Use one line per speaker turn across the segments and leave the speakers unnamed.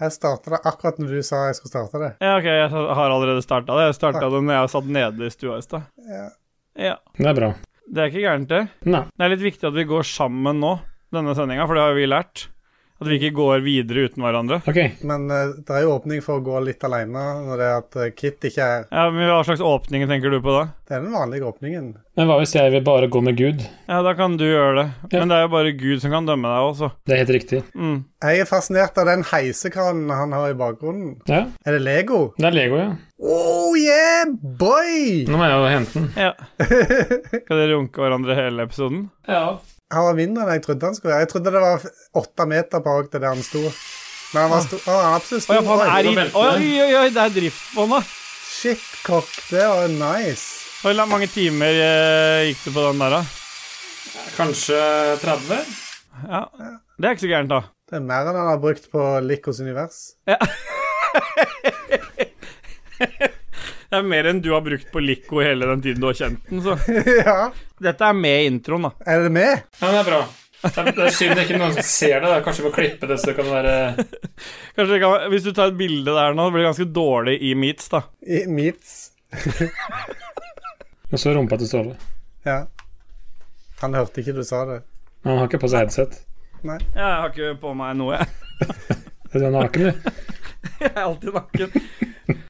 Jeg starta det akkurat når du sa jeg skulle starte det.
Ja, ok, jeg har allerede starta det. Jeg starta det når jeg satt nede i stua i stad.
Ja.
Ja.
Det er bra.
Det er ikke gærent, det.
Nei.
Det er litt viktig at vi går sammen nå, denne sendinga, for det har vi lært. At vi ikke går videre uten hverandre.
OK.
Men eh, det er jo åpning for å gå litt aleine når det er at eh, Kit ikke er
Ja, men Hva slags åpning tenker du på da?
Det er den vanlige åpningen.
Men hva hvis jeg vil bare gå med Gud?
Ja, da kan du gjøre det.
Ja.
Men det er jo bare Gud som kan dømme deg også.
Det er helt riktig.
Mm.
Jeg er fascinert av den heisekranen han har i bakgrunnen.
Ja.
Er det Lego?
Det er Lego, ja.
Oh yeah, boy!
Nå må jeg jo hente den.
Ja. Skal dere runke hverandre hele episoden?
Ja.
Han var mindre enn jeg trodde han skulle være. Jeg trodde det var f- åtte meter bak det der han sto. Men han var sto Å, han er absolutt
Å ja,
stor.
faen, er i
Oi,
Oi, oi, oi, oi, det er driftbånd, da.
Shit, kokk, det var nice.
Hvor la- mange timer eh, gikk du på den der, da?
Kanskje 30?
Ja. Det er ikke så gærent, da.
Det er mer enn han har brukt på Likos univers.
Det er mer enn du har brukt på Lico hele den tiden du har kjent den, så
ja,
Dette er med i introen, da.
er det med?
Ja, det er bra. Det er, det er synd ikke noen ser det. da. Kanskje vi må klippe det så det kan være
Kanskje det kan, Hvis du tar et bilde der nå, det blir ganske dårlig i meets, da.
I Meats.
Og så rumpa til Ståle.
Ja. Han hørte ikke du sa det.
Han har ikke på seg headset.
Jeg har ikke på meg noe, jeg.
Er du naken, du?
Jeg er alltid naken.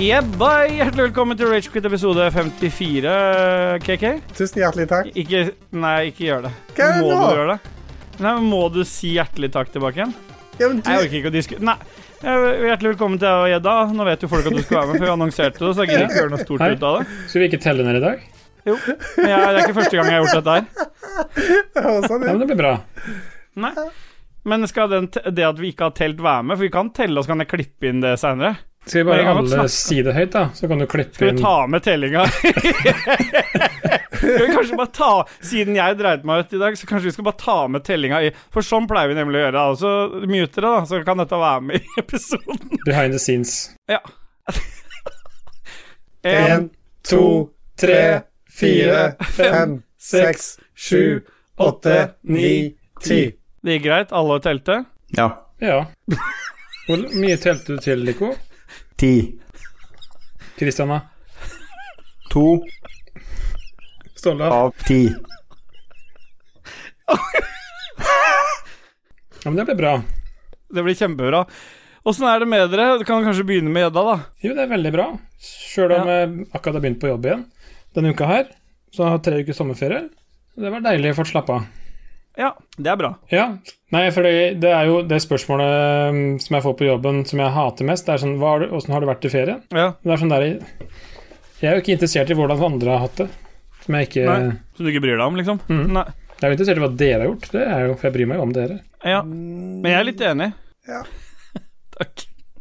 Yeah, bye. Hjertelig velkommen til Ragequit episode 54, KK.
Tusen hjertelig takk.
Ikke Nei, ikke gjør det.
Hva er det
må
nå?
du gjøre det? Nei, men Må du si hjertelig takk tilbake igjen?
Ja, men du,
Nei, jeg orker ikke å diskutere Nei. Eh, Hjertelig velkommen til deg og Gjedda. Nå vet jo folk at du skal være med, for vi annonserte det. Så jeg gidder ikke gjøre noe stort
Hei.
ut av det.
Skal vi ikke telle ned i dag?
Jo, men jeg, Det er ikke første gang jeg har gjort dette her.
det høres sånn
Ja, men
ut.
det blir bra.
Nei. Men skal den, te- det at vi ikke har telt, være med? For vi kan telle, og så kan jeg klippe inn det seinere.
Skal vi
Men jeg
bare
kan godt
alle
snakke.
si det høyt, da? Så kan du klippe
Skal
inn
vi ta med tellinga? skal vi kanskje bare ta Siden jeg dreit meg ut i dag, så kanskje vi skal bare ta med tellinga i For sånn pleier vi nemlig å gjøre. da. Så muter det, da, så kan dette være med i episoden.
behind the scenes.
Ja.
En, to, tre, fire, fem, seks, sju, åtte, ni, ti.
Det gikk greit? Alle telte?
Ja.
Ja. Hvor mye telte du til, Lico?
Ti.
Kristian, da?
To
Ståle?
av ti.
Ja, men det blir bra.
Det blir kjempebra. Åssen er det med dere? Du kan kanskje begynne med Gjedda, da.
Jo, det er veldig bra. Sjøl om jeg akkurat har begynt på jobb igjen denne uka her. Så jeg har tre uker sommerferie. Det var deilig å få slappe av.
Ja, det er bra.
Ja. Nei, for det, det er jo det spørsmålet mm, som jeg får på jobben som jeg hater mest, det er sånn hva har du- Åssen har du vært i ferien?
Ja.
Det er sånn der Jeg er jo ikke interessert i hvordan andre har hatt det. Som jeg ikke
Nei. Så du ikke bryr deg om, liksom?
Mhm.
Nei.
Jeg er jo interessert i hva dere har gjort, det er jo, for jeg bryr meg jo om dere.
Ja. Men jeg er litt enig.
Ja.
Takk.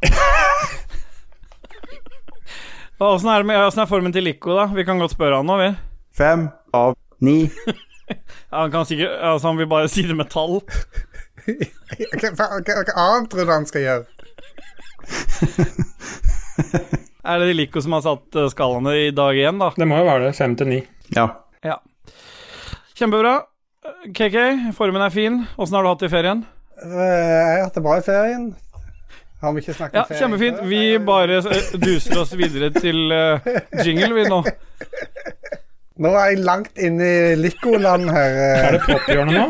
Åssen er, det med- hvordan er formen til Lico, da? Vi kan godt spørre han nå, vi.
Fem av ni.
Ja, han, kan sikkert, altså, han vil bare si det med tall.
Hva, hva, hva hva annet tror du han skal gjøre?
Er det Lico som har satt eh, skalaene i dag igjen, da?
Det må jo være det. Fem til ni.
Ja.
Ja. Kjempebra. KK, formen er fin. Åssen har du hatt det i ferien?
Eh, Jeg har hatt det bra i ferien. Har vi ikke snakket
Ja,
om ferie?
kjempefint.
før?
Vi bare eh, duser oss videre til eh, jingle, vi nå.
Nå er jeg langt inne i Licoland her. eh.
Er det pophjørnet nå?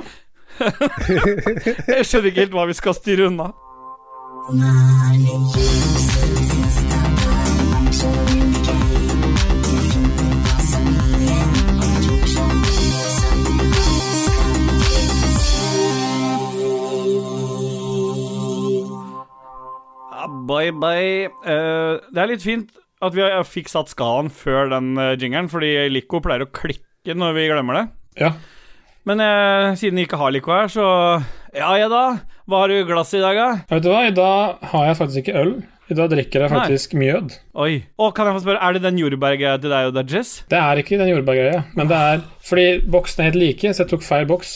Jeg skjønner ikke helt hva vi skal styre unna. Ja, Bye, bye. Eh, det er litt fint at vi har- fikk satt skalaen før den eh, jingeren, fordi Lico pleier å klikke når vi glemmer det.
Ja.
Men eh, siden vi ikke har Lico her, så Ja, ja da. Hva har du i glasset i dag, da?
Vet du hva, i dag har jeg faktisk ikke øl. I dag drikker jeg faktisk mjød.
Oi. Å, kan jeg få spørre, er det den jordbærgreia til deg og deg, Jess?
Det er ikke den jordbærgreia, men det er fordi boksene er helt like, så jeg tok feil boks.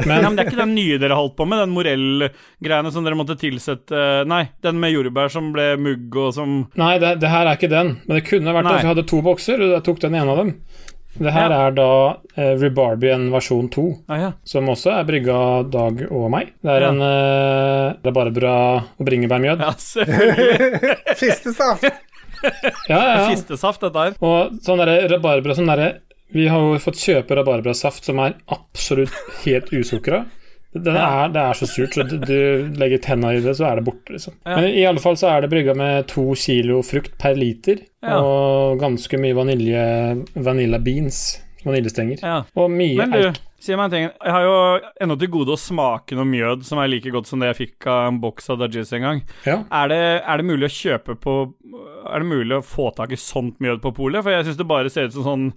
Ja,
Men
men Det er ikke den nye dere holdt på med, den morellgreiene som dere måtte tilsette Nei, den med jordbær som ble mugg og som
Nei, det, det her er ikke den. Men det kunne vært
Nei.
det. for Jeg hadde to bokser, og jeg tok den ene av dem. Det her
Ja.
er da eh, Rebarbian versjon 2,
ah, ja.
som også er brygga av Dag og meg. Det er
Ja.
en eh, rabarbra og bringebærmjød.
ja, selvfølgelig.
Fistestaff!
Ja, ja, ja.
Fistesaft, dette her.
Og sånn derre rabarbra sånn derre Vi har jo fått kjøpe rabarbrasaft som er absolutt helt usukra. Det er, det er så surt, så du, du legger tenna i det, så er det borte, liksom.
Ja.
Men i alle fall så er det brygga med to kilo frukt per liter,
Ja.
og ganske mye vanilje, vanilla beans, vaniljestenger.
Ja.
Og mye
Men du,
eik.
si meg en ting. Jeg har jo ennå til gode å smake noe mjød som er like godt som det jeg fikk av en boks av Dajis en gang.
Ja.
Er det, er det mulig å kjøpe på Er det mulig å få tak i sånt mjød på polet? For jeg syns det bare ser ut som sånn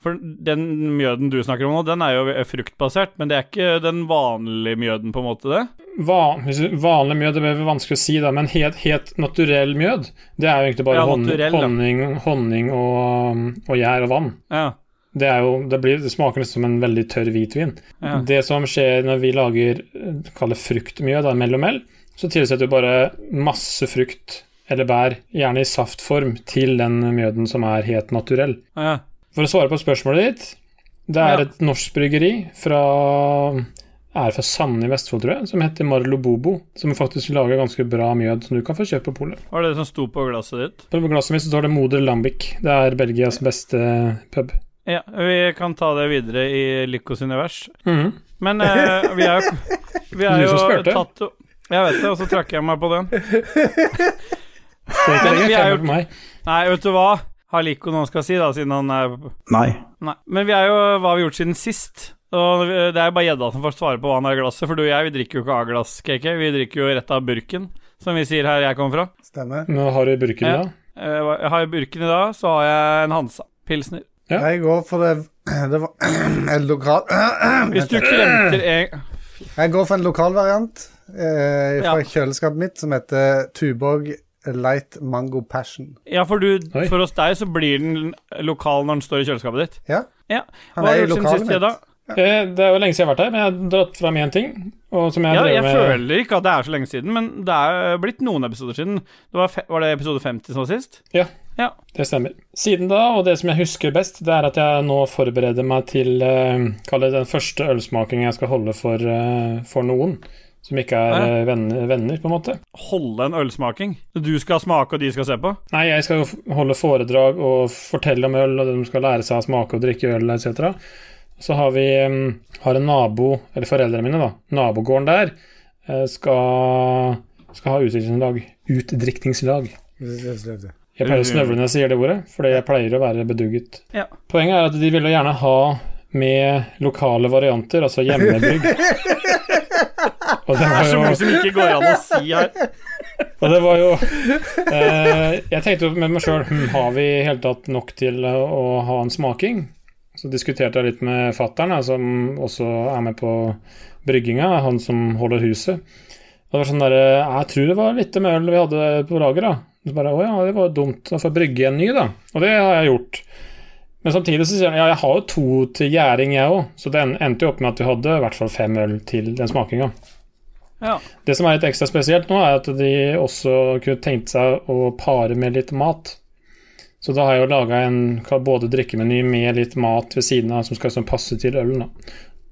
For den mjøden du snakker om nå, den er jo fruktbasert, men det er ikke den vanlige mjøden, på en måte, det?
Van, hvis du- vanlig mjød det blir vanskelig å si, da, men helt, helt naturell mjød, det er jo egentlig bare
Ja,
hon-
naturell, da.
honning, honning og, um, og gjær og vann.
Ja.
Det, er jo, det, blir, det smaker nesten som en veldig tørr hvitvin.
Ja.
Det som skjer når vi lager eh, kall det fruktmjød da, mellomel, så tilsetter vi bare masse frukt eller bær, gjerne i saftform, til den mjøden som er helt naturell.
ja.
For å svare på spørsmålet ditt Det
Ja.
er et norsk bryggeri fra er fra Sande i Vestfold, tror jeg, som heter Marlo Bobo, som faktisk lager ganske bra mjød som du kan få kjøpt på polet.
Var det det som sto på glasset ditt?
På glasset mitt så står det Moder Lambic. Det er Belgias beste pub.
Ja, vi kan ta det videre i Lykkos univers.
Mhm.
Men eh, vi er jo Vi er
Du
jo
som spurte.
tatt Jeg vet det, og så trakk jeg meg på den.
Det er ikke
Men vi
lenger
er
femmer
jo-
for meg.
Nei, vet du hva? Har Lico noe han skal si, da, siden han er
Nei.
Nei. Men vi er jo Hva har vi gjort siden sist? Og det er jo bare gjedda som får svare på hva han har i glasset, for du og jeg, vi drikker jo ikke av glass, KK. Vi drikker jo rett av burken, som vi sier her jeg kommer fra.
Stemmer.
Nå har du burken
Ja.
i dag.
Eh, hva- har jeg burken i dag, så har jeg en Hansa. Pilsner.
Ja.
Jeg går for det, det var en lokal
Hvis du kremter en
Jeg går for en lokal variant eh, fra
Ja.
kjøleskapet mitt som heter Tuborg Light Mango Passion.
Ja, for du,
Oi.
for hos deg så blir den lokal når den står i kjøleskapet ditt.
Ja.
Ja.
Han
Hva har
er i
du gjort siden
lokalet
sist, Gjedda?
mitt.
Eh, Det er jo lenge siden jeg har vært her, men jeg har dratt fram én ting. Og som jeg,
Ja,
drev
jeg
med,
føler ikke at det er så lenge siden, men det er blitt noen episoder siden. Det var, fe var det episode 50 som var sist?
Ja.
Ja.
Det stemmer. Siden da, og det som jeg husker best, det er at jeg nå forbereder meg til eh, Kall det den første ølsmakingen jeg skal holde for, eh, for noen. Som ikke er
Ja.
eh, venner, venner, på en måte.
Holde en ølsmaking. Du skal smake, og de skal se på.
Nei, jeg skal jo f- holde foredrag og fortelle om øl, og de skal lære seg å smake og drikke øl, etc. Så har vi mm, har en nabo, eller foreldrene mine, da, nabogården der, eh, skal, skal ha utdrikningslag. Utdrikningslag. Jeg pleier å snøvle når jeg sier det ordet, fordi jeg pleier å være bedugget.
Ja.
Poenget er at de ville gjerne ha med lokale varianter, altså hjemmebrygg. Og det
Det
var
er så
jo-
mye som ikke går an å si her.
og det var jo eh, Jeg tenkte jo med meg sjøl hm, Har vi i hele tatt nok til eh, å ha en smaking? Så diskuterte jeg litt med fattern, som også er med på brygginga. Han som holder huset. Og det var sånn der, eh, Jeg tror det var litt med øl vi hadde på lager, da. Så bare, Å ja, det var dumt. Da får jeg brygge en ny, da. Og det har jeg gjort. Men samtidig så sier han ja, jeg har jo to til gjæring, jeg òg. Så det en- endte jo opp med at vi hadde i hvert fall fem øl til den smakinga.
Ja.
Det som er litt ekstra spesielt nå, er at de også kunne tenkt seg å pare med litt mat. Så da har jeg jo laga en kall- både drikkemeny med litt mat ved siden av som skal sånn passe til ølen. da.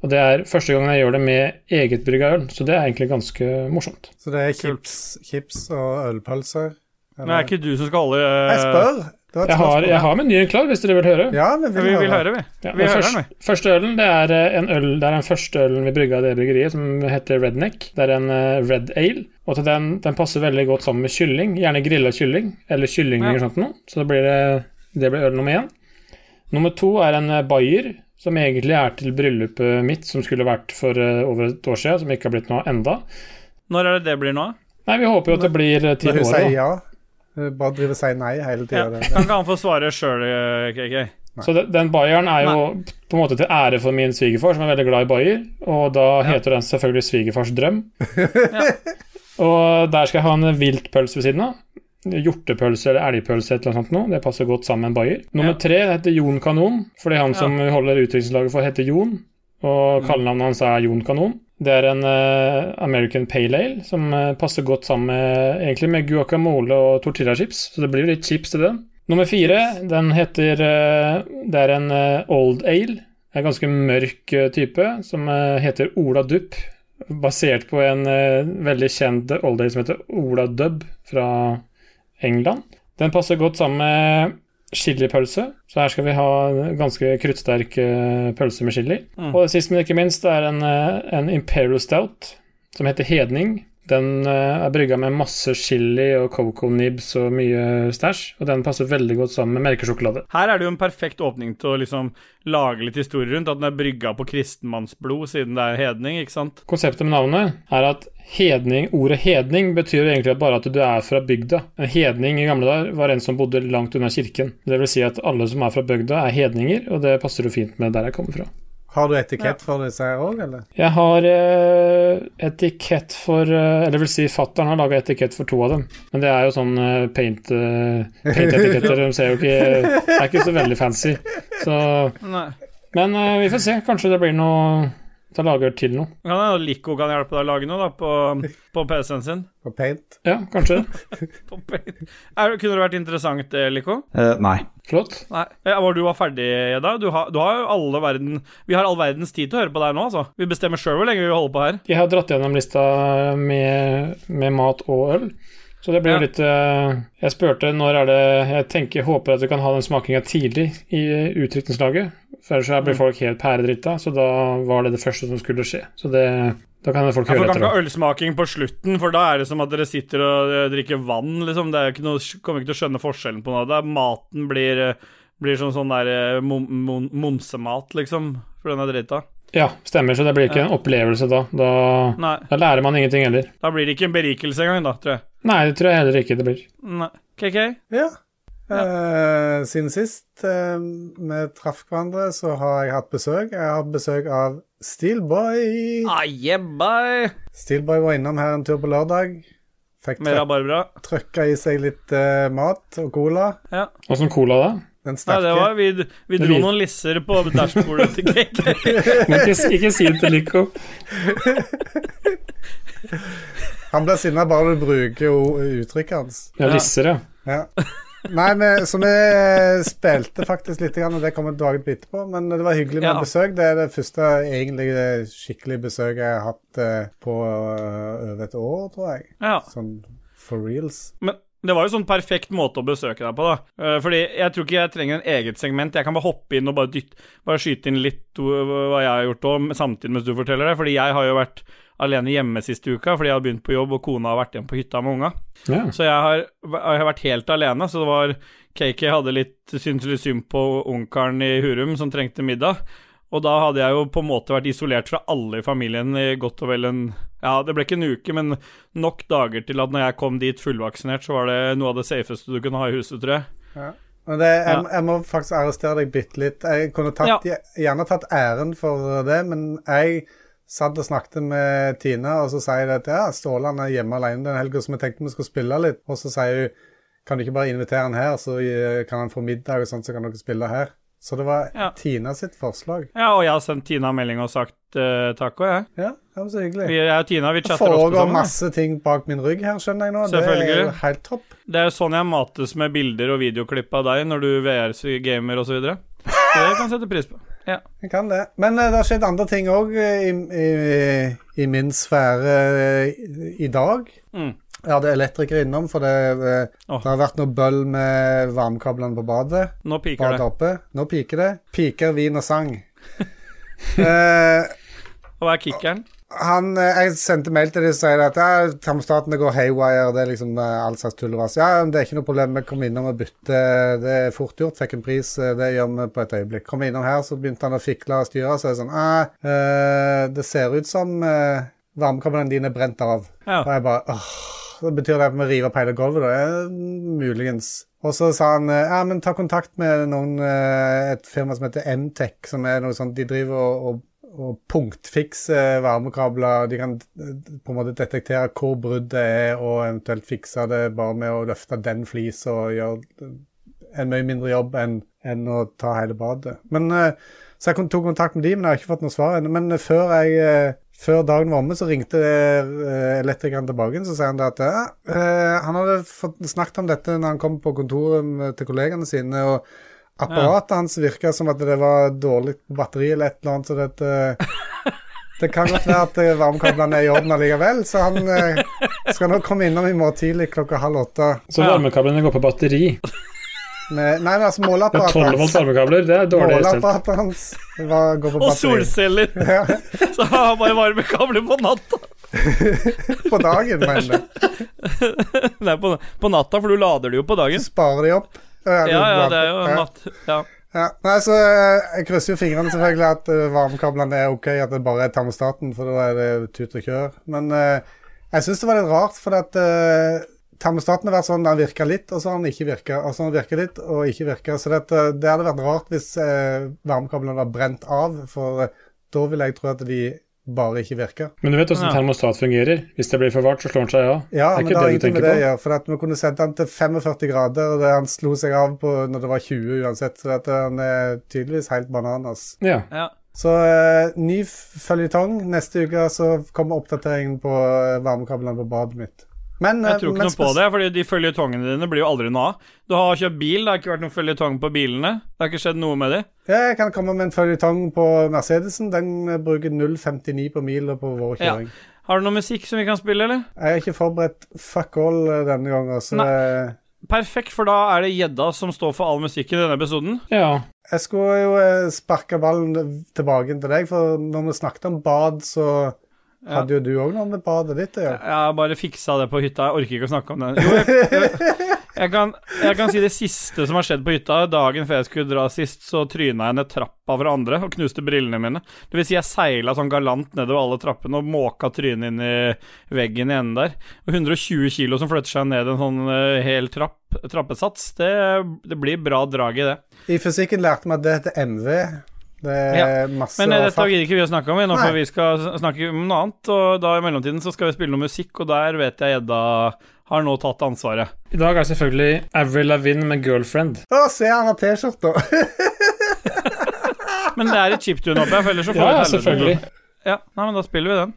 Og det er første gangen jeg gjør det med eget brygga øl, så det er egentlig ganske morsomt.
Så det er chips, chips og ølpølser.
Men det er ikke du som skal holde eh,
Jeg spør! Det var et
Jeg har,
spørsmål.
jeg har menyen klar, hvis dere vil høre.
Ja, vi
Vi
vil,
vil høre, vi.
Ja,
vi
den
hører
første,
den,
første ølen det er eh, en øl, det er den første ølen vi brygga i det bryggeriet, som heter Redneck. Det er en eh, Red Ale. Og til den, den passer veldig godt sammen med kylling. Gjerne grilla kylling, eller kyllingvinger og sånt noe. Så da blir det, det blir øl nummer én. Nummer to er en eh, Bayer, som egentlig er til bryllupet mitt, som skulle vært for eh, over et år siden, som ikke har blitt noe enda.
Når er det det blir nå?
Nei, vi håper jo at det blir eh, til
Når hun
året.
sier
da.
ja. Hun bare driver og sier nei hele
Ja.
tida.
Kan ikke han få svare eh, sjøl, KK?
Så de- den Bayeren er jo på en måte til ære for min svigerfar, som er veldig glad i Bayer. Og da heter den selvfølgelig Svigerfars drøm. Og der skal jeg ha en viltpølse ved siden av. Hjortepølse eller elgpølse, et eller annet sånt noe. Det passer godt sammen med en bayer. Nummer
Ja.
tre det heter Jon Kanon, fordi han som holder utdrikningslaget for, heter Jon. Og kallenavnet hans er Jon Kanon. Det er en eh, American Pale Ale som eh, passer godt sammen med, egentlig med guacamole og tortillachips, så det blir jo litt chips til den. Nummer fire, den heter eh, Det er en eh, Old Ale. En ganske mørk eh, type som eh, heter Ola Dupp. Basert på en eh, veldig kjent old ale som heter Ola Dubb fra England. Den passer godt sammen med chilipølse, så her skal vi ha en ganske kruttsterk eh, pølse med chili.
Mm.
Og sist, men ikke minst, det er en, eh, en Imperial Stout som heter Hedning. Den eh, er brygga med masse chili og coco nibs og mye stæsj, og den passer veldig godt sammen med melkesjokolade.
Her er det jo en perfekt åpning til å liksom lage litt historie rundt at den er brygga på kristenmannsblod, siden det er hedning, ikke sant?
Konseptet med navnet er at hedning, ordet hedning betyr egentlig bare at du er fra bygda. En hedning i gamle dager var en som bodde langt unna kirken. Det vil si at alle som er fra bygda, er hedninger, og det passer jo fint med der jeg kommer fra.
Har du etikett for disse her òg, eller?
Jeg har eh, etikett for eh, Eller vil si, fattern har laga etikett for to av dem. Men det er jo sånn eh, paint, eh, paint-etiketter. de ser jo ikke Det er ikke så veldig fancy. Så,
Nei.
men eh, vi får se. Kanskje det blir noe Da lager til noe.
Kan hende Lico kan hjelpe deg å lage noe da, på, på PC-en sin.
På paint?
Ja, kanskje.
På Paint. er, kunne det vært interessant, eh, Lico?
Eh, nei.
Flott.
Nei. Eh, Var du var ferdig, Edda? Du har, du har jo alle verden Vi har all verdens tid til å høre på deg nå, altså. Vi bestemmer sjøl hvor lenge vi vil holde på her.
Jeg har dratt gjennom lista med, med mat og øl. Så det blir jo
Ja.
litt eh, Jeg spurte når er det Jeg tenker, håper at du kan ha den smakinga tidlig i utdrikningslaget. For ellers så blir
Mm.
folk helt pæredrita, så da var det det første som skulle skje. Så det, da kan folk
Ja, for
høre
Du kan ikke
etter. da.
ha ølsmaking på slutten, for da er det som at dere sitter og eh, drikker vann, liksom. Det er jo ikke noe, kommer ikke til å skjønne forskjellen på noe. Da maten blir, eh, blir sånn sånn der eh, mom, mom, momsemat, liksom. For den er drita.
Ja, stemmer. Så det blir ikke en opplevelse da. Da,
Nei.
da lærer man ingenting heller.
Da blir det ikke en berikelse engang, da, tror jeg.
Nei, det tror jeg heller ikke det blir.
Nei. KK?
Ja. Eh, siden sist eh, vi traff hverandre, så har jeg hatt besøk. Jeg har hatt besøk av Steelboy.
Ah, yeah, bye.
Steelboy var innom her en tur på lørdag. Fikk
Mer
trø
av Barbara.
trøkka i seg litt eh, mat og cola.
Ja.
Åssen cola da?
Den
Nei,
sterke.
det var, vi, vi dro
Vi-
noen lisser på dashbordet til KK.
Men ikke, ikke si det til Lico.
Han blir sinna bare du bruker jo uttrykket hans.
Ja,
Ja.
lisser, ja.
Ja. Nei, men, så vi eh, spilte faktisk litt, grann, og det kommer dagen etterpå. Men det var hyggelig med
Ja.
besøk. Det er det første egentlig skikkelige besøket jeg har hatt eh, på eh, over et år, tror jeg.
Ja.
Sånn for reals.
Men det var jo sånn perfekt måte å besøke deg på, da. Eh, Fordi jeg tror ikke jeg trenger en eget segment. Jeg kan bare hoppe inn og bare, dytte, bare skyte inn litt hva- hva jeg har gjort òg, samtidig mens du forteller det. Fordi jeg har jo vært alene hjemme siste uka fordi jeg har begynt på jobb, og kona har vært hjemme på hytta med unga.
ja.
Så jeg har, jeg har vært helt alene, så det var KK hadde litt, syntes litt synd på onkelen i Hurum som trengte middag. Og da hadde jeg jo på en måte vært isolert fra alle i familien i godt og vel en Ja, det ble ikke en uke, men nok dager til at når jeg kom dit fullvaksinert, så var det noe av det safeste du kunne ha i huset, tror jeg.
Men det, jeg,
Ja.
jeg må faktisk arrestere deg bitte litt. Jeg kunne
Ja.
tatt, gjerne tatt æren for det, men jeg satt og snakket med Tine, og så sier jeg at ja, Ståle han er hjemme alene den helga, så vi tenkte vi skulle spille litt. Og så sier hun kan du ikke bare invitere han her, så eh, kan han få middag og sånt, så kan dere spille her. Så det var
Ja.
Tina sitt forslag.
Ja, og jeg har sendt Tina en melding og sagt eh, takk òg, jeg.
Ja, det var så
Vi-
hyggelig.
Jeg og Tina vi
Det
chatter ofte
foregår
sammen. da.
masse ting bak min rygg her, skjønner jeg nå. Det er jo
Selvfølgelig.
helt topp.
Det er jo sånn jeg mates med bilder og videoklipp av deg når du VR-gamer osv. Så videre. Så det kan jeg sette pris på. Ja.
Jeg kan det. Men eh, det har skjedd andre ting òg i, i, i min sfære eh, i, i dag.
Mm.
Jeg hadde elektriker innom, for det, eh,
Åh.
det har vært noe bøll med varmekablene på badet.
Nå piker
Badet
det.
oppe. Nå piker det. Piker, vin og sang. eh,
Og hva er kickeren?
han, eh, jeg sendte mail til dem og sier at ja, termostatene går haywire, det er liksom eh, all slags tull og vas. Ja, men det er ikke noe problem, vi kommer innom og bytter, det er fort gjort, fikk en pris, eh, det gjør vi på et øyeblikk. Kom innom her, så begynte han å fikle og styre, så er det sånn, ah, eh, det ser ut som eh, varmekablene dine er brent av.
Ja.
Og jeg bare, åh, så betyr det at vi river opp hele gulvet da, Eh, muligens. Og så sa han, eh, ja, men ta kontakt med noen, eh, et firma som heter M-Tech, som er noe sånt, de driver og, og og punktfikse varmekabler. De kan eh, på en måte detektere hvor bruddet er, og eventuelt fikse det bare med å løfte den flisa og gjøre en mye mindre jobb enn enn å ta hele badet. Men eh, Så jeg kon- tok kontakt med de, men jeg har ikke fått noe svar ennå. Men eh, før, jeg, eh, før dagen var omme, så ringte eh, elektrikeren tilbake, så sa han det at ja, eh, han hadde fått snakket om dette når han kom på kontoret med- til kollegene sine, og apparatet hans virka som at det var dårlig batteri eller et eller annet, så det eh, det kan godt være at eh, varmekablene er i orden allikevel, så han eh, skal nå komme innom i morgen tidlig klokka halv åtte.
Så
Ja.
varmekablene går på batteri.
Med, nei, men altså
Det er 12
måleapparatet
volt
hans.
varmekabler, det er dårlig stelt.
Måleapparatet hans var, går på
Og
batteri
solceller!
Ja,
Så har han bare varmekabler på natta.
på dagen, mener jeg.
Nei, på, på natta, for du lader det jo på dagen.
Sparer de opp. Ja,
Ja, ja, det er jo natt. Ja.
Ja. Nei, så eh, jeg krysser jo fingrene selvfølgelig at eh, varmekablene er ok, at det bare er termostaten, for da er det tut og kjør. Men eh, jeg syns det var litt rart, for at eh, termostaten har vært sånn, den virker litt, og så har den ikke virka, og så har den virka litt, og ikke virka. Så det, at, eh, det hadde vært rart hvis eh, varmekablene hadde brent av, for eh, da ville jeg tro at de bare ikke virka.
Men du vet
Ja.
åssen termostat fungerer. Hvis det blir for varmt, så slår den seg av.
Ja,
Det er
men
ikke
det har
det du
ingenting med
tenker
det å
på?
gjøre. For at vi kunne sette han til 45 grader, og det, han slo seg av på når det var 20 uansett. Så at han er tydeligvis helt bananas.
Ja.
Ja.
Så eh, ny f- føljetong. Neste uke så kommer oppdateringen på eh, varmekablene på badet mitt. Men, eh,
Jeg tror ikke
men
noe på
spes-
det, fordi de føljetongene dine blir jo aldri noe av. Du har kjøpt bil, det har ikke vært noen føljetong på bilene. Det har ikke skjedd noe med de.
Ja, jeg kan komme med en føljetong på Mercedesen. Den eh, bruker 0,59 på mila på vår
Ja.
kjøring.
Har du noe musikk som vi kan spille, eller?
Jeg er ikke forberedt fuck all eh, denne gangen, så eh,
Perfekt, for da er det gjedda som står for all musikk i denne episoden.
ja.
Jeg skulle jo eh, sparke ballen tilbake til deg, for når vi snakket om bad, så
Ja.
hadde jo du òg noe med badet ditt å gjøre.
Jeg har bare fiksa det på hytta, jeg orker ikke å snakke om det. Jo, jeg, jeg, jeg, kan, jeg kan si det siste som har skjedd på hytta. Dagen før jeg skulle dra sist, så tryna jeg ned trappa fra andre og knuste brillene mine. Det vil si, jeg seila sånn galant nedover alle trappene og måka trynet inn i veggen i enden der. Og 120 kilo som flytter seg ned en sånn eh, hel trapp, trappesats, det, det blir bra drag i det.
I fysikken lærte vi at det heter MV. Det er masse
Men eh, dette
fart.
gidder ikke vi å snakke om, vi, nå for
Nei.
vi skal sn- snakke om noe annet. Og da i mellomtiden så skal vi spille noe musikk, og der vet jeg gjedda har nå tatt ansvaret.
I dag er det selvfølgelig Avril Lavigne med 'Girlfriend'.
Å, se, han har T-skjorta!
Men det er et chiptune oppi her, for ellers så får vi
Ja, ja,
et helvete.
selvfølgelig.
Ja, nei, men da spiller vi den.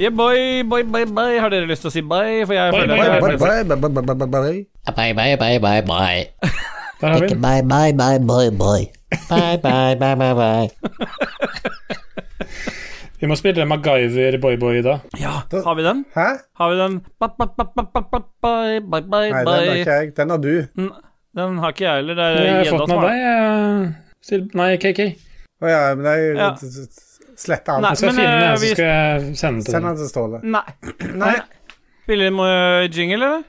Yeah, boy, boy, bye, bye. Har dere lyst til å si bye? For jeg
Bye,
føler
bye,
jeg-
bye,
Bye bye bye bye bye.
Der har vi den.
Bye bye bye bye bye. Bye bye bye bye bye.
Vi må spille MacGyver Boyboy i dag.
Ja, har vi den?
Hæ?
Har vi den? Ba, ba, ba, ba, ba, ba, Bye, bye,
Nei,
bye,
den har
bye.
ikke jeg. Den har du.
N- Den har ikke jeg heller. Det er
Jeg har
gjedda
fått den
som
av
har
deg.
den.
eh, Sil- Nei, KK.
Å ja, men jeg
Ja.
sletter alt.
Nei.
Jeg skal
men,
finne den,
eh,
jeg, så
vi-
skal jeg sende den til
Send
deg.
den til Ståle.
Nei.
Nei.
Spiller vi med eh, jingle, eller?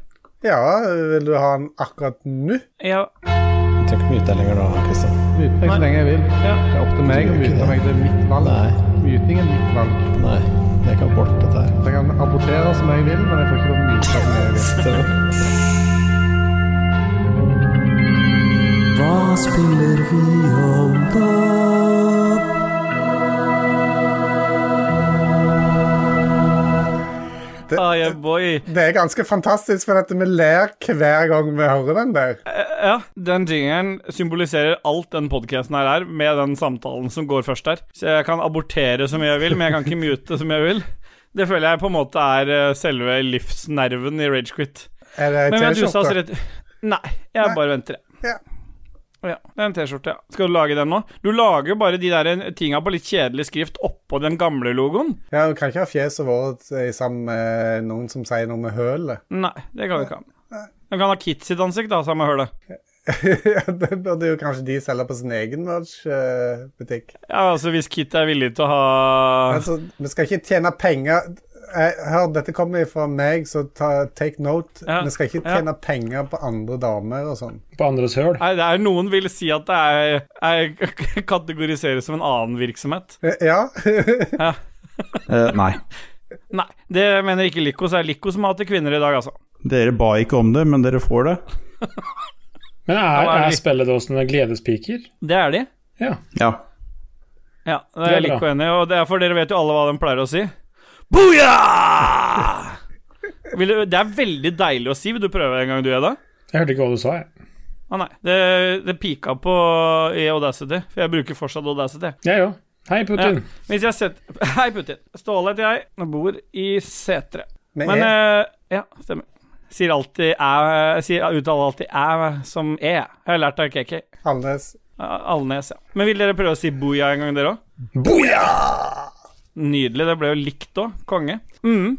Ja, vil du ha den akkurat nå?
Ja.
Jeg trenger ikke mute deg lenger nå, Kristian.
Mute meg så lenge jeg vil.
ja.
Det er opp til meg å mute meg. Det er mitt valg.
Nei.
Muting er mitt valg.
Nei, jeg kan borte dette her.
Jeg kan abortere som jeg vil, men jeg får ikke lov å myte som jeg vil.
Så-
yeah boy.
Det er ganske fantastisk, for at vi ler hver gang vi hører den der.
Ja, den jingeren symboliserer alt den podcasten her er, med den samtalen som går først her. Så jeg kan abortere som jeg vil, men jeg kan ikke mute som jeg vil. Det føler jeg på en måte er eh, selve livsnerven i Ragequit.
Er det ei
Men du sa så
T-skjorte?
rett Nei, jeg
Nei.
bare venter, jeg.
Ja.
Ja, det er en T-skjorte, ja. Skal du lage den nå? Du lager jo bare de der eh, tinga på litt kjedelig skrift oppå den gamle logoen.
Ja, du kan ikke ha fjeset vårt i sammen med noen som sier noe med hølet.
Nei, det kan du ikke ha. Du kan ha Kit sitt ansikt, da, samme hølet.
Ja, det burde jo kanskje de selge på sin egen eh, merch-butikk.
Ja, altså, hvis Kit er villig til å ha
Altså, vi skal ikke tjene penger Jeg- Hør, dette kommer fra meg, så ta, take note.
Ja.
Vi skal ikke
Ja.
tjene penger på andre damer og sånn.
På andres høl.
Nei, det er Noen vil si at det er, er kategoriseres som en annen virksomhet.
Eh, Ja.
Eh, nei.
Nei, det mener ikke Lico. Så er det Lico som hater kvinner i dag, altså.
Dere ba ikke om det, men dere får det.
Men
Ja, hva
er,
er
er
det?
spilledåsene gledespiker?
Det er de.
Ja.
Ja.
Ja, det
Det
er
er
Lico enig i, og det er for dere vet jo alle hva de pleier å si. Booyah! Vil du- Det er veldig deilig å si. Vil du prøve en gang, du, Eda?
Jeg hørte ikke hva du sa, jeg.
Å nei, det, det pika på i Audacity, for jeg bruker fortsatt Audacity.
Jeg òg. Hei, Putin.
Hvis jeg setter Hei, Putin. Ståle heter jeg, og bor i Setre.
Med
Men
E.
eh, Ja, stemmer. Sier alltid æ sier, Uttaler alltid æ som e. Jeg har lært av KK.
Alnes.
Alnes, ja. Men vil dere prøve å si booyah en gang, dere òg? Nydelig. Det ble jo likt òg. Konge. Mm.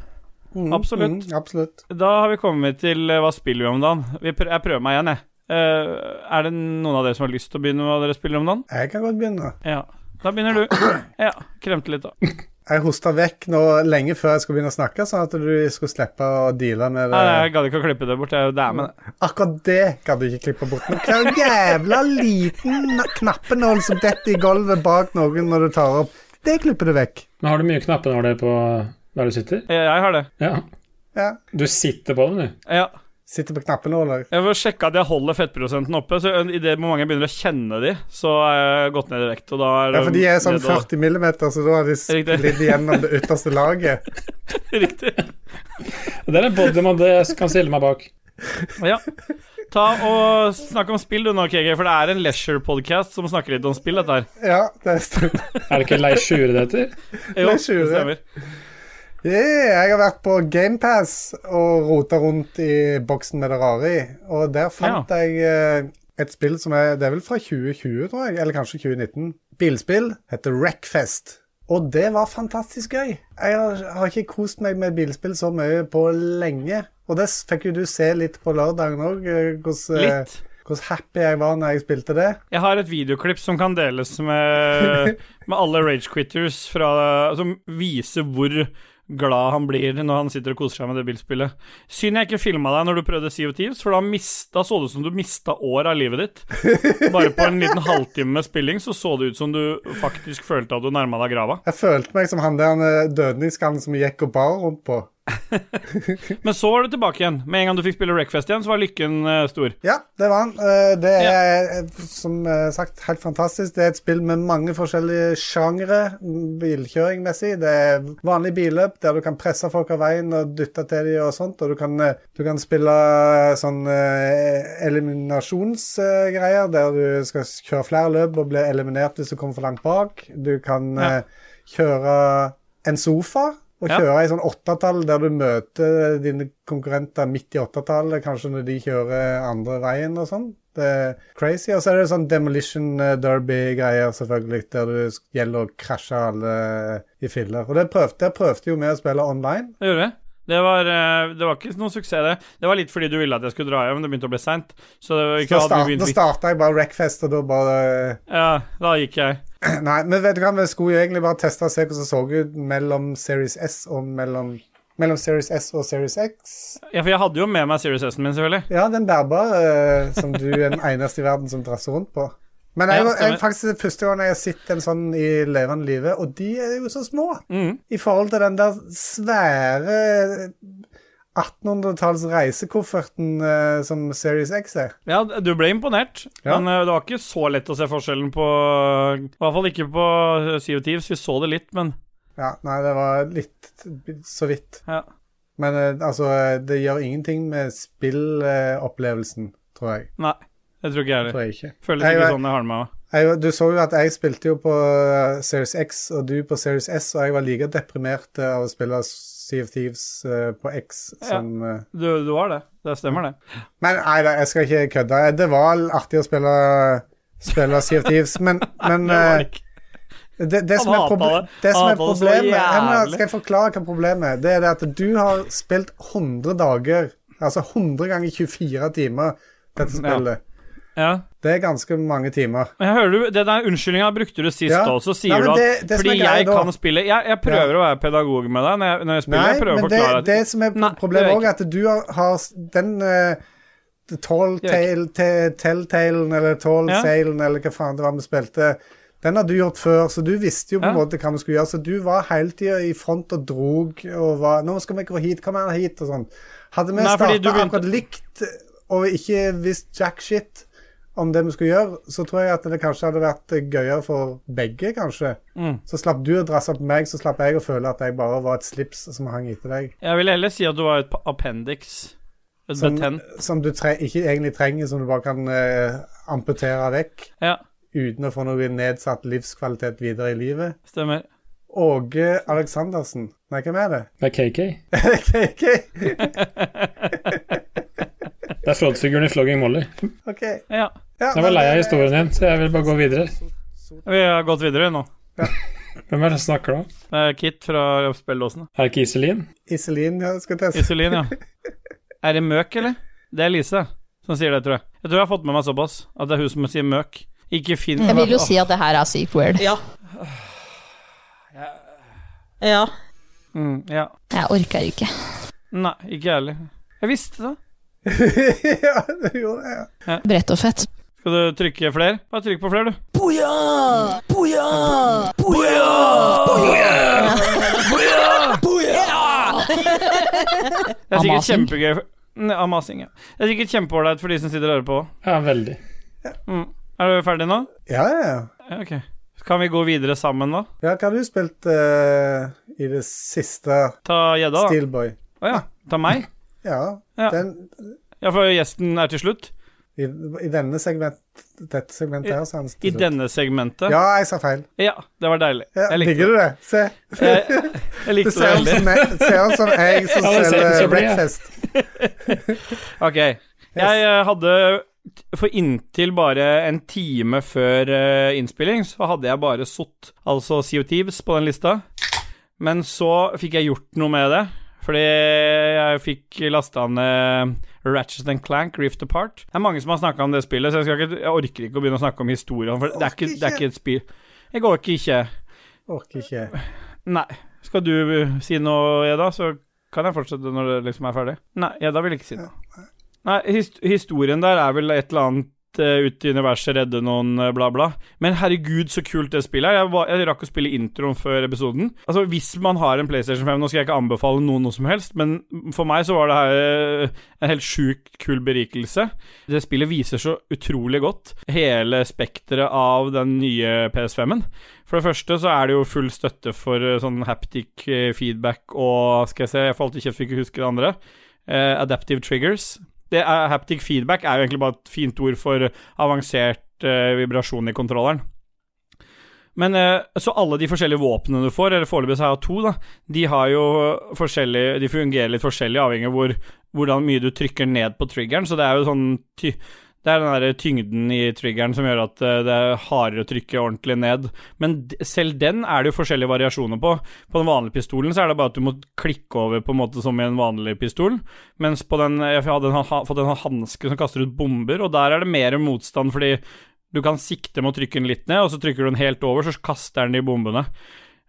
Absolutt.
Mm, absolutt.
Da har vi kommet til eh, hva spiller vi om dagen. Vi prø jeg prøver meg igjen, jeg. Eh, er det noen av dere som har lyst til å begynne med hva dere spiller om dagen?
Jeg kan godt begynne.
Ja. Da begynner du. Ja. Kremte litt, da.
Jeg hosta vekk nå lenge før jeg skulle begynne å snakke, sånn at du skulle slippe å deale med
Nei,
det.
jeg gadd ikke å klippe det bort. Jeg er jo med det.
Akkurat det kan du ikke klippe bort. Men hva jævla liten knappenål som detter i gulvet bak noen når du tar opp. Det klipper du vekk.
Men har du mye knappenåler på der du sitter?
Jeg- Eh, Jeg har det.
Ja.
Ja.
Du sitter på dem, du.
Ja.
Sitter på knappenåler.
Jeg får sjekke at jeg holder fettprosenten oppe. Så i det momentet jeg begynner å kjenne de, så er jeg gått ned i vekt. Og da er
Ja, for de er sånn
det da-
40 millimeter, så da har de
Riktig.
sklidd gjennom det ytterste laget.
Riktig.
Det er en body man det kan stille meg bak.
Ja. Ta og Snakk om spill, du nå, KG, for det er en leisure-podkast som snakker litt om spill, dette her.
Ja, det stemmer.
Er det ikke Leir Sjure det heter?
Jo, det
Leisure.
stemmer.
Yeah, jeg har vært på GamePass og rota rundt i boksen med det rare i, og der fant jeg eh, et spill som er Det er vel fra 2020, tror jeg, eller kanskje 2019. Bilspill heter Wreckfest. Og det var fantastisk gøy. Jeg har, har ikke kost meg med bilspill så mye på lenge. Og det s- fikk jo du se litt på lørdagen òg, hvordan eh,
Litt.
hvordan happy jeg var når jeg spilte det.
Jeg har et videoklipp som kan deles med, med alle ragequitters, som viser hvor glad han blir når han sitter og koser seg med det bilspillet. Synd jeg ikke filma deg når du prøvde Sea of Thieves, for da mista, så det ut som du mista år av livet ditt. Bare på en liten halvtime med spilling så så det ut som du faktisk følte at du nærma deg grava.
Jeg følte meg som han der eh, dødningskallen som gikk og bar rundt på.
Men så var du tilbake igjen. Med en gang du fikk spille Wreckfest igjen, så var lykken eh, stor.
Ja, det var han. Eh, Det er eh, som eh, sagt helt fantastisk. Det er et spill med mange forskjellige sjangre mm, bilkjøringmessig. Det er vanlig billøp der du kan presse folk av veien og dytte til dem og sånt. Og du kan, eh, du kan spille eh, sånn eliminasjonsgreier der du skal s- kjøre flere løp og bli eliminert hvis du kommer for langt bak. Du kan
Ja.
eh, kjøre en sofa. Og
Ja.
kjøre i sånn åttetall der du møter dine konkurrenter midt i åttetallet, kanskje når de kjører andre veien og sånn. Det er crazy. Og så er det sånn demolition eh, derby-greier, selvfølgelig, der det gjelder å krasje alle eh, i filler. Og det prøvde, det prøvde jo vi å spille online.
Det gjorde jeg. Det var, eh, det var ikke noe suksess, det. Det var litt fordi du ville at jeg skulle dra hjem, det begynte å bli seint. Så det var ikke
Da
hadde vi
start-
begynt
da starta jeg bare Wreckfest, og da bare eh,
Ja, da gikk jeg.
Nei, men vet du hva, vi skulle jo egentlig bare teste og se hvordan det så ut mellom Series S og mellom, mellom Series S og Series X.
Ja, For jeg hadde jo med meg Series S-en min, selvfølgelig.
Ja, den bærbare eh, som du er den eneste i verden som drasser rundt på. Men jeg,
Ja,
jeg,
stemmer.
faktisk det er første gang jeg har sett en sånn i levende live, og de er jo så små
Mhm.
i forhold til den der svære 1800-talls reisekofferten eh, som Series X er.
Ja, d- du ble imponert,
Ja.
men eh, det var ikke så lett å se forskjellen på I hvert fall ikke på eh, CO Thieves, vi så det litt, men
Ja, nei, det var litt så vidt.
ja.
Men eh, altså, det gjør ingenting med spillopplevelsen, tror jeg.
Nei, det tror ikke jeg heller.
Tror jeg ikke.
Føles
Jeg-
ikke sånn jeg har det med meg.
Jeg, du så jo at jeg spilte jo på eh, Series X, og du på Series S, og jeg var like deprimert eh, av å spille Sea of Thieves eh, på X som eh,
Du, du har det. Det stemmer, det.
Men nei da, jeg skal ikke kødde. Eh, Det var artig å spille, spille Sea of Thieves, men, men
det var
eh,
det ikke.
det, det, som er
hatet
proble-
det.
det som er
Han hatet det så
problemet ja, men, eh,
jævlig.
Skal jeg forklare hva problemet er? Det er det at du har spilt 100 dager, altså 100 ganger 24 timer, dette spillet.
Ja.
Det er ganske mange timer.
Men jeg hører du, det der Unnskyldninga brukte du sist
Ja.
også. Sier
Nei, men
du at
det- det som
fordi
er greia
jeg
da-
kan spille Jeg, jeg prøver å være pedagog med deg når jeg, når jeg spiller.
Nei,
jeg prøver
men
å
det,
forklare
det som er
Nei, det
problemet
gjør jeg
òg, er at du har, har s- den eh, Tall
Det gjør
Tale- te- Telltalen eller Tall
Ja.
Sailen eller hva faen det var vi spilte, den har du gjort før, så du visste jo på en
Ja.
måte hva vi skulle gjøre. Så du var hele tida i front og drog og var 'Nå skal vi gå hit. Kom her hit.' og sånn. Hadde vi
Nei, fordi
starta
du begynte-
akkurat likt og ikke visst jack shit om det vi skulle gjøre, så tror jeg at det kanskje hadde vært gøyere for begge, kanskje.
Mm.
Så slapp du å drasse på meg, så slapp jeg å føle at jeg bare var et slips som hang etter deg.
Jeg vil heller si at du var et appendix. Et
Som,
betent.
som du tre ikke egentlig trenger, som du bare kan eh, amputere vekk
Ja,
uten å få noe nedsatt livskvalitet videre i livet.
stemmer.
Åge Aleksandersen. Nei, hvem er det?
Det er KK.
OK.
Det er flåttfiguren i Flogging Molly.
ok.
Ja.
Ja,
Så Jeg var lei av historien din, så jeg vil bare gå videre.
Vi har gått videre nå.
Hvem er det som snakker nå?
Det er Kit fra spilledåsene.
Er det ikke Iselin?
eh, Iselin ja, skal teste.
Iselin, ja. Er det Møk, eller? Det er Lise som sier det, tror jeg. Jeg tror jeg har fått med meg såpass at det er hun som sier Møk. Ikke Finn.
Jeg vil jo si at det her er sykt weird.
Ja. Ja.
Mm, ja.
Jeg orker ikke.
Nei, ikke jeg heller. Jeg visste det.
ja, du gjorde det. ja.
Brett og fett.
Skal du trykke flere? Bare trykk på flere, du. Det er sikkert
Amasing.
kjempegøy for- Nei, Amasing, ja. Det er sikkert kjempeålreit for de som sitter og hører på. Mm.
Ja, veldig.
Er du ferdig nå?
Ja, ja, ja.
Ja, Ok. Kan vi gå videre sammen, da?
Ja, hva har du spilt eh, i det siste,
Ta gjedda, da.
Steelboy?
Å ja. Ta meg?
Ja,
Ja.
Den,
Ja, for gjesten er til slutt.
i, I denne segment, dette segmentet her, så er han
I
til slutt.
denne segmentet.
Ja, jeg sa feil.
Ja, det var deilig.
Ja,
Jeg likte
Digger
det.
du det? Se.
Jeg, jeg
Det
likte det
ser ut som,
veldig.
meg- ser ut som jeg som
Ja, det ser ut
selger
som det, ja.
breakfast.
Ok. Jeg eh, hadde For inntil bare en time før eh, innspilling, så hadde jeg bare SOT, altså CO2s, på den lista. Men så fikk jeg gjort noe med det. Fordi jeg fikk lasta ned Ratchet and Clank Rift Apart. Det er mange som har snakka om det spillet, så jeg, skal ikke, jeg orker ikke å begynne å snakke om historien. For det er ikke, det er ikke et spill Jeg orker ikke.
Orker ikke.
Nei. Skal du uh, si noe, Edda, så kan jeg fortsette når det liksom er ferdig. Nei, Edda vil ikke si noe. Nei, hist historien der er vel et eller annet eh, ut i universet, redde noen, eh, bla, bla. Men herregud, så kult det spillet er. Jeg, var, jeg rakk å spille introen før episoden. Altså, hvis man har en PlayStation 5 Nå skal jeg ikke anbefale noen noe som helst, men for meg så var det her eh, en helt sjukt kul berikelse. Det spillet viser så utrolig godt hele spekteret av den nye PS5-en. For det første så er det jo full støtte for eh, sånn haptic eh, feedback og Skal jeg se, jeg får alltid kjeft for ikke å huske det andre. Eh, adaptive triggers. Det er, haptic feedback er jo egentlig bare et fint ord for eh, avansert eh, vibrasjon i kontrolleren. Men eh, så alle de forskjellige våpnene du får, eller foreløpig så har jeg to, da, de har jo eh, forskjellig De fungerer litt forskjellig avhengig av hvor, hvordan mye du trykker ned på triggeren, så det er jo sånn ty det er den der tyngden i triggeren som gjør at eh, det er hardere å trykke ordentlig ned. Men d- selv den er det jo forskjellige variasjoner på. På den vanlige pistolen så er det bare at du må klikke over på en måte som i en vanlig pistol. Mens på den Jeg hadde en, ha- fått en hanske som kaster ut bomber, og der er det mer motstand fordi du kan sikte med å trykke den litt ned, og så trykker du den helt over, så kaster den de bombene.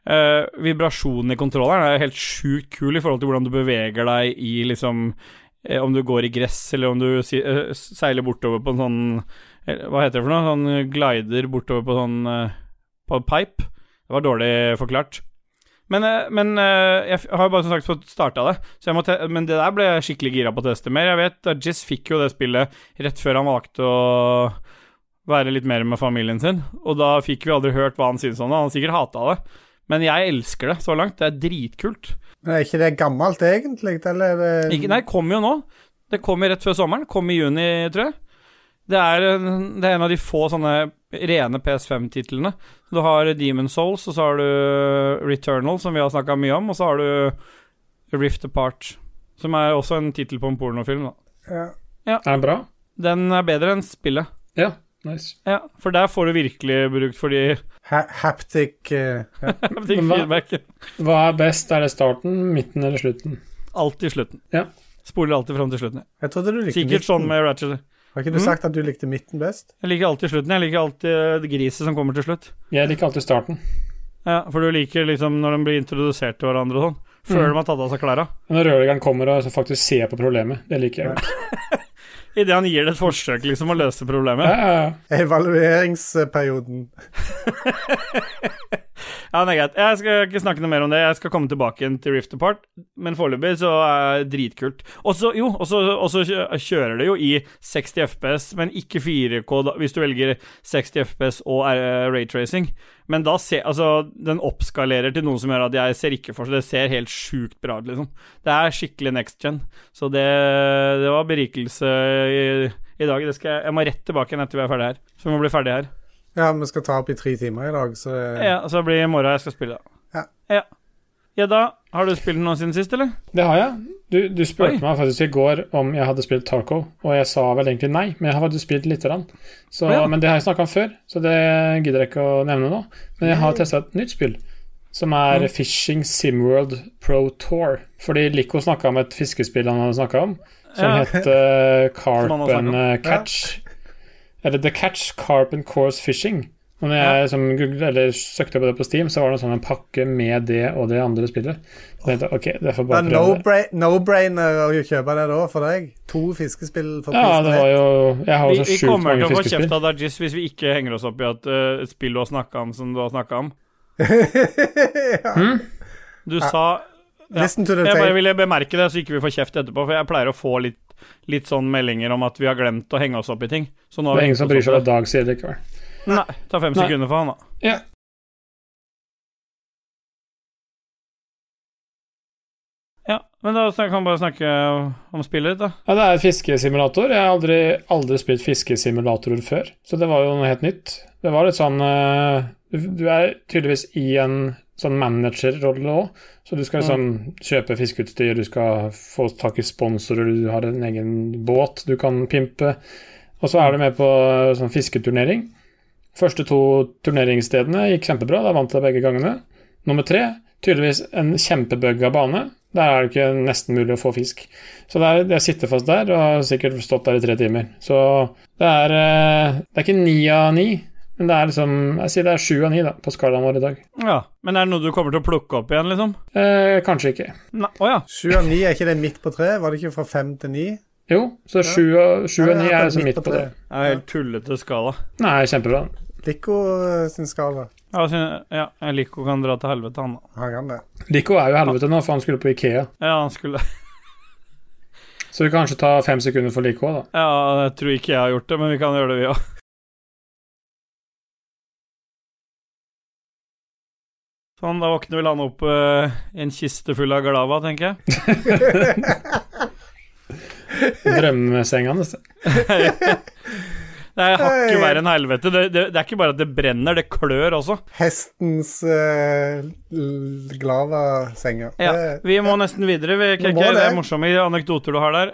Eh, vibrasjonen i kontrolleren er helt sjukt kul i forhold til hvordan du beveger deg i liksom eh, Om du går i gress, eller om du si, eh, seiler bortover på en sånn eh, Hva heter det for noe? Sånn eh, glider bortover på sånn eh, På pipe. Det var dårlig forklart. Men, eh, men eh, jeg f- har jo bare som sagt fått starta det, så jeg må te men det der ble jeg skikkelig gira på å teste mer. Jeg vet at Jizz fikk jo det spillet rett før han valgte å være litt mer med familien sin, og da fikk vi aldri hørt hva han syntes om det. Han har sikkert hata det, Men jeg elsker det så langt. Det er dritkult.
Men er ikke det gammelt egentlig, eller eh, er det
Ikke, nei, kommer jo nå. Det kommer rett før sommeren. Kom i juni, tror jeg. Det er, en- det er en av de få sånne rene PS5-titlene. Du har Demon Souls, og så har du Returnal, som vi har snakka mye om, og så har du Rift Apart, som er også en tittel på en pornofilm. Da.
ja.
Er den bra?
Den er bedre enn spillet.
Ja. Nice.
Ja, for der får du virkelig brukt for de
ha haptic eh, ja.
haptic
Men hva-
feedback.
Hva er best? Er det starten, midten eller slutten?
Alltid slutten.
Ja.
Spoler alltid fram til slutten. ja.
Jeg trodde du likte
Sikkert sånn
eh,
midten.
med Ratchet.
Har ikke du
Mm.
sagt at du likte midten best?
Jeg liker alltid slutten. Jeg liker alltid det griset som kommer til slutt.
Jeg liker alltid starten.
Ja, for du liker liksom når de blir introdusert til hverandre og sånn. Før
Mm.
de har tatt av seg klærne.
Når rørleggeren kommer og faktisk ser på problemet. Det liker jeg.
Idet han gir det et forsøk liksom å løse problemet.
ja, ja.
Evalueringsperioden.
Ja, men det er greit. Jeg skal ikke snakke noe mer om det. Jeg skal komme tilbake igjen til Rift Apart, men foreløpig så er det dritkult. Og så, jo, og så og så kjø- kjører det jo i 60 FPS, men ikke 4K da, hvis du velger 60 FPS og eh, raytracing. Men da ser Altså, den oppskalerer til noe som gjør at jeg ser ikke for seg Det ser helt sjukt bra ut, liksom. Det er skikkelig next gen. Så det, det var berikelse i, i dag. Det skal jeg, jeg må rett tilbake igjen etter vi er ferdig her. Så vi må bli ferdig her.
Ja, vi skal ta opp i tre timer i dag, så eh,
Ja, så det blir i morgen jeg skal spille, da. Ja. Ja, da har du spilt noe siden sist, eller?
Det har jeg. Du, du spurte
Oi.
meg faktisk i går om jeg hadde spilt Tarco, og jeg sa vel egentlig nei, men jeg har faktisk spilt lite grann. Så,
Å ja.
Men det har jeg snakka om før, så det gidder jeg ikke å nevne nå. Men jeg har testa et nytt spill, som er Fishing Simworld Pro Tour. Fordi Lico snakka om et fiskespill han hadde snakka om, som
Ja.
het eh, Carp
Som han har snakket
and
om.
eh, Catch. Eller The Catch Carp and Course Fishing. Og når jeg som googlet, eller søkte på det på Steam, så var det en sånn en pakke med det og det andre spillet. Så tenkte jeg, ok, det får
Det er
bare prøve det.
no-bra- no-brainer å kjøpe det da, for deg. To fiskespill for
Ja,
prisen
det
av
var
ett.
jo Jeg har
Vi,
jo så
vi
altså, sjukt
kommer til
mange
å få kjeft
fiskespill.
av Dajis hvis vi ikke henger oss opp i at eh, et spill du har snakka om, som du har snakka om.
ja.
Hmm?
Du sa ja.
Listen to the
Jeg bare
tape.
ville bemerke det, så ikke vi får kjeft etterpå, for jeg pleier å få litt, litt sånn meldinger om at vi har glemt å henge oss opp i ting. Så nå har
Det er
vi
ingen som bryr
hengt
seg om
oss
hva Dag sier likevel.
opp i det. Nei. Ta fem
Nei.
sekunder for han, da.
Ja.
Ja, men da snak- kan vi bare snakke om spillet ditt, da.
ja, det er et fiskesimulator. Jeg har aldri, aldri spilt fiskesimulatorer før, så det var jo noe helt nytt. Det var litt sånn eh, Du du er tydeligvis i en sånn managerrolle òg, så du skal liksom kjøpe fiskeutstyr, du skal få tak i sponsorer, du har en egen båt du kan pimpe, og så er du med på eh, sånn fisketurnering. Første to turneringsstedene gikk kjempebra, da vant jeg begge gangene. Nummer tre, tydeligvis en kjempebugga bane. Der er det ikke nesten mulig å få fisk. Så det er, jeg sitter fast der og har sikkert stått der i tre timer. Så det er, eh, det er ikke ni av ni, men det er liksom Jeg sier det er sju av ni da, på skalaen vår i dag.
Ja. Men er det noe du kommer til å plukke opp igjen, liksom?
Eh, kanskje ikke.
Nei. Å ja.
Sju av ni, er ikke det midt på tre? Var det ikke fra fem til ni?
Jo, så sju av sju av
Ja,
ni
ja,
er liksom midt på det.
Det er helt tullete skala.
Nei, kjempebra.
Lico eh, sin skala.
Ja, så- ja Lico kan dra til helvete, han. da.
Har han det?
Lico er jo helvete nå, for han skulle på Ikea.
Ja, han skulle
Så vi kan kanskje ta fem sekunder for Lico òg, da.
Ja, jeg tror ikke jeg har gjort det, men vi kan gjøre det, vi òg. Sånn, da våkner vel han opp eh, i en kiste full av glava, tenker jeg.
Drømmesenga hans.
Det er hakket verre enn helvete. Det, det, det er ikke bare at det brenner, det klør også.
Hestens eh, l- glava-senger.
Ja,
Det-
vi må nesten videre. Vi,
Vi må
KK. det
det.
er morsomme anekdoter du har der.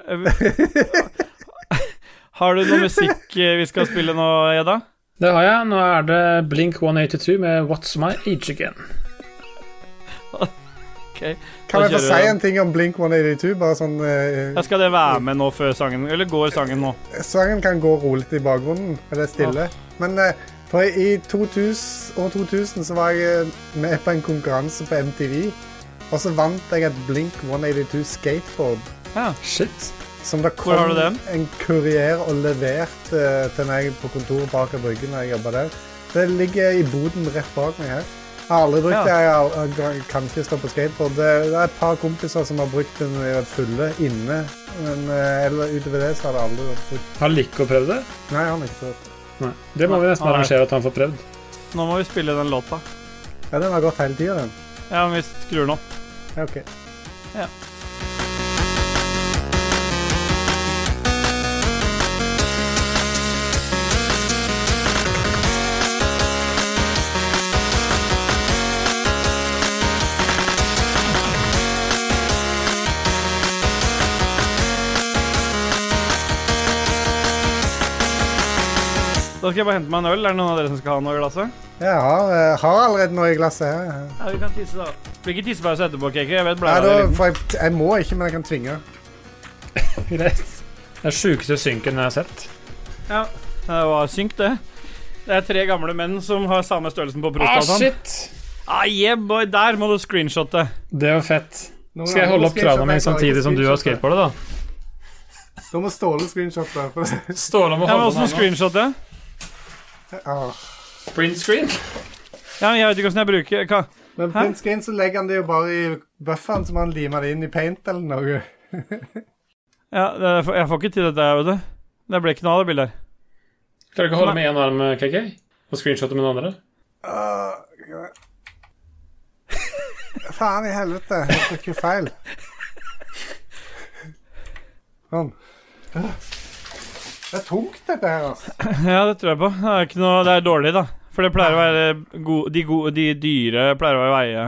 Har du noe musikk eh, vi skal spille nå, Edda?
Det har jeg. Nå er det Blink 182 med What's My Age Again.
Kan jeg
Da
få
kjører
si
vi den.
en ting om Blink 182? Bare sånn eh,
Ja, skal det være med nå før sangen, eller går sangen nå?
Sangen kan gå rolig i bakgrunnen, eller stille. Men eh, for i 2000, år 2000 så var jeg eh, med på en konkurranse på MTV. Og så vant jeg et Blink 182 skateboard.
Shit.
Som det kom
har du den?
en kurier og leverte eh, til meg på kontoret bak av bryggen når jeg jobba der. Det ligger i boden rett bak meg her. Jeg har aldri brukt
Ja.
det. Jeg har- Jeg har- kan ikke stå på skateboard. Det, det er et par kompiser som har brukt den når de har vært fulle inne. Men eh, eller, utover det så har det aldri vært brukt.
Har Lico prøvd det?
Nei, han har ikke prøvd.
Nei. Det må vi nesten
Nei.
arrangere at han får prøvd.
Nå må vi spille den låta.
Ja, den har gått hele tida, den.
Ja, men vi skrur den opp.
Ja, OK.
Da skal jeg bare hente meg en øl. Er det noen av dere som skal ha noe i glasset?
Jeg har, eh, har allerede noe i glasset her.
Ja, vi kan tisse, da. Det blir ikke tissepause etterpå, Keke. Jeg vet
Nei, da,
blæra di er liten.
for jeg, jeg må ikke, men jeg kan tvinge.
Greit. Det er sjukeste synken jeg har sett.
Ja, det var synk, det. Det er tre gamle menn som har samme størrelsen på
Ah,
prostataen.
shit!
Ah, yeah, boy, der må du screenshotte.
Det var fett. Skal jeg holde opp krana mi samtidig som du har skateboardet, da?
Da må Ståle screenshotte. for det-
Ståle må
Ja, men
holde
åssen
meg nå.
screenshotte?
Ah.
Print screen?
Ja, men jeg vet ikke åssen jeg bruker Hva?
Men
Hæ?
print screen så legger han det jo bare i bufferen, så må han lime det inn i paint eller noe.
Ja, det, jeg får ikke til dette, jeg, vet du. Det ble ikke noe av det bildet her.
Klarer du ikke å holde med én arm, KK? Og screenshotte med den andre?
Ah, Faen i helvete, jeg trykker feil. Sånn. Det er tungt, dette her, altså.
Ja, det tror jeg på. Det er, ikke noe, det er dårlig, da. For det pleier å være gode, de, gode, de dyre pleier å veie,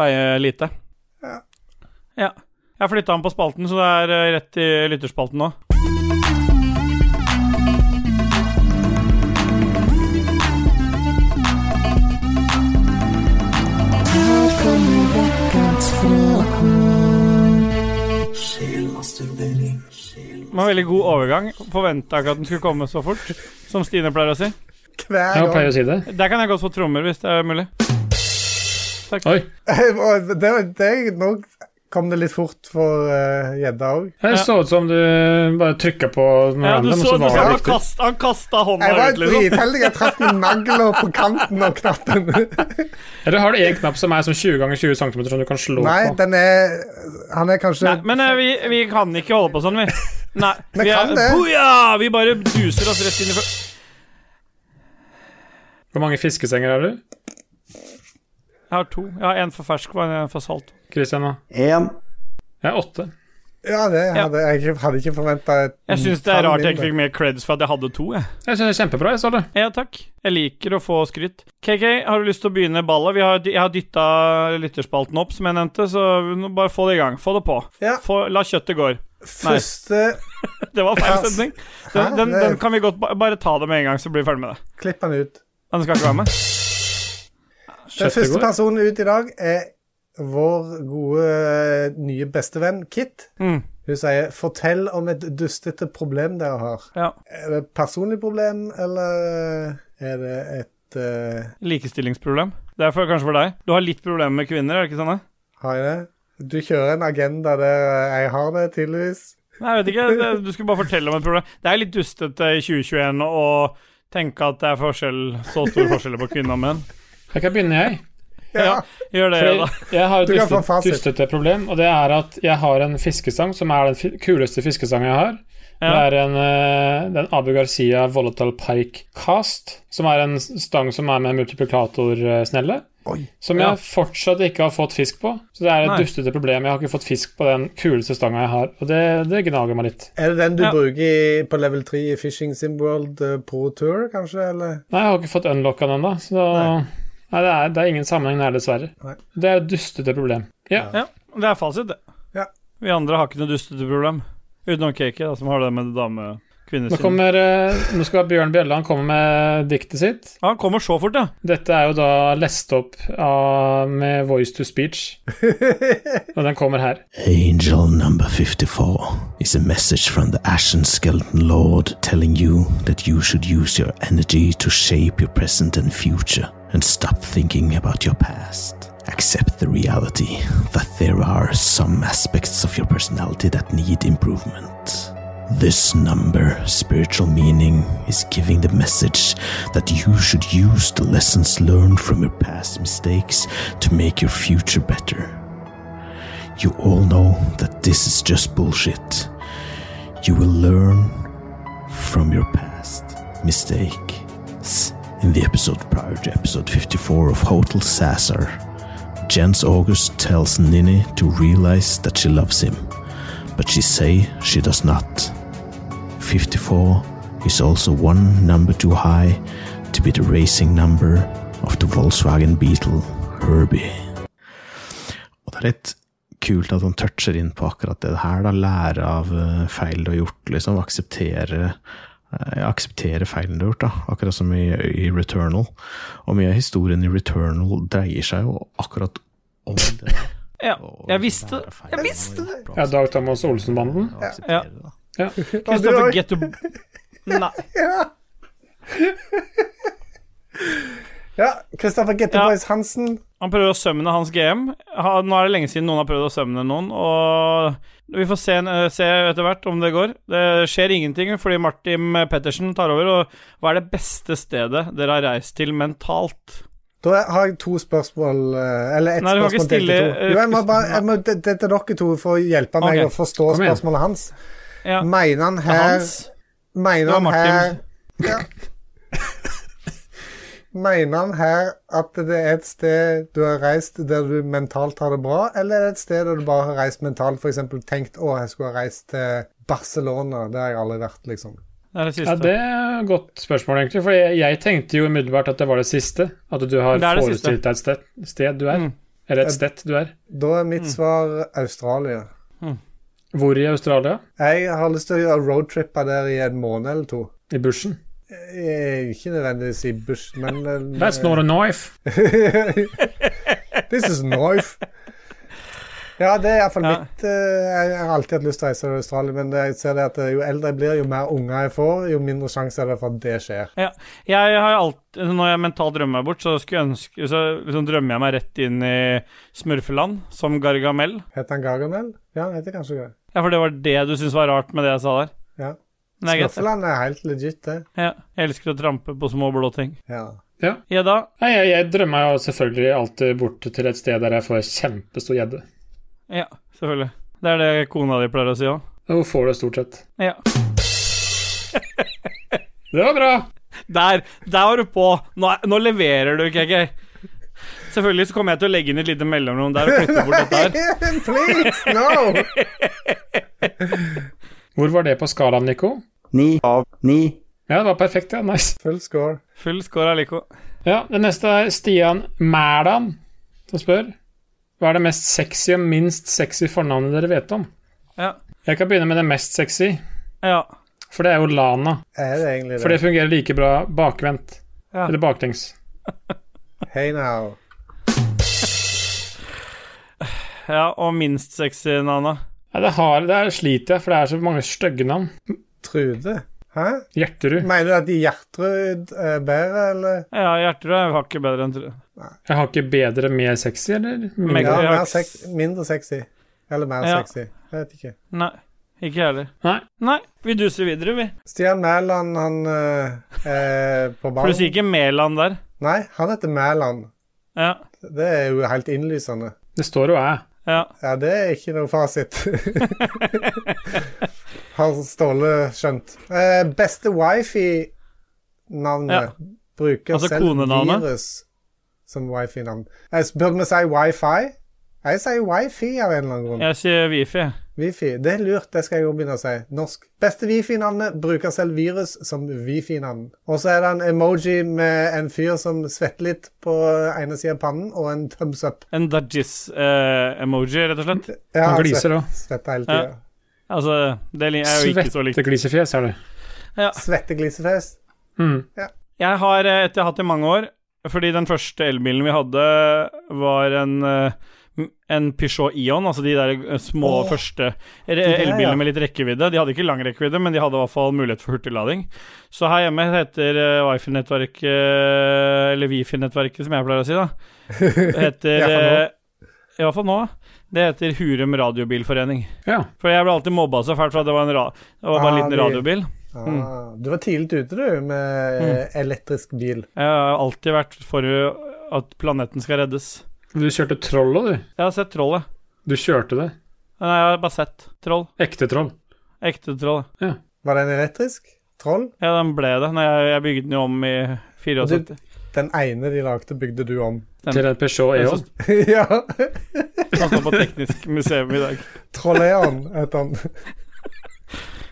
veie lite.
Ja.
Ja. Jeg flytta den på spalten, så det er eh, rett i lytterspalten nå. Det var en veldig god overgang. Forventa ikke at den skulle komme så fort, som Stine pleier å si.
Hver
Jeg
gang.
pleier å si det.
Der kan jeg godt få trommer, hvis det er mulig.
Oi.
Og det, var- det, nå kom det litt fort for eh, gjedda òg.
Det
Ja.
så ut som du bare trykka på den
Ja, du
andre, men
så,
så
du
var
så
det
han,
riktig.
kast, han kasta
Jeg
hånda
var
ut, liksom.
dritheldig. Jeg traff med nagler på kanten av knappen.
Eller har du én knapp som er som 20 ganger 20 cm, som du kan slå
Nei,
på?
den er Han er kanskje
Nei, men eh, vi, vi kan ikke holde på sånn, vi. Nei,
Men
vi
kan det.
Boja! Vi bare duser oss rett inn i fø-
Hvor mange fiskesenger har du?
Jeg har to. Jeg har en for fersk og en for salt.
Christian, da?
Én.
Jeg er åtte.
Ja, det hadde jeg ikke- hadde ikke forventa.
Jeg
Mm,
syns det er rart jeg ikke fikk mer creds for at jeg hadde to. Jeg.
Jeg synes det er kjempebra, jeg, Ståle.
Ja, takk. Jeg liker å få skryt. KK, har du lyst til å begynne ballet? Vi har, jeg har dytta lytterspalten opp, som jeg nevnte, så nå bare få det i gang. Få det på.
Ja.
Få, la kjøttet gå.
Første
Det var feil
Ass.
setning. Den, den, den kan vi godt ba- bare ta det med en gang, så blir vi ferdig med det.
Klipp han ut.
Den skal ikke være med.
Den
Kjøttet
Eh, første
går.
personen ut i dag er vår gode eh, nye bestevenn Kit.
Mm.
Hun sier 'fortell om et dustete problem dere har'.
Ja.
Er det et personlig problem, eller er det et eh,
Likestillingsproblem. Det er for, kanskje for deg. Du har litt problemer med kvinner, er det ikke sånn? det?
Har jeg det? Du kjører en agenda der eh, jeg har det, tydeligvis.
Nei, jeg vet ikke. Det, du skulle bare fortelle om et problem. Det er litt dustete i 2021 å tenke at det er forskjell, så store forskjeller på kvinner og menn.
Jeg kan begynne, jeg.
Ja, gjør det, da.
Fordi jeg har et
Du kan få
dustet,
fasit.
dustete problem, og det er at jeg har en fiskestang som er den fi kuleste fiskestangen jeg har.
Ja.
Det er en, eh, det er en Abu Garcia Volatile Pike Cast, som er en stang som er med multiplikatorsnelle. Som jeg
Ja.
fortsatt ikke har fått fisk på. Så det er et
Nei.
dustete problem. Jeg har ikke fått fisk på den kuleste stanga jeg har, og det, det gnager meg litt.
Er det den du
Ja.
bruker i, på level 3 i Fishing Simworld eh, Pro Tour, kanskje? Eller?
Nei, jeg har ikke fått unlocka den ennå, så Nei, det, er, det er ingen sammenheng der, dessverre.
Nei.
Det er et dustete problem. Ja.
Ja, det er fasit, det.
Ja.
Vi andre har ikke noe dustete problem. Utenom Kake, da, som har det med dame kvinner
Nå, kommer, eh, nå skal Bjørn Bjelland komme med diktet sitt.
Ja, han kommer så fort, ja.
Dette er jo da lest opp av, med voice to speech, og den kommer her.
Angel number 54 is a message from the Ashen Skeleton Lord telling you that you should use your energy to shape your present and future and stop thinking about your past. Accept the reality that there are some aspects of your personality that need improvement. This number, spiritual meaning, is giving the message that you should use the lessons learned from your past mistakes to make your future better. You all know that this is just bullshit. You will learn from your past mistakes In the episode prior to episode 54 of Hotel Sasser, Jens August tells Nini to realize that she loves him, but she say she does not. 54 is also one number too high to be the racing number of the Volkswagen Beetle Herbie. Og det er litt kult at han toucher inn på akkurat det her, da. Lære av eh, feil du har gjort, liksom. Akseptere eh, akseptere feilen du har gjort, da. akkurat som i, i Returnal. Og mye av historien i Returnal dreier seg jo akkurat om det.
Ja,
Og
jeg visste
lære feil
Jeg
man har
visste det!
gjort, og
Ja, Dag Thomas Olsen-banden.
akseptere
Ja.
det, da.
Kristoffer Getto Nei.
Ja, Kristoffer
Ja.
Getteboys Hansen.
Han prøver å sømne hans GM. Ha, nå er det lenge siden noen har prøvd å sømne noen, og vi får se, eh, se etter hvert om det går. Det skjer ingenting fordi Martin Pettersen tar over, og hva er det beste stedet dere har reist til mentalt?
Da har jeg to spørsmål eh, Eller ett
Nei, du må ikke
spørsmål til
stille,
til to.
eh,
Jo, jeg må bare, jeg må, det, det er til dere to for å hjelpe meg
Ok,
å forstå
kom igjen.
spørsmålet hans.
Ja,
Mener han her
Hans?
Mener
Det var
han her
Martin.
ja. Mener han her at det er et sted du har reist der du mentalt har det bra, eller er det et sted der du bare har reist mentalt, f.eks. tenkt å, jeg skulle ha reist til Barcelona, det har jeg aldri vært, liksom.
Det er det
Ja,
siste.
Det er et godt spørsmål, egentlig. For jeg, jeg tenkte jo umiddelbart at det var det siste. At du har
Det er det
forestilt deg et sted, sted du er.
Mm.
Eller et sted du er.
Da er mitt svar Australia.
Hvor i Australia?
Jeg har lyst til å gjøre roadtripper der i en måned eller to.
I bushen.
Eh, Ikke nødvendigvis i bush, men eh,
That's not a knife.
This is knife. Ja, det er iallfall
Ja.
mitt eh, Jeg jeg har alltid hatt lyst til å reise til Australia, men det, jeg ser det at eh, jo eldre jeg blir, jo mer unger jeg får, jo mindre sjanse er det for at det skjer.
Ja, jeg har alt, Når jeg mentalt drømmer meg bort, så, skulle jeg ønske, så liksom drømmer jeg meg rett inn i smurfeland, som Gargamel.
Heter han Gargamel? Ja, han heter kanskje det.
Ja, for det var det du syntes var rart med det jeg sa der.
Ja.
Men det er greit, det.
Snøffeland er helt legit, det.
Ja, jeg elsker å trampe på små blå ting.
Ja.
Gjedda?
Nei, jeg, jeg drømmer jo selvfølgelig alltid bort til et sted der jeg får kjempestor gjedde.
Ja, selvfølgelig. Det er det kona di pleier å si òg.
Hvor får det stort sett.
Ja.
Det var bra!
Der! Der var du på! Nå, er- nå leverer du, KK. Selvfølgelig så kommer jeg til å legge inn et lite mellomrom der og flytte bort dette her.
Please, no!
Hvor var det på skalaen, Nico?
Ni av ni.
Ja, det var perfekt, ja. Nice.
Full score.
Full score av Lico.
Ja, det neste er Stian Mæland som spør. Hva er det mest sexy og minst sexy fornavnet dere vet om?
Ja.
Jeg kan begynne med det mest sexy,
Ja.
for det er jo Lana.
Er det egentlig
For det
det?
fungerer like bra bakvendt.
Ja.
Eller baklengs.
Hey now.
ja og minst sexy, Nana.
Nei, det, har, det er sliter jeg, for det er så mange stygge navn.
Trude? Hæ?
Gjerterud.
Mener du at de Gjertrud er bedre, eller?
Ja, Gjertrud er hakket bedre enn tru-
Jeg har ikke bedre mer sexy, eller?
Meg-
Ja,
Mindre.
jeg har
mer
ikke
sex, mindre sexy. Eller mer
Ja.
sexy. Jeg vet ikke.
Nei. Ikke jeg heller.
Nei.
Nei, vi duser videre, vi.
Stian Mæland, han eh, er på
For du sier
ballen.
ikke Mæland der.
Nei, han heter Mæland.
Ja.
Det er jo helt innlysende.
Det står jo æ.
Ja.
Ja, det er ikke noe fasit. Har Ståle skjønt. Eh, beste wifi-navnet
Ja.
bruker
Altså
selv
konenavnet.
virus som wifi-navn. Eh, Burde vi si wifi? Jeg sier wifi av en eller annen grunn.
Jeg sier Wifi.
Wifi. Det er lurt, det skal jeg jo begynne å si. Norsk. Beste wifi-navnet bruker selv virus som wifi-navn. Og så er det en emoji med en fyr som svetter litt på ene sida av pannen, og en thumbs up.
En Dajis-emoji, rett og slett.
Ja,
Han gliser òg.
Svetter hele tida.
Altså, det li- er jo ikke så likt.
Svetteglisefjes er det.
Svetteglisefest.
Mm.
Jeg har eh, et jeg har hatt i mange år, fordi den første elbilen vi hadde, var en eh, m- en Peugeot Ion, altså de der eh, små
Åh,
første re-
der, ja.
elbilene med litt rekkevidde. De hadde ikke lang rekkevidde, men de hadde i hvert fall mulighet for hurtiglading. Så her hjemme heter eh, wifi-nettverket, eh, eller wifi-nettverket som jeg pleier å si, da, heter eh, I hvert fall nå. Det heter Hurum Radiobilforening.
Ja.
For jeg ble alltid mobba så fælt for at det var, en ra det var bare en
Ah,
liten
de-
radiobil.
Ah,
Mm.
du var tidlig ute, du, med eh, elektrisk bil.
Jeg har alltid vært for at planeten skal reddes.
Du kjørte troll òg, du.
Jeg har sett trollet.
Du kjørte det.
Nei, jeg har bare sett troll.
Ekte troll.
Ekte troll.
Var den elektrisk? troll.
Ja, den ble det. Når jeg, jeg bygde den jo om i 74.
Den ene de lagde, bygde du om.
Til en Peugeot
Den
E EON.
som-
ja.
Den står på Teknisk museum i dag.
Trolleon het han.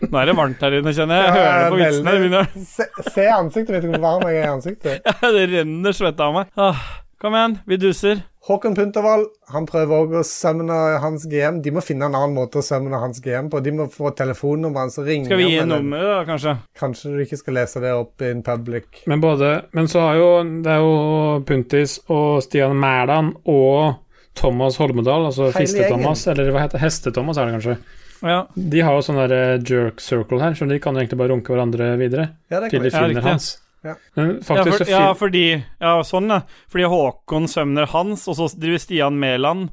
Nå er det varmt her inne, kjenner jeg. Jeg
Ja,
hører det på
veldig.
vitsene. Det, begynner-
Se, se ansiktet mitt, hvor varm jeg er i ansiktet.
det renner svette av meg. Ah, kom igjen, vi duser.
Håkon Puntervall han prøver også å sømne hans GM. De må finne en annen måte å sømne hans GM på. De må få telefonnummeret hans og ringe.
Skal vi gi
med den.
nummeret, da, kanskje?
Kanskje du ikke skal lese det opp in public.
Men, både, men så har jo Det er jo Puntis og Stian Mæland og Thomas Holmedal, altså
Hele gjengen.
Fiste-Thomas, eller hva heter det? Heste-Thomas er det kanskje.
Ja,
De har jo sånn der eh, jerk circle her, så de kan jo egentlig bare runke hverandre videre.
Ja, det
Til
kan
de
vi.
Ja,
finner
riktig.
hans.
Ja.
Men
ja,
faktisk
for,
så fin-
ja fordi Ja, sånn, ja. Fordi Håkon sømner Hans, og så driver Stian Mæland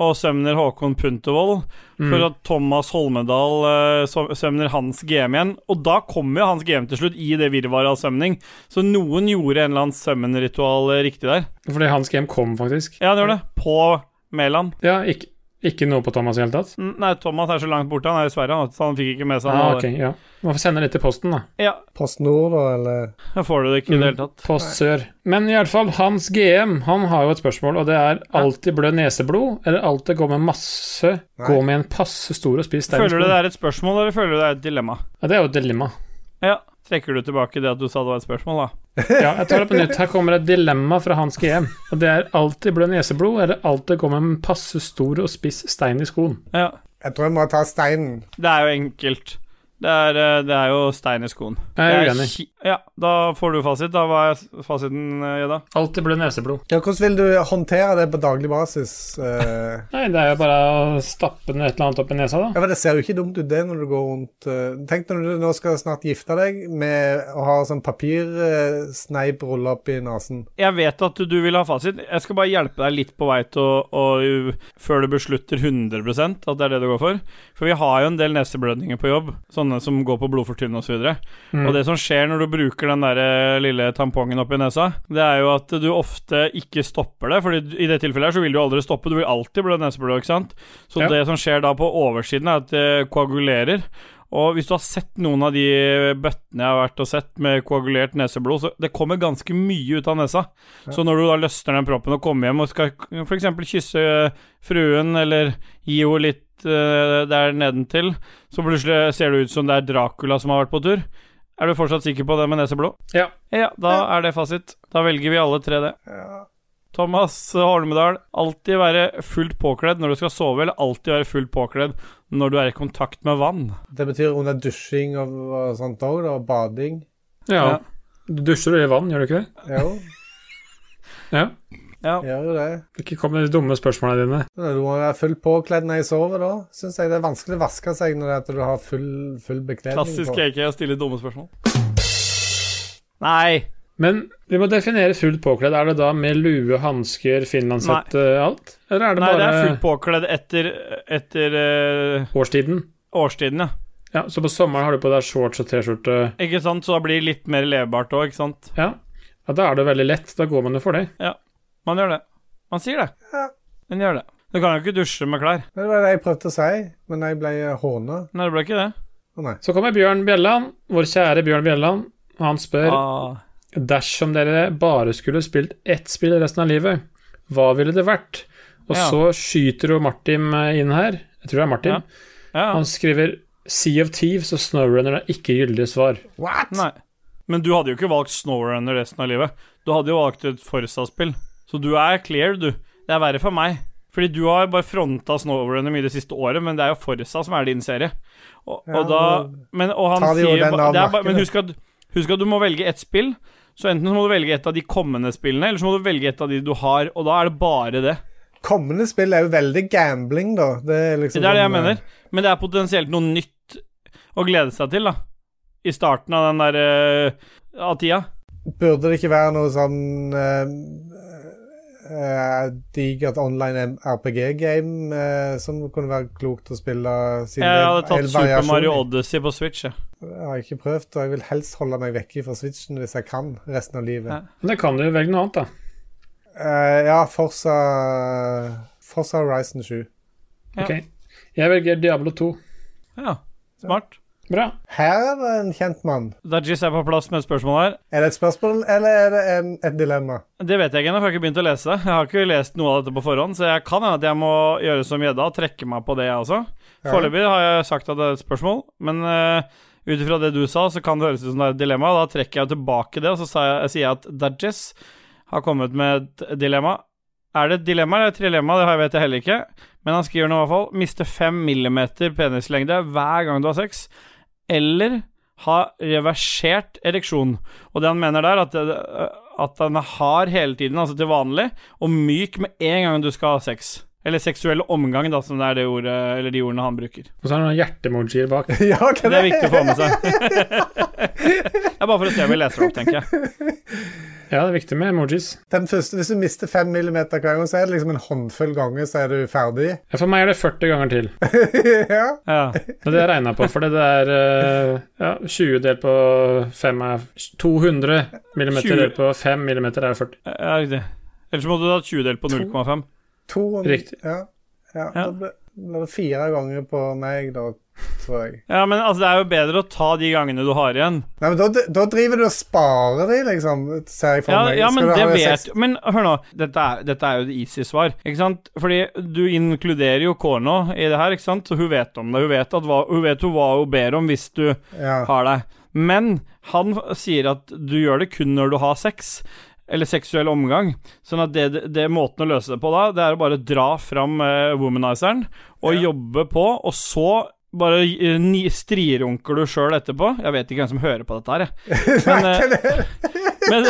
og sømner Håkon Puntervold.
Mm.
For at Thomas Holmedal eh, sø- sømner hans GM igjen. Og da kommer jo hans GM til slutt, i det virvaret av sømning. Så noen gjorde en eller annen sømmenritual eh, riktig der.
Fordi hans game kom, faktisk.
Ja, det gjorde det. På Mæland.
Ja, ikke, ikke noe på Thomas i hele tatt.
Mm, Nei, Thomas er så langt borte, han er i Sverige, han, så han fikk ikke med seg
Ah,
noe av
ok,
det.
ja. Man får sende litt til posten, da.
Ja,
Post Nord, da, eller
da får du det ikke i
Mm.
det hele tatt.
Post sør. Men i alle fall, hans GM han har jo et spørsmål, og det er alltid blø neseblod, eller alltid gå med masse Gå med en passe stor og spis stein
Føler du
sko?
det er et spørsmål, eller føler du det er et dilemma?
Ja, det er jo et dilemma.
Ja. Trekker du tilbake det at du sa det var et spørsmål, da?
Ja, jeg tar det på nytt. Her kommer et dilemma fra hans GM. Og det er alltid blø neseblod, eller alltid gå med en passe stor og spiss stein i skoen.
Ja.
Jeg tror jeg må ta steinen.
Det er jo enkelt. Det er, eh, det er jo stein i skoen.
Jeg
Det
er
er
uenig.
ki- Ja, da får du fasit. Da var jeg fasiten, eh, Jedda.
Alltid blø neseblod.
Ja, hvordan vil du håndtere det på daglig basis? eh?
Nei, det er jo bare å stappe noe et eller annet opp i nesa, da.
Ja, men Det ser jo ikke dumt ut, det, når du går rundt eh, Tenk når du nå skal snart gifte deg med å ha sånn papirsneip rulla opp i nesen.
Jeg vet at du vil ha fasit. Jeg skal bare hjelpe deg litt på vei til å, å Før du beslutter 100 at det er det du går for. For vi har jo en del neseblødninger på jobb, sånne som går på blodfortynnende osv. videre
Mm.
Og det som skjer når du bruker den der eh, lille tampongen oppi nesa, det er jo at du ofte ikke stopper det. Fordi i det tilfellet her så vil du aldri stoppe, du vil alltid blø neseblod, ikke sant. Så
Ja.
det som skjer da på oversiden, er at det koagulerer. Og hvis du har sett noen av de bøttene jeg har vært og sett med koagulert neseblod, så det kommer ganske mye ut av nesa. Så når du da løsner den proppen og kommer hjem og skal f.eks. kysse eh, fruen eller gi henne litt eh, der nedentil, så plutselig ser det ut som det er Dracula som har vært på tur. Er du fortsatt sikker på det med neseblod?
Ja.
Ja, da er det fasit. Da velger vi alle tre det. Thomas Holmedal, alltid være fullt påkledd når du skal sove, eller alltid være fullt påkledd når du er i kontakt med vann.
Det betyr under dusjing og, og sånt òg, da. Og bading.
Ja.
Ja.
Du dusjer jo i vann, gjør du ikke det?
Jo,
Ja.
gjør jo det.
Ikke kom med de dumme spørsmålene dine.
Men Du må være fullt påkledd når jeg sover, da. Syns jeg det er vanskelig å vaske seg når det er at du har full, full bekledning
Klassisk
på.
KK å stille dumme spørsmål. Nei.
Men vi må definere fullt påkledd. Er det da med lue, hansker, finlandshette, alt? Eller er det
Nei, det
bare
er fullt påkledd etter, etter eh,
årstiden?
årstiden, ja.
Ja, så på sommeren har du på deg shorts og T-skjorte.
Ikke sant? Så da blir det litt mer levbart òg, ikke sant?
Ja. ja, da er det veldig lett. Da går man jo for det.
Man gjør det. Man sier det.
Ja.
Man gjør det. Du kan jo ikke dusje med klær.
Men Det var det jeg prøvde å si, men jeg ble håna.
Nei, det ble ikke det.
Å nei.
Så kommer Bjørn Bjelland, vår kjære Bjørn Bjelland. og Han spør
Ah,
dersom dere bare skulle spilt ett spill resten av livet, hva ville det vært? Og
Ja.
så skyter jo Martin eh, inn her. Jeg tror det er Martin.
Ja. ja.
Han skriver Sea of Thieves og Snowrunner er ikke gyldige svar.
What?!
Nei. Men du hadde jo ikke valgt Snowrunner resten av livet. Du hadde jo valgt et Forsa-spill. Så du er clear, du. Det er verre for meg. Fordi du har bare fronta Snowrunner mye det siste året, men det er jo Forsa som er din serie. Og,
Ja,
og da men, og han
tar de jo
sier
den
ba-
av
det er bare,
markedet.
Men husk at, husk at du må velge ett spill. Så enten så må du velge et av de kommende spillene, eller så må du velge et av de du har, og da er det bare det.
Kommende spill er jo veldig gambling, da. Det er liksom
Det er det jeg
sånn, eh,
mener. Men det er potensielt noe nytt å glede seg til, da. I starten av den der eh, av tida.
Burde det ikke være noe sånn eh, eh, digert online RPG-game eh, som kunne være klokt å spille siden
Jeg
det
hadde
er
tatt
en
Super
variasjon.
Mario Odyssey på Switch. Jeg.
Jeg har ikke prøvd, og jeg vil helst holde meg vekke fra Switchen hvis jeg kan resten av livet.
Ja.
Men det kan du jo velge noe annet, da.
Eh, ja, Forza Forza Horizon 7.
Ja.
Ok. Jeg velger Diablo 2.
Ja, smart.
Bra.
Her er det en kjent mann.
Dajis er på plass med et spørsmål her.
Er det et spørsmål, eller er det en, et dilemma?
Det vet jeg ikke ennå, for jeg har ikke begynt å lese. Jeg har ikke lest noe av dette på forhånd, så jeg kan hende at jeg må gjøre som gjedda og trekke meg på det, jeg også.
Ja.
Foreløpig har jeg sagt at det er et spørsmål, men uh, ut ifra det du sa, så kan det høres ut som det er et dilemma. Da trekker jeg tilbake det, og så sa jeg, sier jeg at Dajis har kommet med et dilemma. Er det et dilemma eller et trilemma? Det har jeg- vet jeg heller ikke. Men han skriver nå i hvert fall Miste 5 millimeter penislengde hver gang du har sex, eller ha reversert ereksjon. Og det han mener der, at, det- at den er hard hele tiden, altså til vanlig, og myk med en gang du skal ha sex. Eller seksuell omgang, da, som det er det ordet, eller de ordene han bruker.
Og så er det noen hjertemojier bak.
ja, hva
Det er viktig å få med seg. det er bare for å se om vi leser det opp, tenker jeg.
Ja, det er viktig med emojis.
Den første, hvis du mister 5 millimeter hver gang, så er det liksom en håndfull ganger, så er du ferdig.
Ja, For meg er det 40 ganger til.
ja.
Ja.
Det er det jeg regna på, for det er eh, ja, 20 delt på 5 er 200 millimeter
20.
delt på 5 millimeter er 40.
Ja, riktig. Ellers må du ha 20 delt på 0,5.
200
Riktig.
Ja. ja.
Ja.
Da ble- ble det fire ganger på meg, da, tror jeg.
Ja, men altså, det er jo bedre å ta de gangene du har igjen.
Nei, men da, da driver du og sparer de, liksom, ser jeg for
Ja,
meg.
ja men
Skal du
det
ha
vet
seks-
Men hør nå, dette er, dette er jo et easy svar, ikke sant? Fordi du inkluderer jo Korno i det her, ikke sant? Så hun vet om det. Hun vet, at hva, hun vet jo hva hun ber om hvis du
Ja.
har deg. Men han sier at du gjør det kun når du har sex. Eller seksuell omgang. Sånn at det, det, det måten å løse det på da, det er å bare dra fram eh, womanizeren og jobbe på, og så bare eh, ni, strirunker du sjøl etterpå. Jeg vet ikke hvem som hører på dette her, jeg. Men, eh, men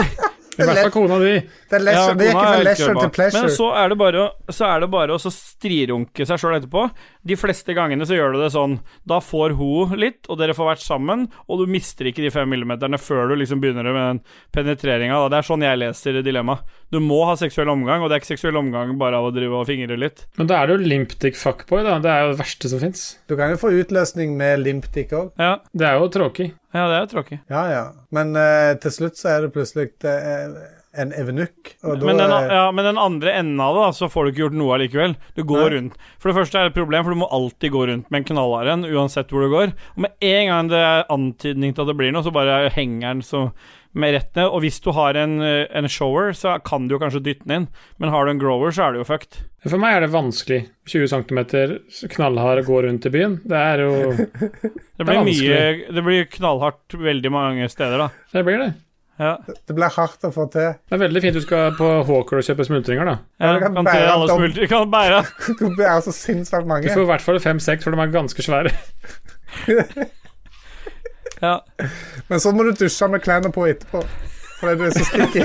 I hvert fall kona di.
Det, er leisure,
Ja,
det gikk
kona
fra
elsker
leisure
det
til
bare.
pleasure.
Men så er det bare, å- så er det bare å så strirunke seg sjøl etterpå. De fleste gangene så gjør du det sånn. Da får hun litt, og dere får vært sammen, og du mister ikke de fem millimeterne før du liksom begynner med den penetreringa. Det er sånn jeg leser dilemmaet. Du må ha seksuell omgang, og det er ikke seksuell omgang bare av å drive og fingre litt.
Men da er det jo limptic fuckboy, da. Det er jo det verste som fins.
Du kan jo få utløsning med limpdick òg.
Ja,
Det er jo tråkig.
ja det er jo tråkig.
Ja, ja. Men eh, til slutt så er det plutselig eh, en evenukk, og da
Men den,
er-
ja, men den andre enden av det, da, så får du ikke gjort noe allikevel. Du går
Nei.
rundt. For det første er det et problem, for du må alltid gå rundt med en knallhard en, uansett hvor du går. Og med en gang det er antydning til at det blir noe, så bare henger den så med rett ned. Og hvis du har en, eh, en shower, så kan du jo kanskje dytte den inn, men har du en grower, så er du jo fucked.
For meg er det vanskelig. 20 cm, knallhard, gå rundt i byen. Det er jo
Det
Det er
blir mye Det blir knallhardt veldig mange steder, da.
Det blir det.
Ja.
det blir hardt å få til.
Det er veldig fint du skal på Hawker og kjøpe smultringer, da.
Ja,
Ja, du kan
kan,
bære
til alle
alt om.
smulter- kan bære
Du er så altså sinnssykt
Du
mange.
får i hvert fall fem-seks, for de er ganske svære.
ja.
Men så må du dusje med klærne på etterpå. Fordi du er så sticky.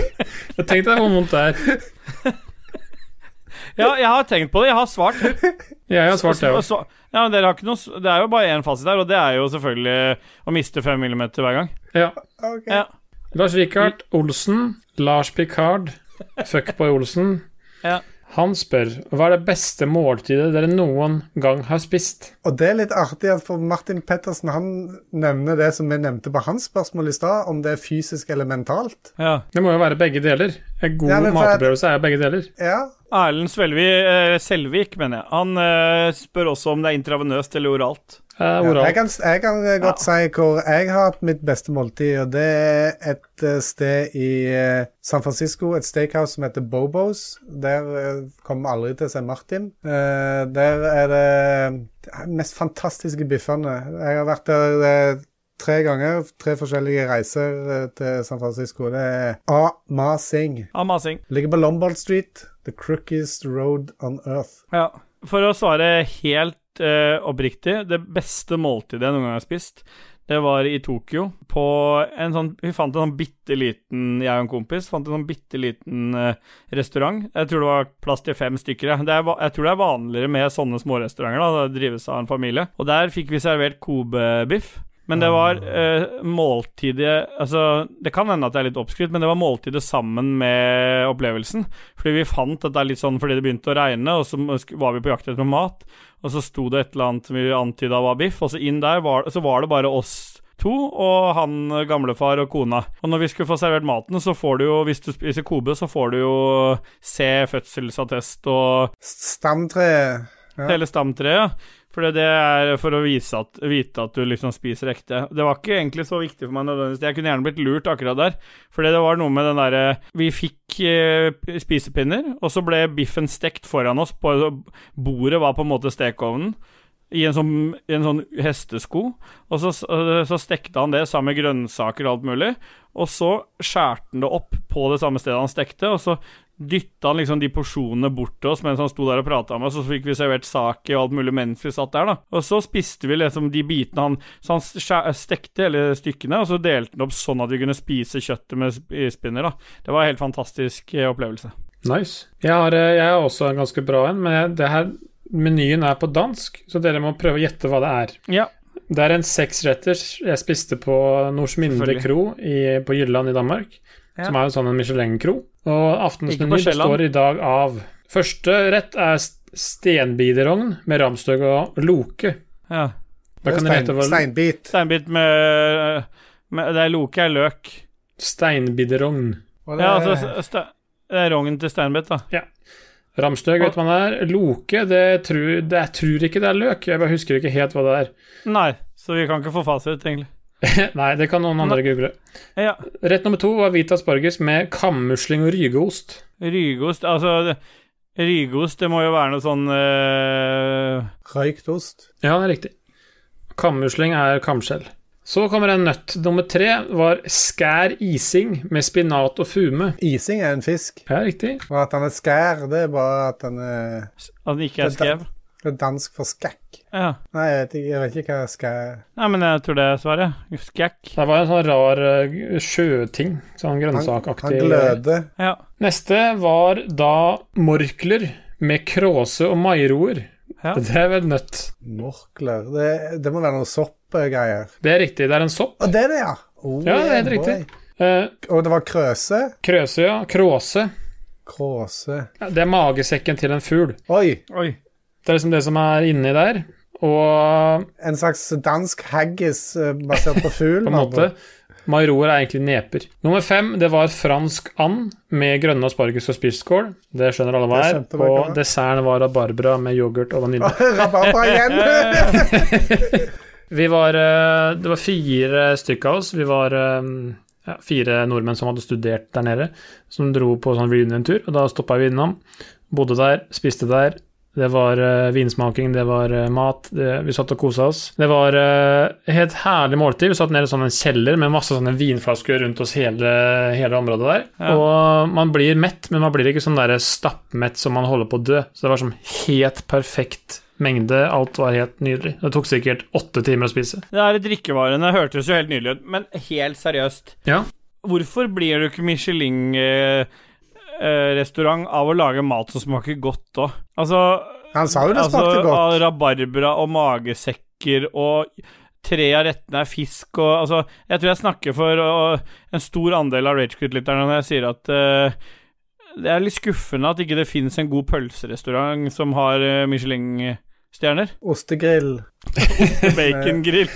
Jeg tenkte deg hvor vondt det er.
ja, jeg har tenkt på det. Jeg har svart.
Jeg har svart det
Og
òg.
så- Ja, men dere har ikke noe s- Det er jo bare én fasit der, og det er jo selvfølgelig å miste fem millimeter hver gang.
Ja.
Ok.
Ja.
Lars Rikard Olsen, Lars Picard, Fuckboy Olsen.
Ja.
Han spør hva er det beste måltidet dere noen gang har spist.
Og det er litt artig at for Martin Pettersen han nevner det som vi nevnte på hans spørsmål i stad, om det er fysisk eller mentalt.
Ja.
Det må jo være begge deler. En god
Ja, men for-
matopplevelse er jo begge deler.
Ja,
Erlend Svelvi, eh, Selvik, mener jeg. Han eh, spør også om det er intravenøst eller oralt.
Eh,
Ja, jeg,
Oral.
kan, jeg kan eh, godt si hvor jeg har hatt mitt beste måltid, og det er et eh, sted i eh, San Francisco, et steakhouse som heter Bobos. Der eh, kommer aldri til å se Martin. Eh, Der er det de mest fantastiske biffene. Jeg har vært der eh, tre ganger, tre forskjellige reiser eh, til San Francisco. Det er amazing.
Ja, masing.
Ligger på Lombard Street, the crookiest road on earth.
Ja. For å svare helt eh, oppriktig, det beste måltidet jeg noen gang har spist, det var i Tokyo. På en sånn Vi fant en sånn bitte liten Jeg og en kompis fant en sånn bitte liten eh, restaurant. Jeg tror det var plass til fem stykker. ja. Det er, va- jeg tror det er vanligere med sånne smårestauranter. da, Det drives av en familie. Og der fikk vi servert Kobe-biff. Men det var eh, måltidet Altså, det kan hende at det er litt oppskrytt, men det var måltidet sammen med opplevelsen. Fordi vi fant at det er litt sånn fordi det begynte å regne, og så sk- var vi på jakt etter mat. Og så sto det et eller annet som vi antyda var biff, og så inn der var, så var det bare oss to og han eh, gamlefar og kona. Og når vi skulle få servert maten, så får du jo, hvis du spiser Kobe, så får du jo se fødselsattest og
Stamtreet. Ja.
hele stamtreet. For det er for å vise at, vite at du liksom spiser ekte. Det var ikke egentlig så viktig for meg nødvendigvis. Jeg kunne gjerne blitt lurt akkurat der. For det var noe med den derre Vi fikk eh, spisepinner, og så ble biffen stekt foran oss. På, bordet var på en måte stekeovnen. I en, sånn, I en sånn hestesko. Og så, så stekte han det sammen med grønnsaker og alt mulig. Og så skjærte han det opp på det samme stedet han stekte, og så dytta han liksom de porsjonene bort til oss mens han sto der og prata med oss, og så fikk vi servert sake og alt mulig mens vi satt der, da. Og så spiste vi liksom de bitene han Så han skjæ- stekte hele stykkene, og så delte han opp sånn at vi kunne spise kjøttet med sp- spinner, da. Det var en helt fantastisk eh, opplevelse.
Nice. Jeg har, eh, jeg har også en ganske bra en, men jeg- det her menyen er på dansk, så dere må prøve å gjette hva det er.
Ja.
Det er en seksretters jeg spiste på Norsminde
Selvfølgelig.
kro i, på Jylland i Danmark,
Ja.
som er jo sånn en Michelin-kro. Og aftenens
Ikke på
meny
Sjælland.
består i dag av Første rett er s- stenbiderogn med ramstøg og loke.
ja.
Da kan dere
Stein,
gjette hva
steinbit.
Steinbit med, med Det er loke, er løk.
Steinbiderogn.
Og det,
Ja, altså s- ste, Det er rognen til steinbit, da.
Ramstøg vet man det er. Loke, det tror, det, jeg tror ikke det er løk. Jeg bare husker ikke helt hva det er.
Nei, så vi kan ikke få fasit, egentlig.
Nei, det kan noen andre google.
Ja.
Rett nummer to var hvit asparges med kammusling og rygeost.
Rygeost Altså, det- rygeost, det må jo være noe sånn eh,
Røykt ost.
Ja, det er riktig. Kammusling er kamskjell. Så kommer en nøtt. Nummer tre var skær ising med spinat og fume.
Ising er en fisk.
Ja, riktig.
Og at han er skær, det er bare at han er
At den ikke
Det
er
er
skrev.
det er dansk for skakk.
Ja.
Nei, jeg vet ikke, jeg vet ikke hva skær
Nei, men jeg tror det er svaret. Skækk.
Det var en sånn rar eh, sjøting. Sånn
Han
grønnsakaktig.
gløder.
Ja.
Neste var da morkler med kråse og mairoer.
Ja.
Det er vel nøtt.
Morkler. Det, det må være noe soppgreier.
Det er riktig. Det er en sopp.
Å, det er det, ja! Oh,
Ja, det er helt
boy.
riktig. Eh,
Og det var krøse.
krøse, ja. Kråse.
Kråse.
Ja, Det er magesekken til en fugl.
Oi!
Oi.
Det er liksom det som er inni der. Og
En slags dansk haggis eh, basert på fugl.
på en måte Mairoer er egentlig neper. Nummer fem, det var fransk and med grønne asparges og spisskål. Det skjønner alle hva
Det
er.
skjønte dere
Og
hva. Ah.
desserten var rabarbra med yoghurt og vanilje.
Rabarbra igjen!
Vi var eh, Det var fire stykker av oss. Vi var eh, ja, fire nordmenn som hadde studert der nede, som dro på sånn reunion-tur, og da stoppa vi innom. Bodde der, spiste der. Det var eh, vinsmaking, det var eh, mat, det, vi satt og kosa oss. Det var eh, et helt herlig måltid. Vi satt nede i sånn en kjeller med masse sånne vinflasker rundt oss hele, hele området der.
Ja.
Og man blir mett, men man blir ikke sånn der stappmett som man holder på å dø. Så det var sånn helt perfekt mengde. Alt var helt nydelig. Det tok sikkert åtte timer å spise.
Det er drikkevarene hørtes jo helt nydelig ut, men helt seriøst
Ja.
Hvorfor blir du ikke Michelin-restaurant av å lage mat som smaker godt òg? Altså,
Han sa jo det
altså
smakte godt.
av rabarbra og magesekker og tre av rettene er fisk og Altså, jeg tror jeg snakker for øh, en stor andel av Ragequit-lytterne når jeg sier at øh, det er litt skuffende at ikke det finnes en god pølserestaurant som har øh, Michelin-stjerner.
Ostegrill.
Bacongrill.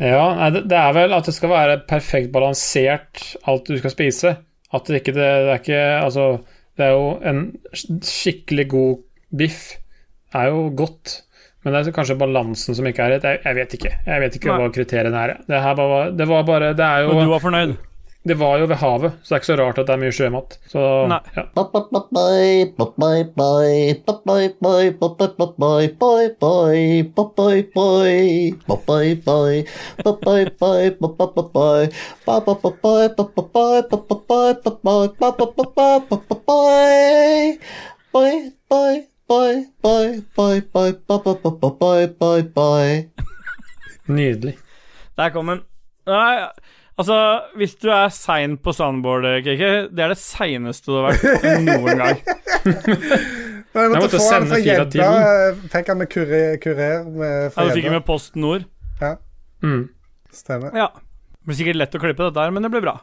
ja nei, det, det er vel at det skal være perfekt balansert, alt du skal spise. At det ikke det, det er ikke Altså, det er jo en sk- skikkelig god biff. Er jo godt. Men det er kanskje balansen som ikke er rett. Jeg, jeg vet ikke. Jeg vet ikke
Nei.
hva kriteriene er. Det her bare, var- det var bare Det er
Og du
jo
var fornøyd?
Det var jo ved havet, så det er ikke så rart at det er mye sjømat. Så
Nei.
ja. Nydelig.
Der kom den. Nei, altså, hvis du er sein på soundboard, KK, det er det seineste du har vært noen gang.
Men jeg
Jeg
måtte,
måtte
få han
sende
fra
fire av ti,
gjedda. Fikk han med kurer, kurer med
Ja,
fra
du fikk
gjedda.
med Post Nord.
Mm.
Stemmer.
Ja. Det blir sikkert lett å klippe dette her, men det blir bra.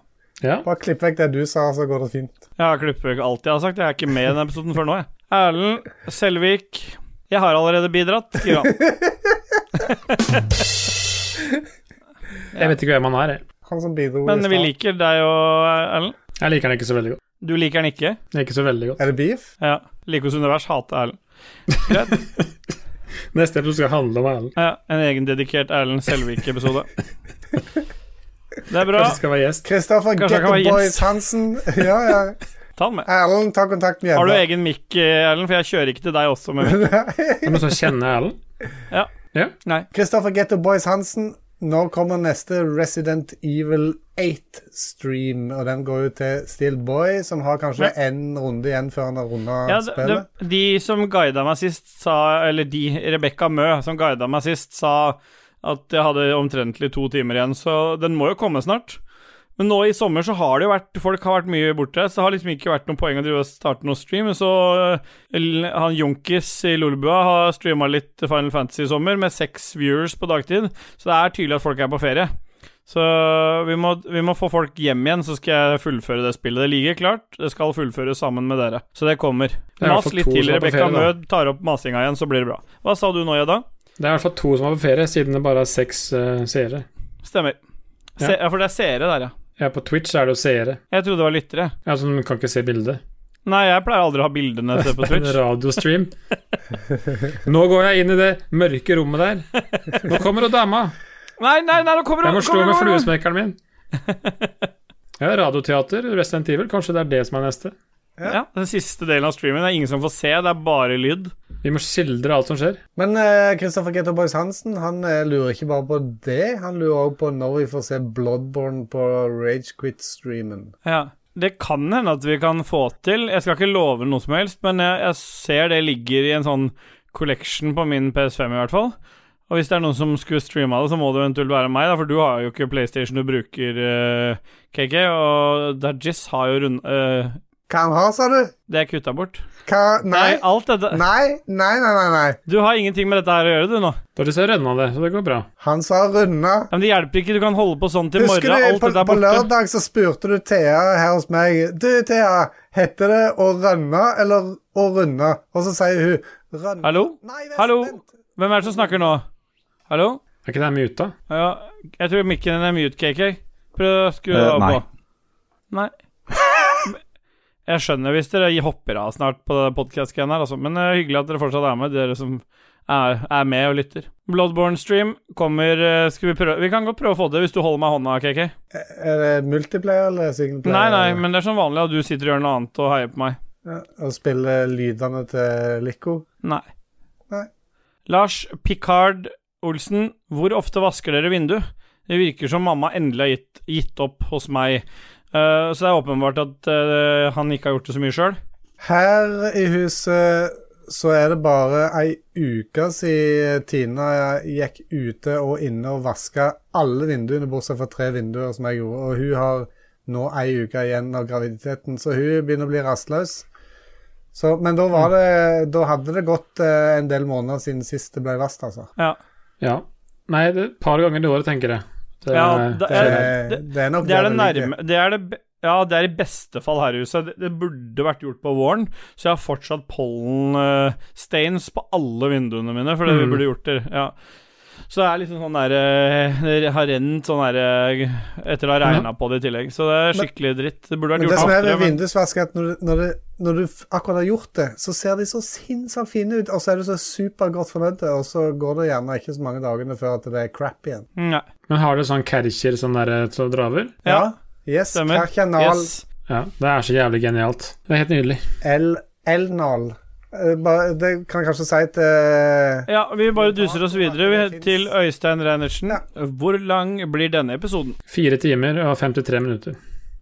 Ja.
Bare klipp vekk det du sa, så går det fint.
Jeg klipper ikke alt jeg har sagt. Jeg er ikke med i denne episoden før nå, jeg. Erlend Selvik. Jeg har allerede bidratt, skriver han.
Jeg vet ikke hvem han er, jeg.
Han som bidro i
Men vi
stad.
liker deg og Erlend.
Jeg liker han ikke så veldig godt.
Du liker han ikke.
Ikke så veldig godt.
Er det beef?
Ja. Likos univers hater Erlend. Greit.
Neste episode skal handle om Erlend.
Ja, en egendedikert Erlend Selvik-episode. Det er bra.
Kanskje skal være gjest.
Kristoffer
Kanskje han
Get
kan være
the Boys
Jens.
Hansen. Ja, ja.
Ta den med.
Erlend, ta kontakt med
Har du
Gjedda.
egen mikk, Erlend? For jeg kjører ikke til deg også. Men...
Er det noen som kjenner Erlend?
Nei.
Kristoffer Get the Boys Hansen. Nå kommer neste Resident Evil 8-stream, og den går jo til Still Boy, som har kanskje én runde igjen før han har runda
Ja, det,
spillet.
det, de som guida meg sist, sa Eller de, Rebekka Mø, som guida meg sist, sa at jeg hadde omtrentlig to timer igjen, så den må jo komme snart. Men nå i sommer så har det jo vært Folk har vært mye borte, så det har liksom ikke vært noe poeng å drive og starte noe stream. Så eh, l- han Jonkis i Lolbua har streama litt Final Fantasy i sommer, med seks viewers på dagtid. Så det er tydelig at folk er på ferie. Så vi må, vi må få folk hjem igjen, så skal jeg fullføre det spillet. Det ligger klart. Det skal fullføres sammen med dere. Så det kommer.
er i hvert
Mas
fall
litt
to
til.
som er på
Rebekka
ferie, da.
Mød tar opp masinga igjen, så blir det bra. Hva sa du nå, Jedda?
Det er i hvert fall to som er på ferie, siden det bare er seks eh, seere.
Stemmer. Se, ja, for det er seere der, ja.
Ja, på Twitch er det jo seere.
Jeg trodde det var lyttere.
Ja, så du kan ikke se bildet.
Nei, jeg pleier aldri å ha bildene til på
En
Twitch.
radiostream. Nå går jeg inn i det mørke rommet der. Nå kommer jo dama.
Nei, nei, nei, nå kommer
Jeg må
hun!
slå
kommer hun, kommer
med
hun.
fluesmekkeren min. Ja, radioteater, Resident Evil, kanskje det er det som er neste.
Ja, Den siste delen av streamen er ingen som får se, det er bare lyd.
Vi må skildre alt som skjer.
Men eh, Kristoffer Get the Boys Hansen han eh, lurer ikke bare på det, han lurer også på når vi får se Bloodborne på Ragequit-streamen.
Ja. Det kan hende at vi kan få til. Jeg skal ikke love noe som helst, men jeg, jeg ser det ligger i en sånn collection på min PS5 i hvert fall. Og hvis det er noen som skulle streama det, så må det eventuelt være meg, da, for du har jo ikke PlayStation du bruker, eh, KK, og Dajis har jo rund... eh,
Hva han har, sa du?
det er kutta bort.
Hva? Nei.
Nei, alt dette
Nei, nei, nei, nei. nei.
Du har ingenting med dette her å gjøre, du, nå.
Da har de så rønna det, så det går bra.
Han sa runda.
Ja, Men det hjelper ikke, du kan holde på sånn til
Husker
morgen.
du
Alt
på,
dette er
på
borte.
lørdag så spurte du Thea her hos meg Du, Thea, heter det å rønne eller å runde? Og så sier hun rønne
Hallo?
Nei, vent,
Hallo?
vent.
Hvem er det som snakker nå? Hallo?
Er ikke det her muta?
Ja, jeg tror mikken din er mute, KK. Prøv å skru
Eh,
av
nei.
på. Nei. Jeg skjønner hvis dere hopper av snart på podkast-greien her, altså. Men det er hyggelig at dere fortsatt er med, dere som er, er med og lytter. Bloodborne Stream kommer eh, Skal vi prøve Vi kan godt prøve å få det hvis du holder meg i hånda, KK.
Er det multiplayer eller singleplayer?
Nei, nei, men det er som vanlig at du sitter og gjør noe annet og heier på meg.
Ja, Og spille lydene til Lico?
Nei.
Nei.
Lars Picard Olsen, hvor ofte vasker dere vindu? Det virker som mamma endelig har gitt, gitt opp hos meg. Eh, så det er åpenbart at eh, han ikke har gjort det så mye sjøl.
Her i huset så er det bare ei uke siden Tina gikk ute og inne og vaska alle vinduene, bortsett fra tre vinduer, som jeg gjorde. Og hun har nå ei uke igjen av graviditeten, så hun begynner å bli rastløs. Så, men da, var det, da hadde det gått eh, en del måneder siden sist det ble vast, altså.
Ja.
Ja. Nei, det er et par ganger i året, tenker jeg. Det,
Ja, da-
Det,
Eh, det-
det er nok
Det er det
ligger.
nærme det er det, be- Ja, det er i beste fall her i huset. Det, det burde vært gjort på våren, så jeg har fortsatt pollen-stains på alle vinduene mine, for det vi
Mm.
burde gjort det. Ja. Så det er liksom sånn der eh, Det har rent sånn der eh, Etter å ha regna på det i tillegg. Så det er skikkelig dritt. Det burde vært
Men det
gjort
som er
oftere.
ved
Men,
vindusvask, er at når, du- når, det, når du f- akkurat har gjort det, så ser de så sinnssykt fine ut, og så er du så supergodt fornøyd, og så går det gjerne ikke så mange dagene før at det er crap igjen.
nei.
Men har dere sånn kercher som dere som draver?
Ja,
Yes,
stemmer.
Karkanal
Yes.
Ja, det er så jævlig genialt. Det er helt nydelig.
L- L-nal. Eh, bare- Det kan jeg kanskje si til eh,
Ja, vi bare duser oss videre vi- til Øystein Reinertsen.
Ja.
Hvor lang blir denne episoden?
Fire timer og 53 minutter.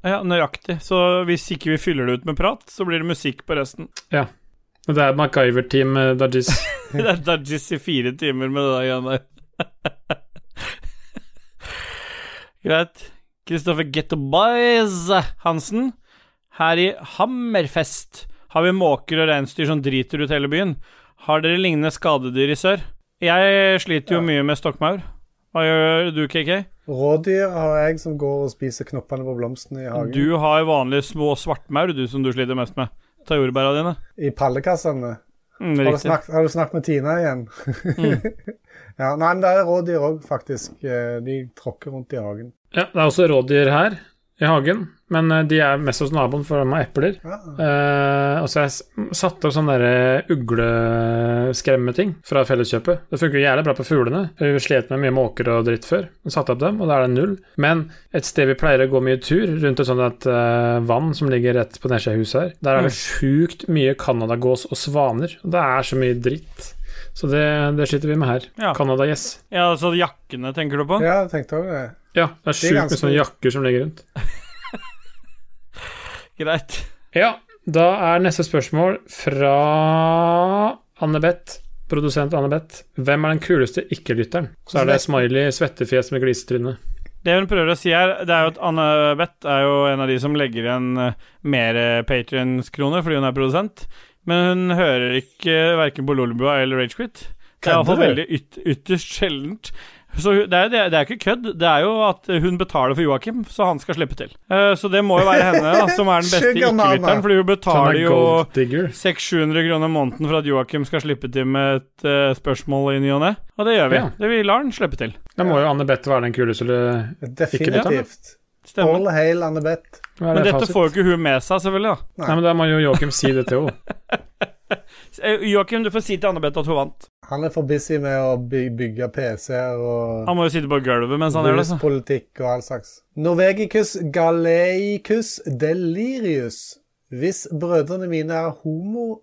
Ja, nøyaktig. Så hvis ikke vi fyller det ut med prat, så blir det musikk på resten.
Og Det er MacGyver-team eh, Dajis.
Det er Dudgies i fire timer med det der igjen der. Greit. Kristoffer Gettoboys Hansen. Her i Hammerfest har vi måker og reinsdyr som driter ut hele byen. Har dere lignende skadedyr i sør? Jeg sliter jo mye med stokkmaur. Hva gjør du, KK?
Rådyr har jeg som går og spiser knoppene på blomstene i hagen.
Du har vanlige små svartmaur, du, som du sliter mest med. Ta jordbæra dine.
I pallekassene.
Mm,
Har du,
riktig. Mm.
snakket, har du snakket med Tina igjen? ja, nei, men det er rådyr òg, faktisk. Eh, De tråkker rundt i hagen.
Ja, det er også rådyr her. i hagen, men eh, de er mest hos naboen, for de har epler. Eh, og så har jeg s- satt opp sånne der ugleskremmeting fra Felleskjøpet. Det funker jo jævlig bra på fuglene. Vi slet med mye måker og dritt før. Vi satte opp dem, og da er det null. Men et sted vi pleier å gå mye tur, rundt et sånt et, eh, vann som ligger rett på nedsida av huset her, der er det sjukt mye canadagås og svaner. Og det er så mye dritt. Så det, det sliter vi med
Ja.
her. Canadagjess.
Ja, altså jakkene tenker du på?
Ja, jeg tenkte også det.
Ja,
Det
det er
er
sjukt
ganske
med sånne jakker som ligger rundt.
Greit.
Ja, da er neste spørsmål fra Anne-Beth. Produsent Anne-Beth. Hvem er den kuleste ikke-lytteren? Så er det smiley, svettefjes med glisetryne.
Det hun prøver å si her, det er jo at Anne-Beth er jo en av de som legger igjen eh, mer patrions-kroner fordi hun er produsent, men hun hører ikke verken på Lolbua eller Ragequit. Det er iallfall
Kødder du?
veldig yt ytterst sjeldent. Så hun- det er, jo- det, er- det er ikke kødd, det er jo at hun betaler for Joakim, så han skal slippe til. Eh, Så det må jo være henne da, som er den beste
Sugar mama.
ikke-lytteren, fordi hun
Så han
betaler
er
jo
gold digger.
600-700 kroner måneden for at Joakim skal slippe til med et eh, spørsmål i ny og ne. Og det gjør vi.
Ja.
Det, vi lar han slippe til.
Da må jo Anne-Beth være den kuleste. eller-
Definitivt.
Stemmer.
All hail Anne-Beth.
Hva er
Men
det
dette
fasit?
får jo ikke hun med seg, selvfølgelig. da
Nei, men da må jo Joakim si det til henne.
Eh, Joakim, du får si til Anne-Beth at hun vant.
Han er for busy med å by- bygge PC-er og
Han må jo sitte på gulvet mens han gjør det. altså. Så.
ruspolitikk og all slags. Norvegicus galeicus delirius. Hvis brødrene mine er homo,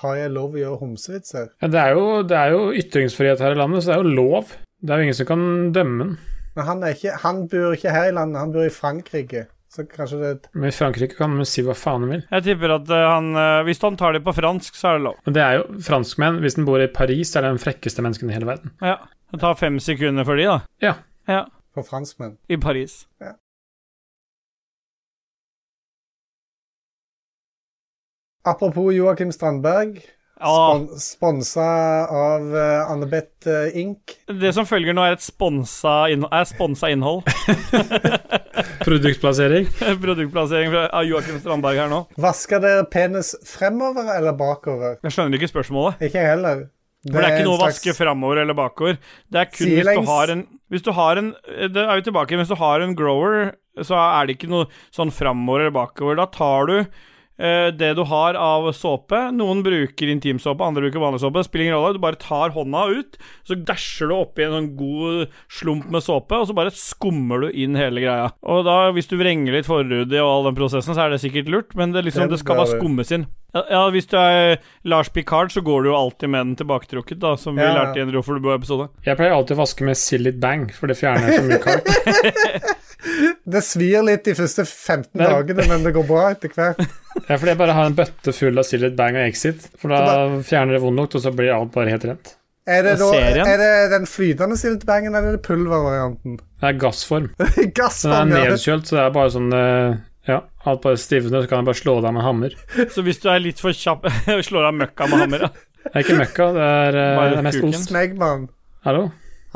har jeg lov å gjøre homsevitser?
Ja, det, er jo, det er jo ytringsfrihet her i landet, så det er jo lov. Det er jo ingen som kan dømme den.
Men han, er ikke, han bor ikke her i landet, han bor i Frankrike. Så kanskje det
Men i Frankrike kan man si hva faen de vil.
Jeg tipper at eh, han eh, Hvis han tar det på fransk, så er det lov.
Men det er jo franskmenn. Hvis den bor i Paris, er det den frekkeste mennesken i hele verden.
Ja. Det tar fem sekunder for de, da.
Ja.
ja.
for franskmenn.
I Paris.
Ja. Apropos Joakim Strandberg,
Ja,
spon sponsa av eh, Anne-Beth eh, Inc.
det som følger nå, er et sponsa, innhold, er sponsa innhold.
Produktplassering.
Produktplassering fra av Joakim Strandberg her nå.
Vasker dere penis fremover eller bakover?
Jeg skjønner ikke spørsmålet.
Ikke jeg heller.
For det er ikke
en
noe å
slags-
vaske framover eller bakover. Det er kun hvis
Sidelengs.
du har en Hvis du har en Det er jo tilbake Hvis du har en grower, så er det ikke noe sånn framover eller bakover. Da tar du eh, det du har av såpe. Noen bruker intimsåpe, andre bruker vanlig såpe. Spiller ingen rolle. Du bare tar hånda ut, så dæsjer du oppi en sånn god slump med såpe, og så bare skummer du inn hele greia. Og da, hvis du vrenger litt forhudet og all den prosessen, så er det sikkert lurt, men det, liksom,
Den
det skal bare
bør-
skummes inn. Ja, ja, hvis du er Lars Picard, så går du jo alltid med den tilbaketrukket, da, som
Ja,
vi
ja.
lærte i en Roforbo-episode.
Jeg pleier alltid å vaske med Sillit Bang, for det fjerner så mye kalk.
Det svir litt de første 15
Men-
dagene, men det går bra etter hvert.
Det er fordi jeg bare har en bøtte full av Sillit Bang og Exit, for da fjerner det vond lukt, og så blir alt bare helt rent.
Er det,
Og
da,
serien?
er det den flytende siltbangen eller er det pulvervarianten?
Det er gassform. Den er
Gassvann, ja. det-
nedkjølt, så det er bare sånn eh, Ja, alt bare stivner, så kan jeg bare slå det av med hammer.
Så hvis du er litt for kjapp, slår av møkka med hammer, ja.
Det er ikke møkka, det er, eh,
Bare
det er mest
kuken.
ost.
Smegman.
Hallo?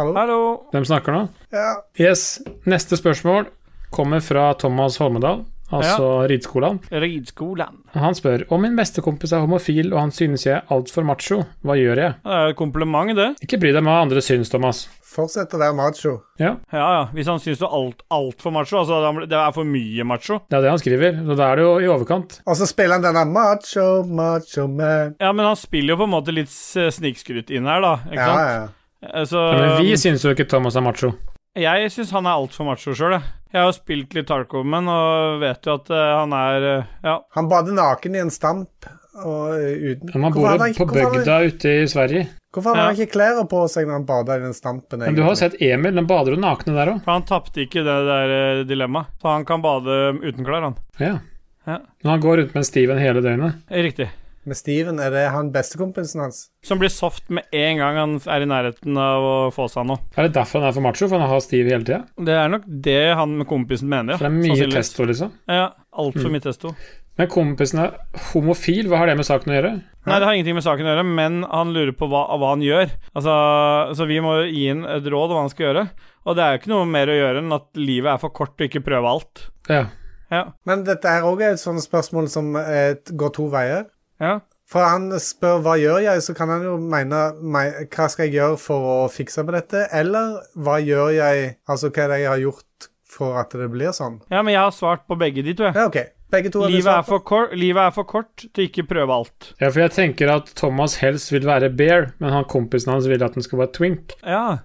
Hallo?
Hallo.
Hvem snakker nå?
Ja.
Yes, neste spørsmål kommer fra Thomas Holmedal, altså rideskolen.
Ridskolen.
Han spør om min bestekompis er homofil og han synes jeg er altfor macho. Hva gjør jeg?
Ja, Det er jo et kompliment, det.
Ikke bry deg om hva andre syns, Thomas.
Fortsett å være macho.
Ja,
Ja, ja. Hvis han syns du er alt, altfor macho, altså da- det er for mye macho.
Det er det han skriver, så da er det jo i overkant.
Og så spiller han denne macho, macho man.
Ja, men han spiller jo på en måte litt eh, snikskryt inn her, da. Ikke
Ja,
sant?
ja.
Eh, Så
Ja, Men vi syns jo ikke Thomas er macho.
Jeg syns han er altfor macho sjøl, jeg. Jeg har jo spilt litt Tarkovman og vet jo at eh, han er eh, Ja.
Han bader naken i en stamp. Og eh, uten
Men man
Hvorfor
bor
hadde
jo
han ikke-
på
hvorfor hadde han-
bygda ute i Sverige.
Hvorfor hadde han
Ja.
ikke klær på seg når han bada i den stampen?
Men du har
egentlig?
sett Emil, den bader jo nakne der òg.
For han tapte ikke det der eh, dilemmaet. Så han kan bade uten klær, han.
Ja.
Ja.
Men han går rundt med en Steven hele døgnet.
Eh, Riktig.
Med Steven, er det han bestekompisen hans?
Som blir soft med en gang han er i nærheten av å få seg noe.
Er det derfor han er for macho? For han har Steve hele tida?
Det er nok det han med kompisen mener, ja.
For det er mye
Sannsynligvis.
testo, liksom.
Ja, altfor mye testo.
Men kompisen er homofil, hva har det med saken å gjøre?
Nei, det har ingenting med saken å gjøre, men han lurer på hva, hva han gjør. Altså, så vi må jo gi ham et råd om hva han skal gjøre. Og det er jo ikke noe mer å gjøre enn at livet er for kort og ikke prøve alt.
Ja.
Ja.
Men dette her òg er et sånt spørsmål som eh, går to veier.
ja.
For han spør hva gjør jeg, så kan han jo mene me- hva skal jeg gjøre for å fikse på dette, eller hva gjør jeg, altså hva er det jeg har gjort for at det blir sånn?
Ja, men jeg har svart på begge de to, jeg.
Ja, OK. Begge to har blitt
Livet er,
svart på.
for kort, livet er for kort til ikke prøve alt.
Ja, for jeg tenker at Thomas helst vil være bear, men han kompisen hans vil at han skal være twink.
Ja.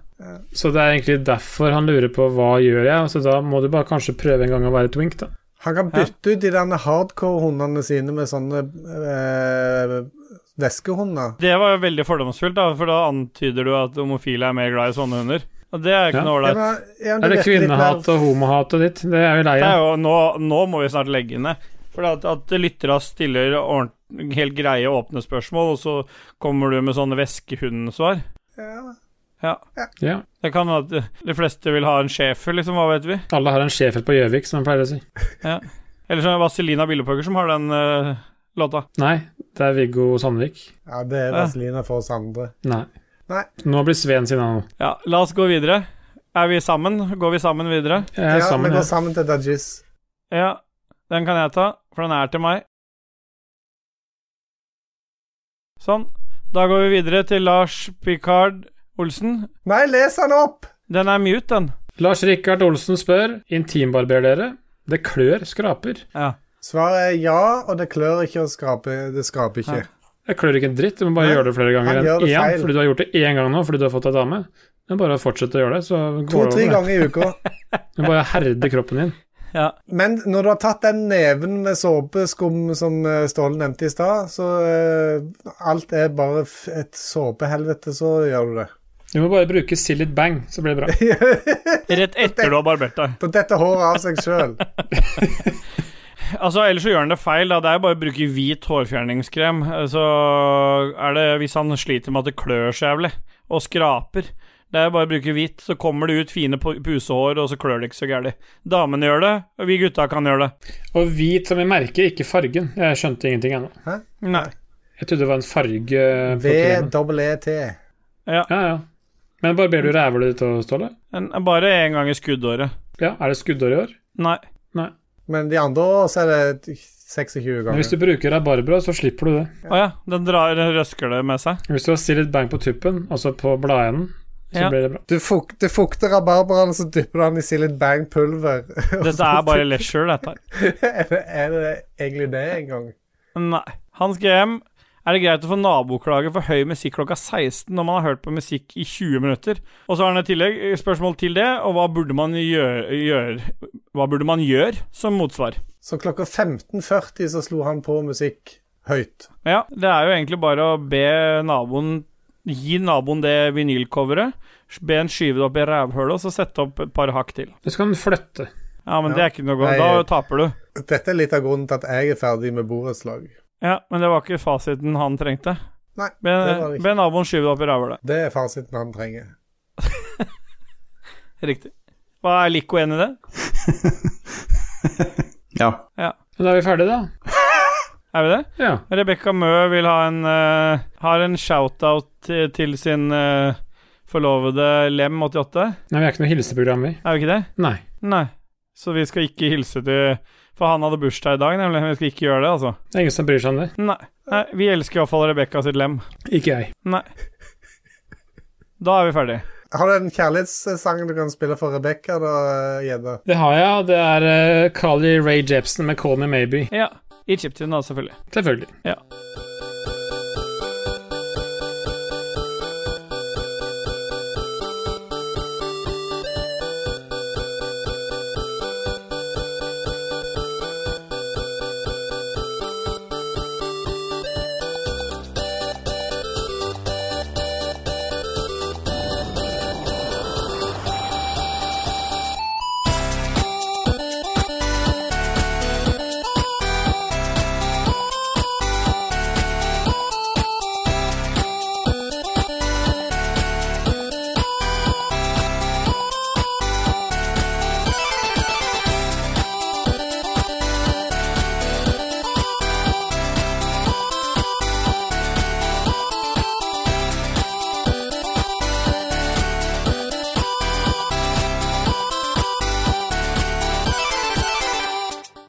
Så det er egentlig derfor han lurer på hva gjør jeg, så da må du bare kanskje prøve en gang å være twink, da.
Han kan bytte ut de der hardcore hundene sine med sånne eh, væskehunder.
Det var jo veldig fordomsfullt, da, for da antyder du at homofile er mer glad i sånne hunder. Og det er jo ikke
Ja.
noe
Ja,
ålreit.
men, ja, men du
Er
vet
det
litt mer-
kvinnehat og homohat og ditt? Det er vi lei
Det er
av.
jo, nå, nå må vi snart legge ned. For at, at lyttere stiller ordent, helt greie, åpne spørsmål, og så kommer du med sånne væskehundsvar.
Ja.
Ja.
Det kan være at de fleste vil ha en schæfer, liksom, hva vet vi?
Alle har en schæfer på Gjøvik, som de pleier å si.
Eller så er det Vazelina Billepøker som har den eh, låta.
Nei, det er Viggo Sandvik.
ja, det er vaselina for oss andre.
Nei.
Nei.
Nå blir Sveen sinna nå.
Ja, la oss gå videre. Er vi sammen? Går vi sammen videre?
Jeg er
Ja,
sammen,
vi går
jeg.
sammen til Dajis.
Ja, den kan jeg ta, for den er til meg. Sånn. Da går vi videre til Lars Picard Olsen.
Nei, les han opp!
Den er mute, den.
Lars Rikard Olsen spør Intimbarber dere? Det klør, skraper.
Ja.
Svaret er ja, og det klør ikke å skrape. Det skraper ikke.
Ja.
Jeg klør ikke en dritt, du må bare
Nei,
gjøre det flere ganger
han gjør
enn
det
én,
feil.
fordi du har gjort det én gang nå fordi du har fått deg dame. Men bare fortsett å gjøre det, så går det
To-tre
over.
ganger i uka.
Du bare herder kroppen din.
Men når du har tatt den neven med såpeskum som eh, Ståle nevnte i stad, så eh, alt er bare f et såpehelvete, så gjør du det.
Du må bare bruke Sillit Bang, så blir det bra.
Rett etter du har barbert deg.
Da detter håret av seg sjøl.
Altså, Ellers så gjør han det feil. da Det er jo bare å bruke hvit hårfjerningskrem. Eh, Så er det Hvis han sliter med at det klør så jævlig, og skraper Det er jo bare å bruke hvit, så kommer det ut fine pu- pusehår, og så klør det ikke så gærent. Damene gjør det, og vi gutta kan gjøre det.
Og hvit som i merket, ikke fargen. Jeg skjønte ingenting ennå.
Nei.
Jeg trodde det var en farge på kremen.
V-double-E-T.
Ja, ja. Men barberer du rævhølet ditt òg, Ståle?
En, bare én gang i skuddåret.
Ja, er det skuddår i år?
Nei.
Men de andre år så er det 26
Men hvis
ganger.
du bruker rabarbra, så slipper du det.
Å ja, den drar røsker det med seg.
Hvis du har Sillit Bang på tuppen, altså på bladenden, så
Ja.
blir det bra.
Du, fuk du fukter rabarberaen, så dypper du den i Silent Bang-pulver.
Dette er bare leisure, dette her.
er, det- er det egentlig det en gang?
Nei. Hans GM, er det greit å få naboklage for høy musikk klokka 16 når man har hørt på musikk i 20 minutter? Og så har han et tillegg spørsmål til det, og hva burde man gjøre, gjøre Hva burde man gjøre som motsvar?
Så klokka 15.40 så slo han på musikk høyt.
Ja, det er jo egentlig bare å be naboen Gi naboen det vinylcoveret, be en skyve det opp i rævhølet, og så sette opp et par hakk til.
Så kan du flytte.
Ja, men
Ja.
det er ikke noe
Nei.
godt. Da taper du.
Dette er litt av grunnen til at jeg er ferdig med borettslag.
Ja, men det var ikke fasiten han trengte.
Nei,
Be,
det var det ikke.
be naboen skyve det opp i rævhølet.
Det er fasiten han trenger.
Riktig. Hva er Lico enig i det?
Ja.
Men da er vi ferdige, da.
Er vi det?
Ja.
Rebekka Mø vil ha en, eh, har en shout-out til, til sin eh, forlovede Lem88.
Nei, vi er ikke noe hilseprogram, vi.
Er vi ikke det?
Nei.
Nei. Så vi skal ikke hilse til For han hadde bursdag i dag, nemlig. Vi skal ikke gjøre det, altså.
Det er ingen som bryr seg om det.
Nei. Nei vi elsker iallfall Rebekka sitt lem.
Ikke jeg.
Nei. Da er vi ferdig.
Har du en kjærlighetssang du kan spille for Rebekka, da, Gjedde?
Det har jeg, og det er uh, Carly Ray Jepsen med Call Me Maybe.
Ja. I chiptune, da, selvfølgelig.
Selvfølgelig.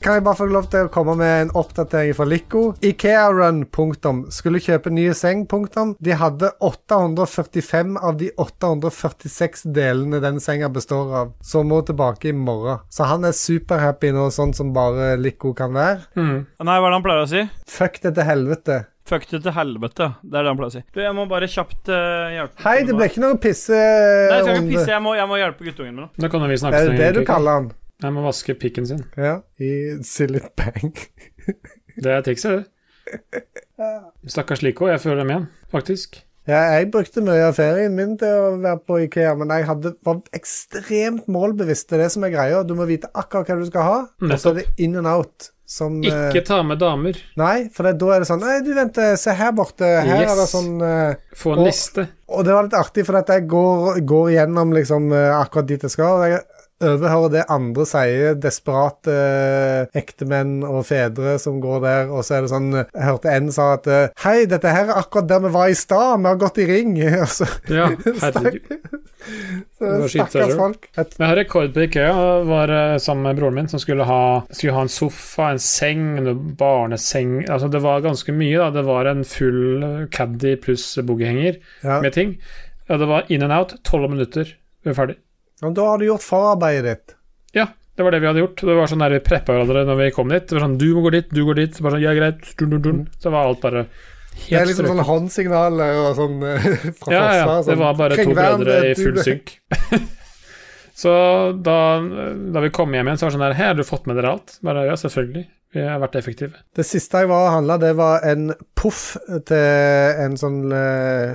Kan jeg bare få lov til å komme med en oppdatering fra Lico? Ikearun, punktum. Skulle kjøpe nye seng, punktum. De hadde 845 av de 846 delene den senga består av, som må tilbake i morgen. Så han er superhappy nå, sånn som bare Lico kan være.
Mm.
Nei, hva er det han pleier å si?
Fuck det til helvete.
Fuck det til helvete. Det er det han pleier å si. Du, jeg må bare kjapt eh, hjelpe
Hei, det ble ikke noe
Nei, jeg skal ikke
pisserunde.
pisse. Jeg må, jeg må hjelpe guttungen med noe.
Da kan jo vi
Det
snakke
er
sånn
jo det du kaller han.
Jeg må vaske pikken sin.
Ja, i Silly Bang.
Det er trikset, det. Stakkars Lico, jeg føler dem igjen, faktisk.
Ja, jeg brukte mye av ferien min til å være på Ikea, men jeg hadde, var ekstremt målbevisst. Det er det som er greia. Du må vite akkurat hva du skal ha, og så er det in and out. Som, eh,
Ikke ta med damer.
Nei, for det, da er det sånn Nei, du vent, eh, se her borte. Her
Yes.
er det sånn eh,
Få en
Og-
liste.
Og det var litt artig, for at jeg går, går gjennom liksom eh, akkurat dit jeg skal. og Jeg overhører det andre sier, desperate eh, ektemenn og fedre som går der, og så er det sånn eh, Jeg hørte en sa at eh, Hei, dette her er akkurat der vi var i stad, vi har gått i ring. og så
Ja, herregud. var skitt,
Stakkars
eller?
folk. Et,
Jeg har rekord på IKEA. Jeg var eh, sammen med broren min, som skulle ha, skulle ha en sofa, en seng, en barneseng Altså, det var ganske mye, da. Det var en full eh, caddy pluss boogiehenger
ja.
med ting. Ja, det var in and out. Tolv minutter. Vi var ferdig.
Men da har du gjort forarbeidet ditt.
Ja, det var det vi hadde gjort. Det var sånn der Vi preppa hverandre når vi kom dit. Det var sånn Du må gå dit, du går dit. Bare sånn, ja, greit. Dun, dun, dun. Så var alt bare
Det Mm. er
helt
liksom
strøket.
sånn håndsignaler og sånn eh, fra
Ja, ja,
forsvaret.
det
sånn,
var bare to
«Kringvern,
brødre i
du-
full synk. så da, da vi kom hjem igjen, så var det sånn der Hei, har du fått med dere alt? Bare, ja, selvfølgelig. Vi har vært effektive.
Det siste jeg var og handla, det var en poff til en sånn eh,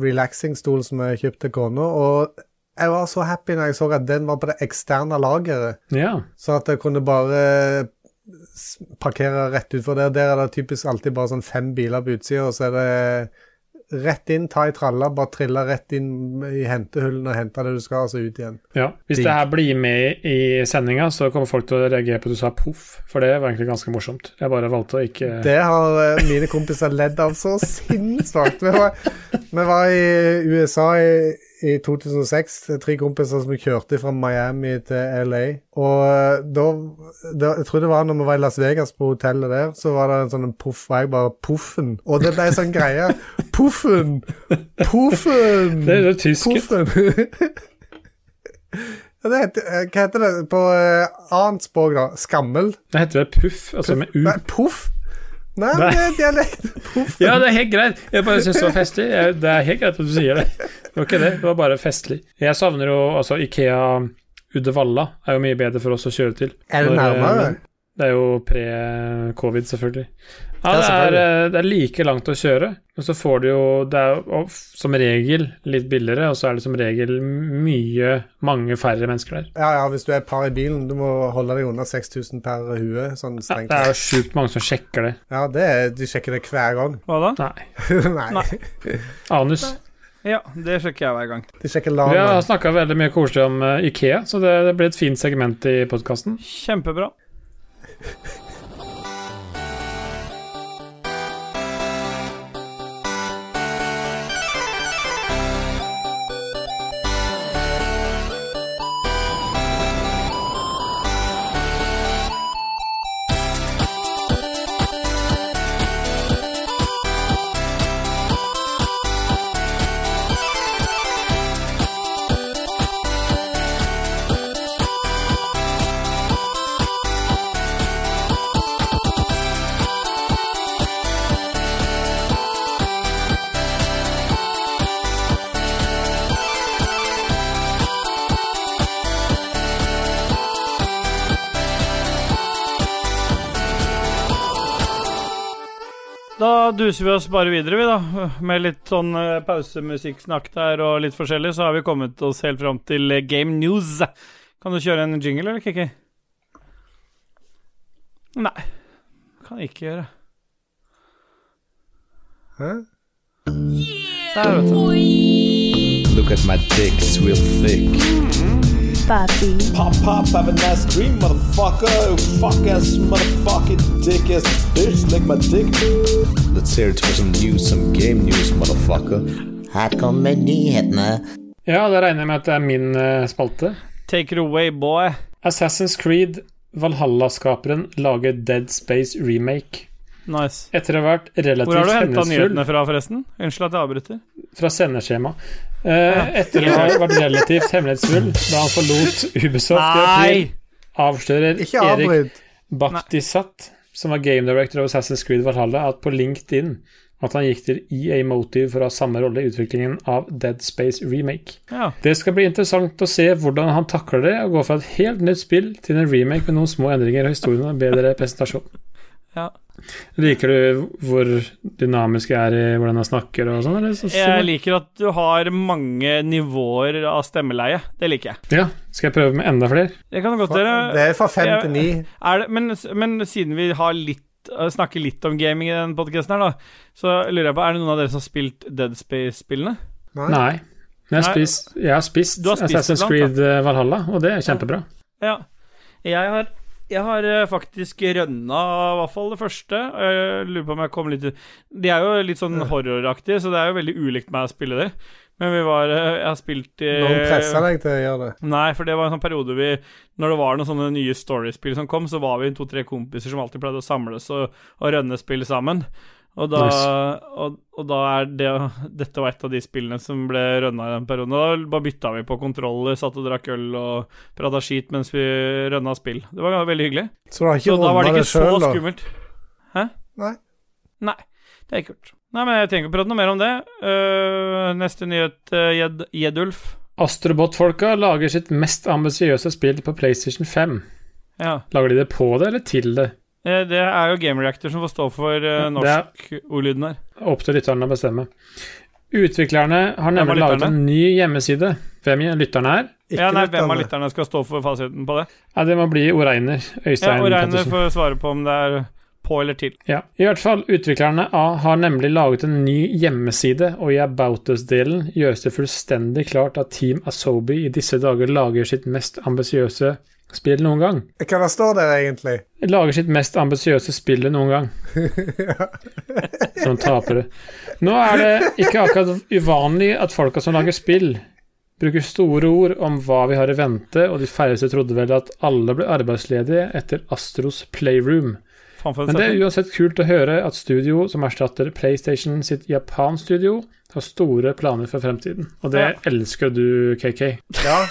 relaxing-stol som jeg kjøpte til kona, og jeg var så happy når jeg så at den var på det eksterne lageret,
Ja.
så at jeg kunne bare s- parkere rett utfor der. Der er det typisk alltid bare sånn fem biler på utsida, og så er det rett inn, ta i tralla, bare trille rett inn i hentehullene og hente det du skal, og så ut igjen.
ja. Hvis
Digg.
det her blir med i sendinga, så kommer folk til å reagere på at du sa poff, for det var egentlig ganske morsomt. Jeg bare valgte å ikke
Det har eh, mine kompiser ledd av så sinnssvakt. Vi, var- vi var i USA i, i 2006, tre kompiser som kjørte fra Miami til LA. Og eh, da, da Jeg tror det var når vi var i Las Vegas, på hotellet der, så var det en sånn en poff, og jeg bare Poffen. Og det ble en sånn greie. Poffen! Poffen!
Det er jo tysk.
Poffen! Ja, det heter, eh, hva heter det på eh, annet språk, da? Skammel?
Det heter det puff, altså med u.
Nei, poff? Nei,
Nei.
det er dialekt. Poffen.
Ja, det er helt greit. Jeg bare syns det var festlig. Jeg, det er helt greit at du sier det. Det var ikke det, det var bare festlig. Jeg savner jo altså Ikea Uddevalla er jo mye bedre for oss å kjøre til.
Er det
Når, eh,
nærmere?
Det er jo pre-covid, selvfølgelig. Ja,
Ja,
det er,
selvfølgelig.
eh, det er like langt å kjøre, men så får du jo Det er jo of- som regel litt billigere, og så er det som regel mye, mange færre mennesker der.
Ja, ja, hvis du er et par i bilen, du må holde deg under 6000 per hue, sånn
Ja,
strengt.
det er jo sjukt mange som sjekker det.
Ja, det er, de sjekker det hver gang.
Hva da?
Nei.
Nei,
Anus.
Ja, det sjekker jeg hver gang.
de sjekker
Vi har
altså
lana.
snakka veldig mye koselig om eh, Ikea, så det, det blir et fint segment i podkasten.
Kjempebra. Da duser vi oss bare videre, vi, da. Med litt sånn eh, pausemusikksnakk der og litt forskjellig, så har vi kommet oss helt fram til eh, Game News. Kan du kjøre en jingle, eller, Kikki? Nei. Kan jeg ikke gjøre.
Hæ?
Der, vet du.
Look at my dick's real thick. Pop pop, have a nice dream, motherfucker. Fuck ass, motherfucking dick ass bitch, lick my dick. Let's hear it for some news, some game news, motherfucker.
Her kommer nyhetene.
Ja, da regner jeg med at det er min eh, spalte.
Take it away, boy.
Assassin's Creed Valhalla-skaperen lage Dead Space remake.
Nice.
Etter å ha vært
Hvor har
relativt
du henta
hemmelighetsfull
nyhetene fra, forresten? Unnskyld at jeg avbryter.
fra sendeskjema. Eh, etter å ha vært relativt hemmelighetsfull da han forlot Ubisoft, i april,
Nei!
avslører
Ikke
Erik
avbryt.
Bakhtisat, som var game director av Assassin's Creed Valhalla, at på LinkedIn at han gikk til EA Motive for å ha samme rolle i utviklingen av Dead Space Remake.
Ja.
Det skal bli interessant å se hvordan han takler det, og går fra et helt nytt spill til en remake med noen små endringer og historien og en bedre presentasjon.
Ja.
Liker du hvor dynamisk jeg er i hvordan jeg snakker og sånn, eller? Så,
Jeg liker at du har mange nivåer av stemmeleie. Det liker jeg.
Ja, skal jeg prøve med enda flere?
Det kan godt
Det
gjøre.
er fra fem
jeg-
til ni.
Er det- Men, men siden vi har litt eh, snakker litt om gaming i den podkasten her, da. Så lurer jeg på, er det noen av dere som har spilt Dead Space-spillene?
Nei. Men
Nei.
jeg har spist, jeg har spist,
Du har spist
Assassin's
iblant,
Creed eh, Valhalla, og det er kjempebra.
Ja. Jeg har, jeg har eh, faktisk rønna i hvert fall det første. Eh, lurer på om jeg kom litt ut- De er jo litt sånn horroraktige, så det er jo veldig ulikt meg å spille det. Men vi var eh, Jeg har spilt i
Noen presser deg til å gjøre det.
Nei, for det var en sånn periode vi Når det var noen sånne nye storiespill som kom, så var vi to-tre kompiser som alltid pleide å samles og, og rønne spill sammen. Og da, og, og da er det Dette var et av de spillene som ble rønna i den perioden. Og Da bare bytta vi på kontroller, satt og drakk øl og prata skit mens vi rønna spill. Det var veldig hyggelig.
Så du har ikke
Så da var
runda
det
det
ikke så
sjøl, da?
skummelt. Hæ?
Nei.
Nei, det er kult. Nei, men jeg trenger ikke prate noe mer om det. Øh, neste nyhet, øh, Jed Jedulf.
Astrobot-folka lager sitt mest ambisiøse spill på PlayStation 5.
Ja.
Lager de det på det, eller til det?
Eh, Det er jo Game Reactor som får stå for eh, norsk-ordlyden her.
Opp til lytterne å bestemme. Utviklerne har
Hvem er
nemlig laget
lytterne?
en ny hjemmeside. Hvem i- lytterne er?
Ikke
Ja, nei, hvem av
altså.
lytterne.
lytterne skal stå for fasiten på det?
Ja, det må bli Oreiner.
Ja,
Øystein
og Reiner
Pettersen.
får svare på om det er på eller til.
Ja. I hvert fall, utviklerne A har nemlig laget en ny hjemmeside, og i About Us-delen gjøres det fullstendig klart at Team Asobi i disse dager lager sitt mest ambisiøse spill noen gang.
Hva det står der, egentlig?
lager sitt mest ambisiøse spill noen gang. Som tapere. Nå er det ikke akkurat uvanlig at folka som lager spill, bruker store ord om hva vi har i vente, og de færreste trodde vel at alle ble arbeidsledige etter Astros Playroom.
Faen for en
Men det er
setning.
uansett kult å høre at studio som erstatter PlayStation sitt japansk studio, har store planer for fremtiden. Og det
Ja.
elsker du, KK.
Ja.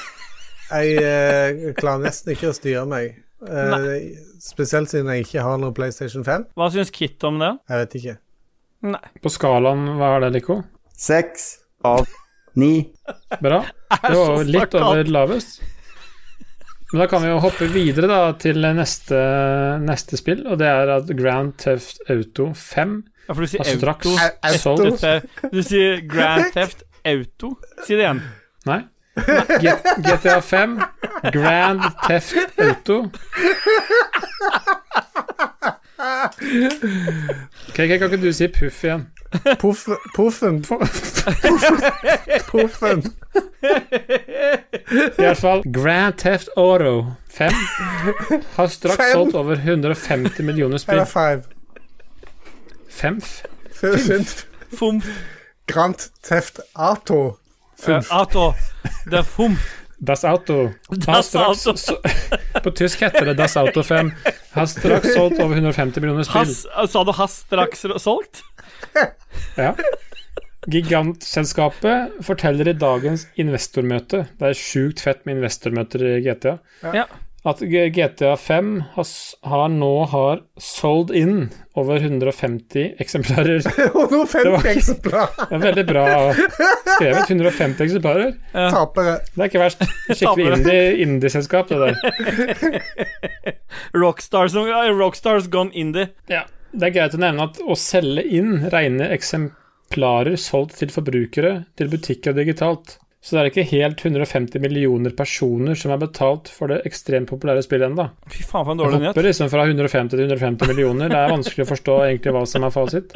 Jeg eh, klarer nesten ikke å styre meg. Eh, spesielt siden jeg ikke har noe PlayStation 5.
Hva syns Kit om det?
Jeg vet ikke.
På skalaen, hva er det, Lico?
Seks av ni.
Bra. Det var jo litt over lavest. Men da kan vi jo hoppe videre da til neste, neste spill, og det er at Grand Theft Auto 5
Ja, for du sier
har Altså, straks
Auto.
solgt
Dette, du sier Grand Theft Auto. Si det igjen.
Nei. G- GTA 5, Grand Theft Auto. KK, kan ikke du si puff igjen?
Puff, puffen, puffen.
I hvert fall Grand Theft Auto 5 har straks
Fem.
solgt over 150 millioner spill.
Eller five.
Femf.
Fint.
Fomf.
Grand Theft Auto.
Eh, Ato. Det er fomf.
Das Auto. Har
Das
straks-
Auto.
så- på tysk heter det Das Auto 5. Har straks solgt over 150 millioner spill.
Has, Ah, sa du has straks solgt?
Ja. Gigantselskapet forteller i dagens investormøte Det er sjukt fett med investormøter i GTA.
Ja.
At G- GTA 5 har, s- har nå har sold in over 150 eksemplarer. Det
150 eksemplarer.
er veldig bra skrevet. 150 eksemplarer.
Tapere.
Det er ikke verst. Skikkelig indie- indie-selskap, det der.
Rockstars, eh, Rockstars gone indie.
Ja, Det er greit å nevne at å selge inn rene eksemplarer solgt til forbrukere, til butikker og digitalt. Så det er ikke helt 150 millioner personer som er betalt for det ekstremt populære spillet ennå.
Fy faen, for en dårlig nyhet.
Hopper liksom fra 150 til 150 millioner. Det er vanskelig å forstå egentlig hva som er fasit.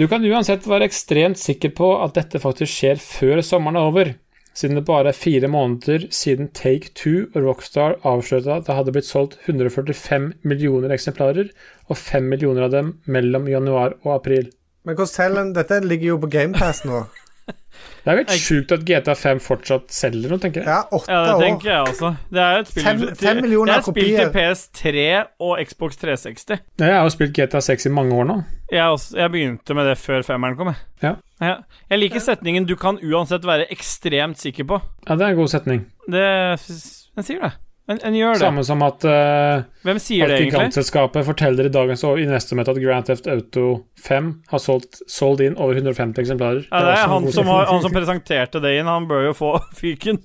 Du kan uansett være ekstremt sikker på at dette faktisk skjer før sommeren er over, siden det bare er fire måneder siden Take Two og Rockstar avslørte at det hadde blitt solgt 145 millioner eksemplarer, og 5 millioner av dem mellom januar og april.
Men hvordan teller en Dette ligger jo på GamePass nå.
Det er jo helt sjukt at GTA5 fortsatt selger noe, tenker jeg.
Ja, åtte
Ja, det
år.
tenker jeg også. Det er jo et spill
Fem-
til-
fem millioner
Det er et spill til
kopier.
PS3 og Xbox 360.
Jeg har jo spilt GTA6 i mange år nå.
Jeg, er også, jeg begynte med det før femmeren kom. Jeg.
Ja.
Jeg liker setningen 'du kan uansett være ekstremt sikker på'.
Ja, det er en god setning.
Det s- Den sier det. Den, den gjør det.
Samme som at eh,
Hvem sier
at
det, egentlig?
gigantselskapet forteller i dagens og investormøte at Grand Theft Auto 5 har solgt, solgt inn over 150 eksemplarer.
Ja, det
også
er
en
han
god
som, har,
setning.
han som presenterte det inn. Han bør jo få fyken.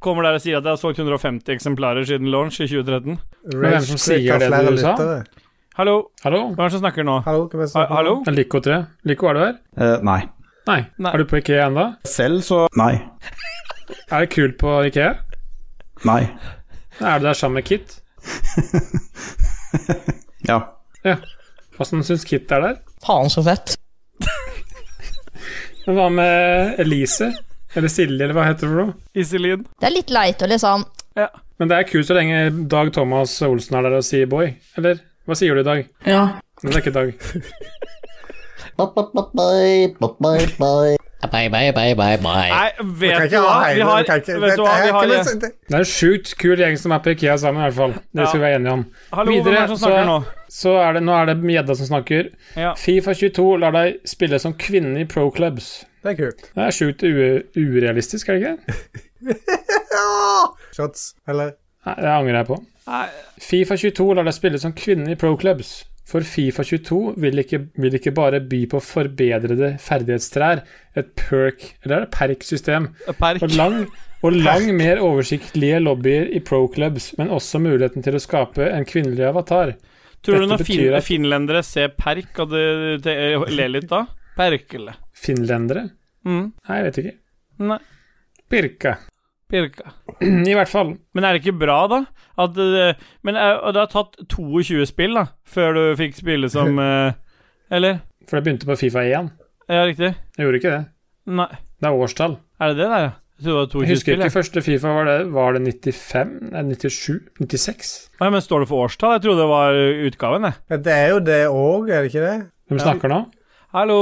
Kommer der og sier at jeg har solgt 150 eksemplarer siden launch i 2013.
Men hvem som sier det du sa?
Hallo,
Hallo?
hvem er det som snakker nå?
Hallo, hvem er det som
Ha,
snakker?
hallo?
Lico 3. Lico, er du her?
Eh, nei.
Nei.
Nei.
Er du på Ikea ennå?
Selv så Nei.
Er det kult på Ikea?
Nei.
Er du der sammen med Kit?
Ja.
Åssen syns Kit er der?
Faen så fett.
Men hva med Elise? Eller Silje, eller hva heter det for noe?
Iselin?
Det er litt leit å liksom
Men det er kult så lenge Dag Thomas Olsen er der og sier boy. Eller hva sier du i dag?
Ja.
Men det er ikke Dag.
Bye, bye, bye, bye. Bye, bye, bye, bye, bye.
Nei,
Du
vet
kan
du
ikke ha
hva? Vi
hele,
har,
du kan ikke
vet du
dette
hva? Vi
er
har
ikke noe- det-
Det er en sjukt kul gjeng som er på Ikea sammen, i hvert fall. Det skal vi være enige om.
Hallo, hvem er det som snakker nå?
Videre, Så er det, nå er det gjedda som snakker.
Ja.
Fifa 22 lar deg spille som kvinne i pro clubs.
Det er kult.
Det er sjukt u- urealistisk, er det ikke? det?
Shots, eller?
Nei, det angrer jeg på.
Nei.
Fifa 22 lar deg spille som kvinne i pro clubs. For Fifa 22 vil ikke, vil ikke bare by på forbedrede ferdighetstrær, et perk, eller er det perk-system,
Perk.
og lang, og lang mer oversiktlige lobbyer i pro clubs, men også muligheten til å skape en kvinnelig avatar.
Tror du
Dette
når fin
betyr at-
finlendere ser perk, og det, det, ler litt da? Perkele.
Finlendere?
Mm.
Nei, jeg vet ikke.
Nei.
Pirka.
Pirka.
I hvert fall.
Men er det ikke bra, da? At det, men eh, og det har tatt 22 spill, da, før du fikk spille som eh, Eller?
For jeg begynte på Fifa 1.
Ja, riktig?
Jeg gjorde ikke det.
Nei.
Det er årstall.
Er det det der, ja? Jeg trodde det var 22
Jeg husker
spill.
ikke
Jeg.
første Fifa. Var det, var det 95? Nei, 97? 96?
Nei, men står det for årstall? Jeg trodde det var eh, utgaven, jeg.
Ja, Det er jo det òg, er det ikke det?
Hvem snakker nå?
Hallo.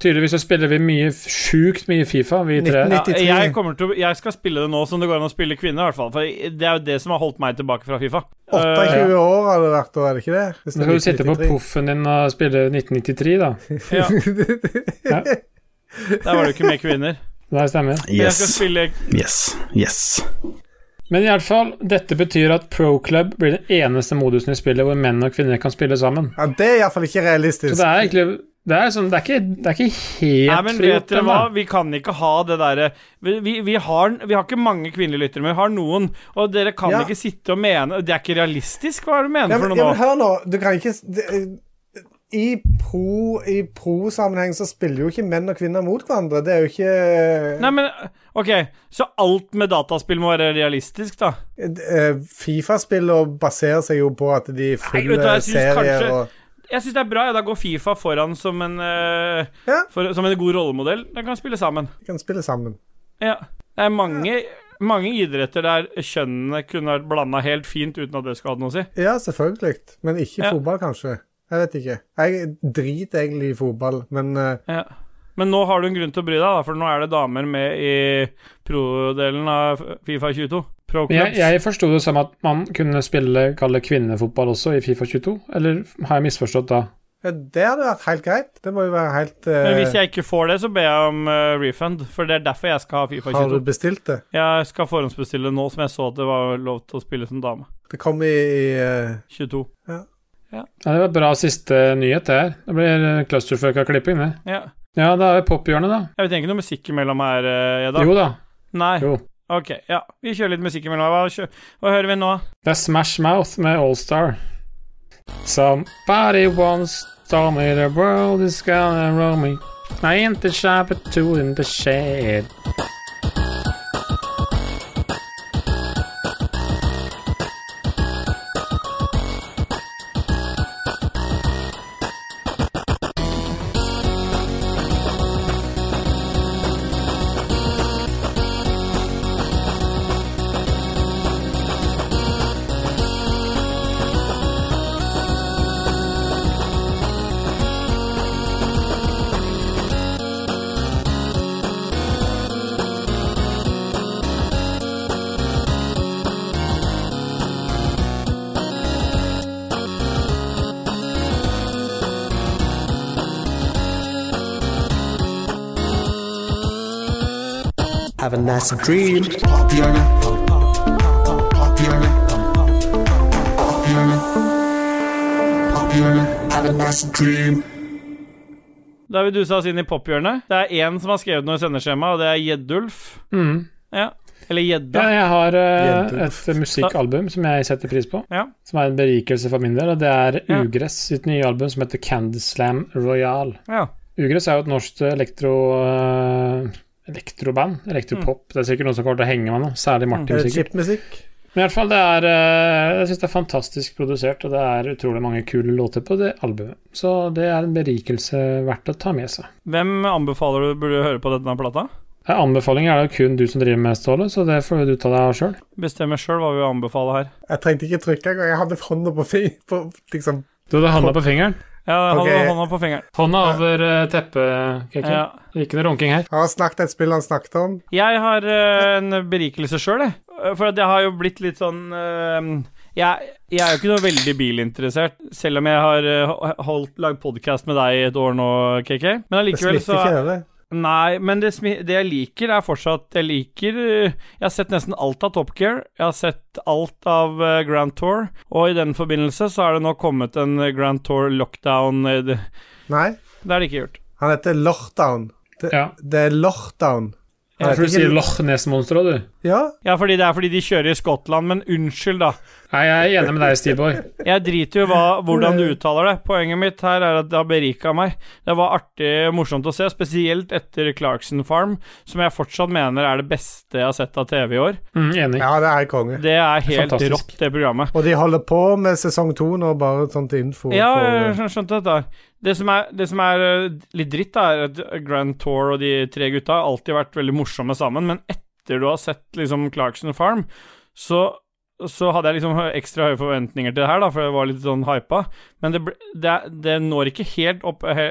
Tydeligvis så spiller vi mye, sjukt mye Fifa, vi tre.
1990.
Ja,
93.
jeg, kommer til, å- jeg skal spille det nå som det går an å spille kvinne, i hvert fall. For det er jo det som har holdt meg tilbake fra Fifa. Eh,
28 år har det vært, da, er det ikke det? Hvis
Nå skal du
det er
sitte på
1993.
poffen din og spille 1993, da.
ja. Der var det jo ikke med kvinner.
Det her stemmer.
Men Jeg skal
Yes.
spille
Yes. Yes.
Men i alle fall, dette betyr at pro club blir den eneste modusen i spillet hvor menn og kvinner kan spille sammen.
Ja, Det er iallfall ikke realistisk.
Så det er egentlig Det er, sånn, det er, ikke, det er ikke helt
Nei, men
frigjort
vet dere
ennå.
hva? Vi kan ikke ha det derre vi, vi, vi, har, vi har ikke mange kvinnelige lyttere, men vi har noen. Og dere kan
Ja.
ikke sitte og mene Det er ikke realistisk, hva er det du mener
ja,
for
men,
noe
ja,
nå?
men hør nå, du kan ikke s- det, eh, I pro I pro-sammenheng så spiller jo ikke menn og kvinner mot hverandre. Det er jo ikke
Nei, men OK, så alt med dataspill må være realistisk, da?
eh, Fifa-spillene baserer seg jo på at de
vet du hva,
følger
jeg synes
serier
kanskje-
og
Jeg syns det er bra. Ja, da går Fifa foran som en, eh,
Ja.
for, som en god rollemodell. De kan spille sammen.
kan spille sammen.
Ja. Det er mange, mange idretter der kjønnene kunne vært blanda helt fint uten at det skulle hatt noe å si.
Ja, selvfølgelig. Men ikke
Ja.
fotball, kanskje. Jeg vet ikke. Jeg driter egentlig i fotball, men eh,
Ja. Men nå har du en grunn til å bry deg, da, for nå er det damer med i pro-delen av Fifa 22. Pro
Men Jeg,
Clubs.
jeg forsto det som at man kunne spille kalle kvinnefotball også i Fifa 22, eller har jeg misforstått da?
ja, det hadde vært helt greit. Det må jo være helt eh,
Men hvis jeg ikke får det, så ber jeg om eh, refund, for det er derfor jeg skal ha Fifa
Har du
22.
bestilt det?
Jeg skal forhåndsbestille nå som jeg så at det var lov til å spille som dame.
Det kom i eh,
22.
Ja, det var bra siste nyhet, det her. Det blir eh, clusterfuck av klipping, det.
Ja.
Ja, da er vi pophjørnet, da.
Jeg vet ikke noe musikk imellom her, eh, Edda.
Jo da.
Nei.
Jo.
Ok, ja. Vi kjører litt musikk imellom. Hva, kjø Hva hører vi nå?
Det er Smash Mouth med Allstar. Somebody once told me the world is gonna roll me. I ain't the shy, but two in the shade.
Have a nice dream. Have a nice dream.
Da har vi dusa oss inn i pophjørnet. Det er én som har skrevet noe i sendeskjemaet, og det er Gjeddulf.
Mm.
Ja. Eller Gjedda.
Ja, jeg har eh,
Jenter.
et musikkalbum som jeg setter pris på,
Ja.
som er en berikelse for min del, og det
Ja.
er Ugress sitt nye album som heter Candyslam Royal.
Ja.
Ugress er jo et norsk elektro... eh, Elektroband, elektropop. Det er sikkert noen som kommer til å henge meg nå, særlig Martin.
Er det
sikkert
chipmusikk?
Men i alle fall, det er eh, Jeg syns det er fantastisk produsert, og det er utrolig mange kule låter på det albumet. Så det er en berikelse verdt å ta med seg.
Hvem anbefaler du burde høre på denne plata?
Eh, Anbefalinger er det jo kun du som driver med, Ståle, så det får du ta deg av sjøl.
Bestemmer sjøl hva vi anbefaler her.
Jeg trengte ikke trykke engang. Jeg hadde hånda på fi... På, liksom.
Du hadde handa på fingeren.
Ja, hold
Ok.
hånda på fingeren.
Hånda over eh, teppet, KK.
Ja.
Ikke noe runking her.
Han har snakket et spill han snakket om.
Jeg har eh, en berikelse sjøl, jeg. Eh, For at jeg har jo blitt litt sånn eh, jeg, jeg er jo ikke noe veldig bilinteressert, selv om jeg har eh, holdt, lagd podkast med deg i et år nå, KK. Men
Det
allikevel
smitter
så
ikke øret.
Nei, men det, smi- det jeg liker, er fortsatt Jeg liker eh, Jeg har sett nesten alt av Top Gear. Jeg har sett alt av eh, Grand Tour. Og i den forbindelse så er det nå kommet en eh, Grand Tour lockdown eh, Det
Nei,
det er det ikke gjort.
han heter Lortown. Det,
Ja.
det er Lortown. Han
Jeg
heter
tror du
ikke-
sier Loch-nesmonsteret, du.
Ja,
Ja, fordi det er fordi de kjører i Skottland, men unnskyld, da.
Nei, jeg er enig med deg, Steveboy.
Jeg driter jo hva, hvordan du uttaler det. Poenget mitt her er at det har berika meg. Det var artig og morsomt å se, spesielt etter Clarkson Farm, som jeg fortsatt mener er det beste jeg har sett av TV i år.
Mm, enig.
ja, det er konge.
Det er helt
Fantastisk.
rått, det programmet.
Og de holder på med sesong to nå, bare sånn til info.
Ja,
for-
jeg skjøn- skjønte dette. Det som er, det som er eh, litt dritt, da, er at Grand Tour og de tre gutta har alltid vært veldig morsomme sammen, men etter du har sett liksom Clarkson Farm, så så hadde jeg liksom hø- ekstra høye forventninger til det her, da, for jeg var litt sånn hypa. Men det, ble- det, det når ikke helt opp he,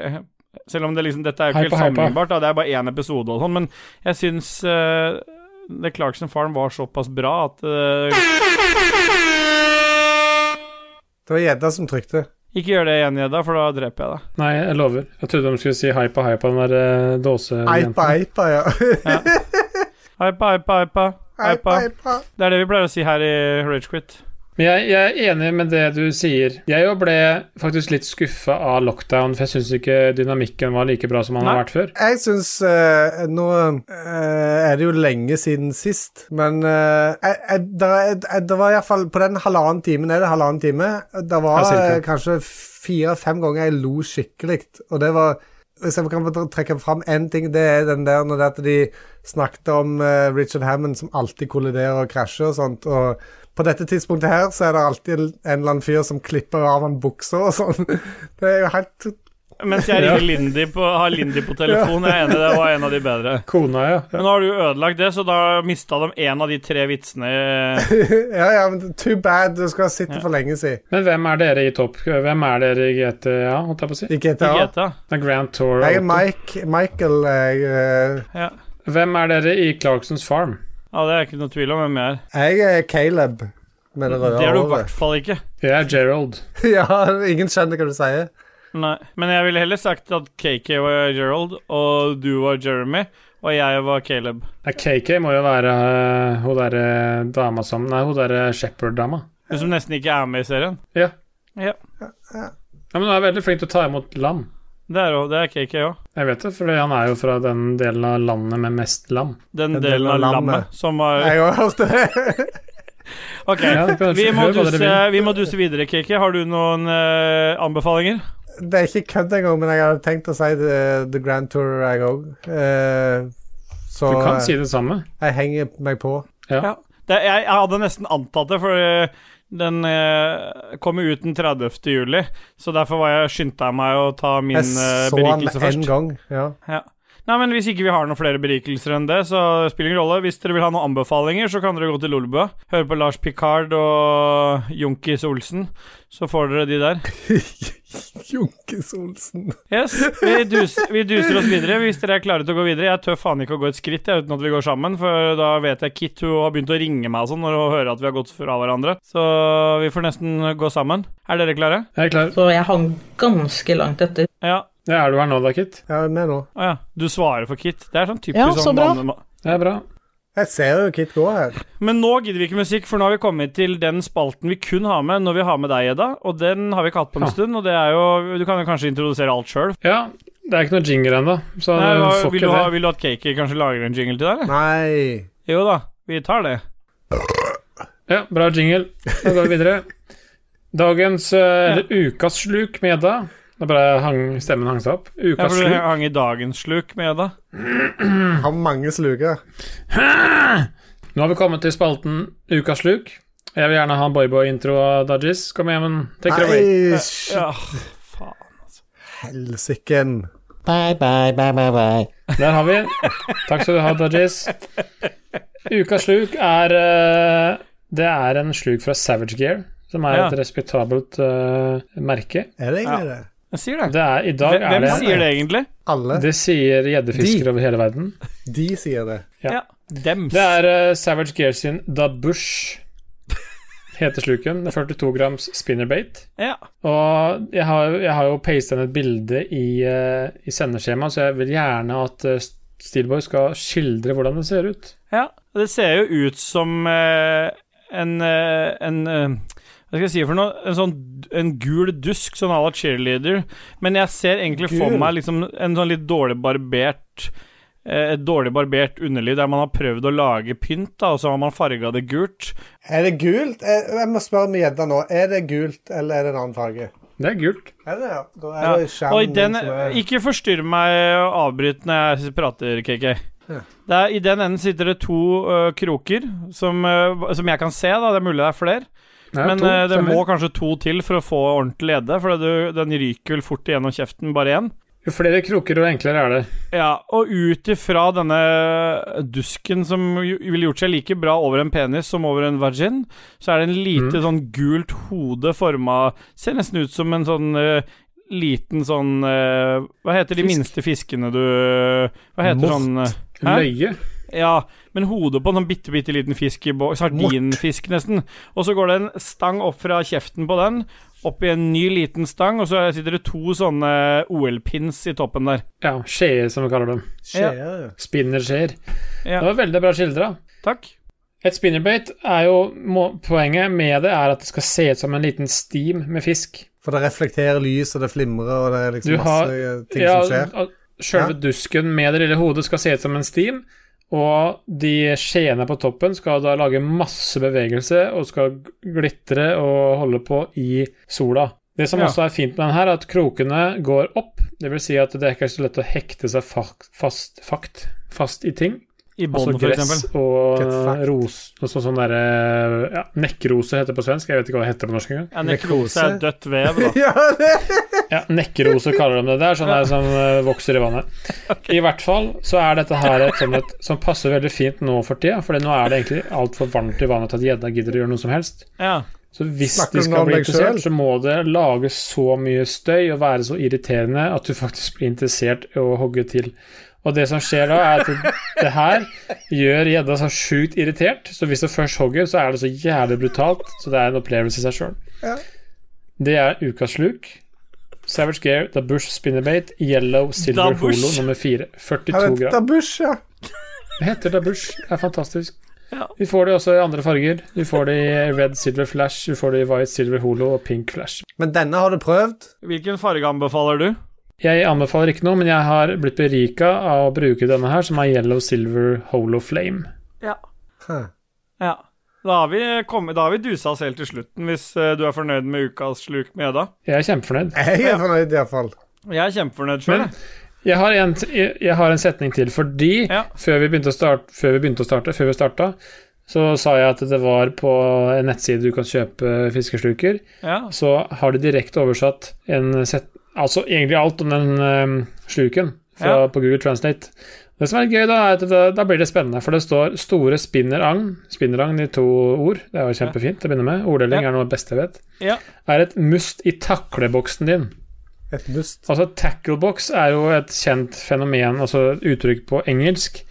Selv om det liksom, dette er jo ikke
Hypa,
helt
hypa.
sammenlignbart, da, det er bare én episode og sånn, men jeg syns eh, det Clarkson Farm var såpass bra at eh,
Det var gjedda som trykte.
Ikke gjør det igjen, Gjedda, for da dreper jeg deg.
Nei, jeg lover. Jeg trodde de skulle si hypa, hypa, den der eh,
Eipa,
dåsejenta.
eipa, ja.
Hypa, hypa, hypa.
Eipa,
hypa.
eipa.
Det er det vi pleier å si her i Ragequit.
Men jeg, jeg er enig med det du sier. Jeg jo ble faktisk litt skuffa av lockdown, for jeg syns ikke dynamikken var like bra som han har
Nei.
vært før.
Jeg syns Nå eh, er det jo lenge siden sist, men eh, jeg, jeg, der, er- jeg, det var iallfall På den halvannen timen er det halvannen time. Det var
Ja, cirka.
eh, kanskje fire-fem ganger jeg lo skikkelig, og det var hvis jeg kan bare trekke fram én ting, det er den der når det at de snakket om eh, Richard Hammond som alltid kolliderer og krasjer og sånt. og På dette tidspunktet her så er det alltid en eller annen fyr som klipper av han buksa og sånn. Det er jo helt
Mens jeg ringer Lindy på, har Lindy på telefon. Jeg er enig, det var en av de bedre.
Kona, ja.
Men nå har du jo ødelagt det, så da mista de en av de tre vitsene
Ja, ja, men too bad. Du skal ha sittet for lenge siden.
Men hvem er dere i topp? Hvem er dere i GTA, holdt jeg på å si?
I
i
GTA.
GTA.
Det er Grand Tour.
Jeg er
Auto.
Mike, Michael jeg, eh,
Ja.
Hvem er dere i Clarksons Farm?
ja, det er ikke noe tvil om hvem jeg er.
jeg er Caleb med det røde
Det er du i hvert
håret.
fall ikke.
Jeg er Gerald.
Ja, ingen skjønner hva du sier.
Nei. Men jeg ville heller sagt at KK var Gerald, og du var Jeremy, og jeg var Caleb.
Nei, KK må jo være eh, hun derre dama som Nei, hun derre Shepherd-dama.
Du som nesten ikke er med i serien.
Ja.
Ja.
Ja, men hun er veldig flink til å ta imot lam.
Det er, jo- det er KK òg.
Jeg vet det, for han er jo fra den delen av landet med mest lam.
Den delen av lammet som var
Jeg har hørt det.
Ok,
Ja, kanskje.
vi, må
Hør hva dere
duse, vi må duse videre, Kiki. Har du noen eh, anbefalinger?
Det er ikke kødd engang, men jeg hadde tenkt å si The, the Grand Tour, jeg òg. så
Du kan
eh,
si det samme.
jeg henger meg på.
Ja.
Det, jeg, jeg hadde nesten antatt det, for eh, den eh, kom jo ut den 30. juli. Så derfor var jeg, skyndte jeg meg å ta min
Jeg
eh,
så han
berikelse
én
først.
gang. Ja.
Ja. Nei, men Hvis ikke vi har noen flere berikelser enn det, så spiller ingen rolle. Hvis dere vil ha noen anbefalinger, så kan dere gå til Lolbua. Høre på Lars Picard og Junkis Olsen, så får dere de der.
Junkis Olsen.
Yes, vi, dus, vi duser oss videre hvis dere er klare til å gå videre. Jeg tør faen ikke å gå et skritt jeg, uten at vi går sammen, for da vet jeg Kit hun har begynt å ringe meg og sånn når hun hører at vi har gått fra hverandre. Så vi får nesten gå sammen. Er dere klare?
Jeg er klar.
Så jeg hang ganske langt etter.
Ja.
Ja, er du her nå da, Kit?
Ja, jeg er med nå.
Å ja. Du svarer for Kit. Det er sånn typisk
Ja, så
sånn
bra.
manne-
Det er bra.
Jeg ser jo Kit gå her.
Men nå gidder vi ikke musikk, for nå har vi kommet til den spalten vi kun har med når vi har med deg, Edda. Og den har vi ikke hatt på en
Ja.
stund, og det er jo Du kan jo kanskje introdusere alt sjøl.
Ja, det er ikke noe jingle ennå, så du får
Vil,
ikke
du ha-
det.
vil du at Cakey kanskje lager en jingle til deg? eller?
Nei.
Jo da, vi tar det.
Ja, bra jingle. Da går vi videre. Dagens, eh, eller ukas sluk med Edda. Da bare hang, stemmen hang seg opp.
Jeg
Ukas
tror
sluk.
det hang i dagens sluk med Edda.
Har mange sluker.
Nå har vi kommet til spalten Ukas sluk. Jeg vil gjerne ha en boyboy-intro av Dodges. Kom igjen, men take it away.
Nei,
Ja, faen.
helsiken.
Bye bye bye bye bye.
Der har vi den. Takk skal du ha, Dodges. Ukas sluk er eh, Det er en sluk fra Savage Gear, som er et
Ja.
respektabelt eh, merke.
Er det egentlig det?
Jeg sier det.
Det er, I dag
Hvem,
er
hvem
det
sier det egentlig?
Alle.
Det sier gjeddefiskere over hele verden.
De sier det.
Ja.
Ja. Dems.
Det er eh, Savage Gear sin Da Bush, heter sluken. Det er 42 grams spinnerbait.
Ja.
Og jeg har, jeg har jo pastet inn et bilde i, eh, i sendeskjemaet, så jeg vil gjerne at eh, Steelboy skal skildre hvordan det ser ut.
ja. Det ser jo ut som eh, en, eh, en eh, hva skal jeg si for noe? En sånn en gul dusk, sånn à la cheerleader. Men jeg ser egentlig for
Gul?
meg liksom en sånn litt dårlig barbert eh, Et dårlig barbert underliv der man har prøvd å lage pynt, da, og så har man farga det gult.
Er det gult? Jeg, jeg må spørre med gjedda nå. Er det gult, eller er det en annen farge?
Det er gult.
Er det ja? Da er
Ja.
det skjermen
Og i den,
som er
ikke forstyrr meg og avbryt når jeg prater, KK.
Ja.
Det er, I den enden sitter det to ø, kroker, som, ø, som jeg kan se. da, Det er mulig det er flere.
Ja,
Men
to
ø, det
stemmer.
må kanskje to til for å få ordentlig edde, for det- den ryker vel fort igjennom kjeften, bare én.
Jo flere kroker, jo enklere er det.
Ja, og ut ifra denne dusken som jo- ville gjort seg like bra over en penis som over en vagin, så er det en lite sånn gult hode forma Ser nesten ut som en sånn eh, liten sånn eh, Hva heter de
Fisk.
minste fiskene du Hva heter
Most.
sånn eh, Hæ?
Løye.
Ja, men hodet på en sånn bitte, bitte liten fisk i båt Sardinfisk, nesten. Og så går det en stang opp fra kjeften på den, opp i en ny liten stang, og så sitter det to sånne OL-pins i toppen der.
Ja, skjeer, som vi kaller dem.
skjer.
Spinnerskjeer.
Ja.
Det var veldig bra skildra.
Takk.
Et spinnerbait er jo må, Poenget med det er at det skal se ut som en liten steam med fisk.
For det reflekterer lys, og det flimrer, og det er
Du
liksom
har-
masse eh, ting som skjer.
og Sjølve dusken med det lille hodet skal se ut som en steam, og de skjeene på toppen skal da lage masse bevegelse og skal glitre og holde på i sola. Det som
Ja.
også er fint med den her, er at krokene går opp. Det vil si at det er ikke så lett å hekte seg fak- fast, fakt, fast i ting.
I
Altså
bånd, for
gress
eksempel.
og
Get fucked.
ros, og så sånn derre ja, Nekkrose heter det på svensk, jeg vet ikke hva det heter på norsk engang.
Ja, nekrose er
Nekrose.
dødt vev, da.
Ja, det
Ja, nekkerose kaller de det der, sånn der som eh, vokser i vannet. I hvert fall så er dette her et sånn et som passer veldig fint nå for tida, for nå er det egentlig altfor varmt i vannet til at gjedda gidder å gjøre noe som helst.
Ja.
Så hvis
Snakker du
de
nå
skal
om
bli
deg selv?
interessert, så må det lage så mye støy og være så irriterende at du faktisk blir interessert i å hogge til. Og det som skjer da, er at det, det her gjør gjedda så sjukt irritert, så hvis det først hogger, så er det så jævlig brutalt, så det er en opplevelse i seg sjøl.
Ja.
Det er ukas sluk. Savage Gear, The Bush Spinnerbait, Yellow
Da
Silver
Bush.
Holo nummer fire.
er
42 gram.
Da Bush, ja.
Det heter Da Bush. Det er fantastisk.
Ja.
Vi får det også i andre farger. Du får det i Red Silver Flash, du får det i White Silver Holo og Pink Flash.
Men denne har du prøvd.
Hvilken farge anbefaler du?
Jeg anbefaler ikke noe, men jeg har blitt berika av å bruke denne her, som er Yellow Silver Holo Flame.
Huh.
Ja. Da har vi, kommet, da har vi dusa oss helt til slutten, hvis eh, du er fornøyd med ukas sluk med Edda.
Jeg er kjempefornøyd.
Jeg er fornøyd, iallfall.
Jeg er kjempefornøyd sjøl,
Men jeg har en, jeg jeg har en setning til, fordi
Ja.
før, vi begynte å starte, før vi begynte å starte, før vi starta, så sa jeg at det var på en nettside du kan kjøpe fiskesluker.
Ja.
Så har de direkte oversatt en set, altså egentlig alt om den eh, sluken fra,
Ja.
på Google Translate. Det som er litt gøy, da, er at det, da blir det spennende, for det står 'store spinneragn'. Spinneragn i to ord. Det er jo kjempefint til å begynne med. Orddeling
Ja.
er noe av det beste jeg vet.
Ja.
Er et must i takleboksen din.
Et must.
Altså Tacklebox er jo et kjent fenomen, altså et uttrykk på engelsk.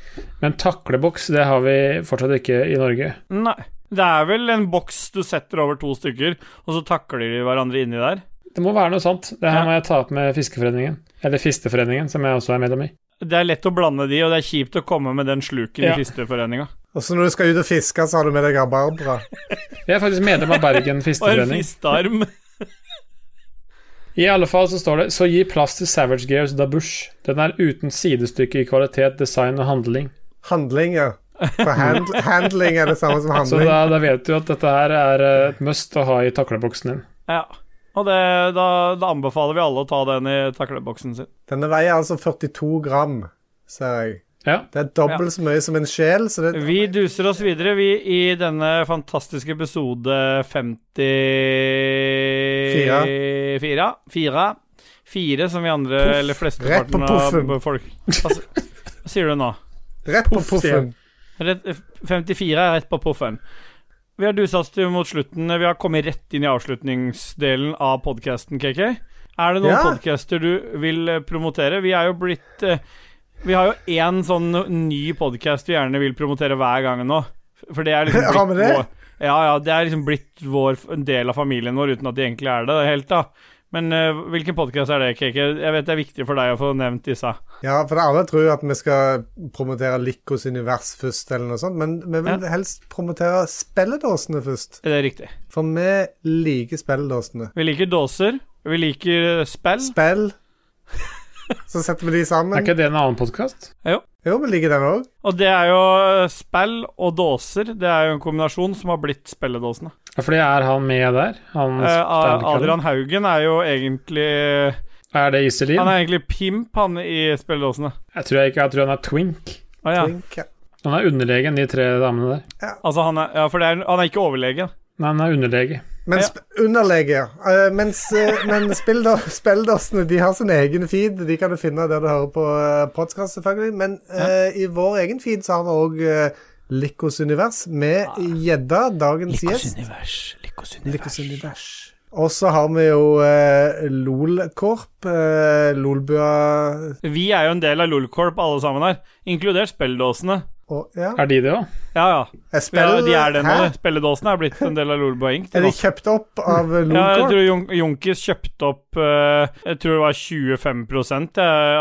Men takleboks, det har vi fortsatt ikke i Norge.
Nei. Det er vel en boks du setter over to stykker, og så takler de hverandre inni der.
Det må være noe sånt. Det her
Ja.
må jeg ta opp med Fiskeforeningen. Eller Fisteforeningen, som jeg også er medlem i.
Det er lett å blande de, og det er kjipt å komme med den sluken
Ja.
i Fisteforeninga.
Og så når du skal ut og fiske, så har du med deg rabarbra.
Jeg er faktisk medlem av
Og
Bergen
en
fisteforening.
fistarm.
I alle fall så står det Så gi plass til Savage Gears da Bush. Den er uten sidestykke i kvalitet, design og handling.
Handlinger. For hand handling er det samme som
Så
handling.
da, da vet du at dette her er eh, et must å ha i takleboksen din.
Ja. Og det, da, da anbefaler vi alle å ta den i takleboksen sin.
Denne veier altså 42 gram, ser jeg.
Ja.
Det er dobbelt så mye som en sjel, så det
Vi duser oss videre, vi, i denne fantastiske episode 54 Fire. Fire, Fire, som vi andre, eller
Rett på
flesteparten
puffen.
av folk altså, Hva sier du nå?
Rett på poffen.
Rett, 54 eh, er rett på poffen. Vi har dusa oss til mot slutten. Vi har kommet rett inn i avslutningsdelen av podkasten, KK. Er det noen
Ja.
podcaster du vil eh, promotere? Vi er jo blitt eh, Vi har jo én sånn ny podkast vi gjerne vil promotere hver gang nå. For det er liksom blitt
Har vi det?
vår Ja, ja, det er liksom blitt vår, en del av familien vår uten at de egentlig er det helt, da. Men eh, hvilken podkast er det, KK? Jeg vet det er viktig for deg å få nevnt disse.
Ja, for alle tror at vi skal promotere Lykkos univers først, eller noe sånt, men vi vil helst promotere spilledåsene først.
Er det riktig?
For vi liker spilledåsene.
Vi liker dåser. Vi liker eh, spill.
Spill Så setter vi de
Er
sammen.
ikke det en annen podkast?
Jo, vi liker den òg.
Og det er jo eh, spill og dåser. Det er jo en kombinasjon som har blitt spilledåsene.
Ja, fordi er han med der? Han
Eh, A-
Adrian.
Adrian Haugen er jo egentlig
Er det Iselin?
Han er egentlig pimp, han, i spilledåsene.
Jeg tror jeg ikke jeg tror han er twink.
Å ja.
Han er underlegen, de tre damene der.
Altså, han er, ja, for det er, han er ikke overlegen.
Nei, han er underlege.
Men
Ja.
sp underlege, ja. Eh, mens, eh, men spilledå- spilledåsene de har sin egen feed. De kan du finne der du hører på uh, podkast, selvfølgelig. Men eh, i vår egen feed så har vi òg Lykkos univers med
Ah.
gjedda, dagens gjest. Lykkes univers. Og så har vi jo eh, LOL-korp, eh, Lolbua
Vi er jo en del av Lolcorp, alle sammen her. Inkludert spilledåsene.
og ja.
Er de det òg?
Ja, ja.
Jeg
Vi er, de er det nå.
Hæ?
de. Spilledåsene er blitt en del av Lolbua Inc.
Er
nå.
de kjøpt opp av eh,
Ja, jeg
LOL-korp?
tror Jun Junkers kjøpte opp eh, Jeg tror det var 25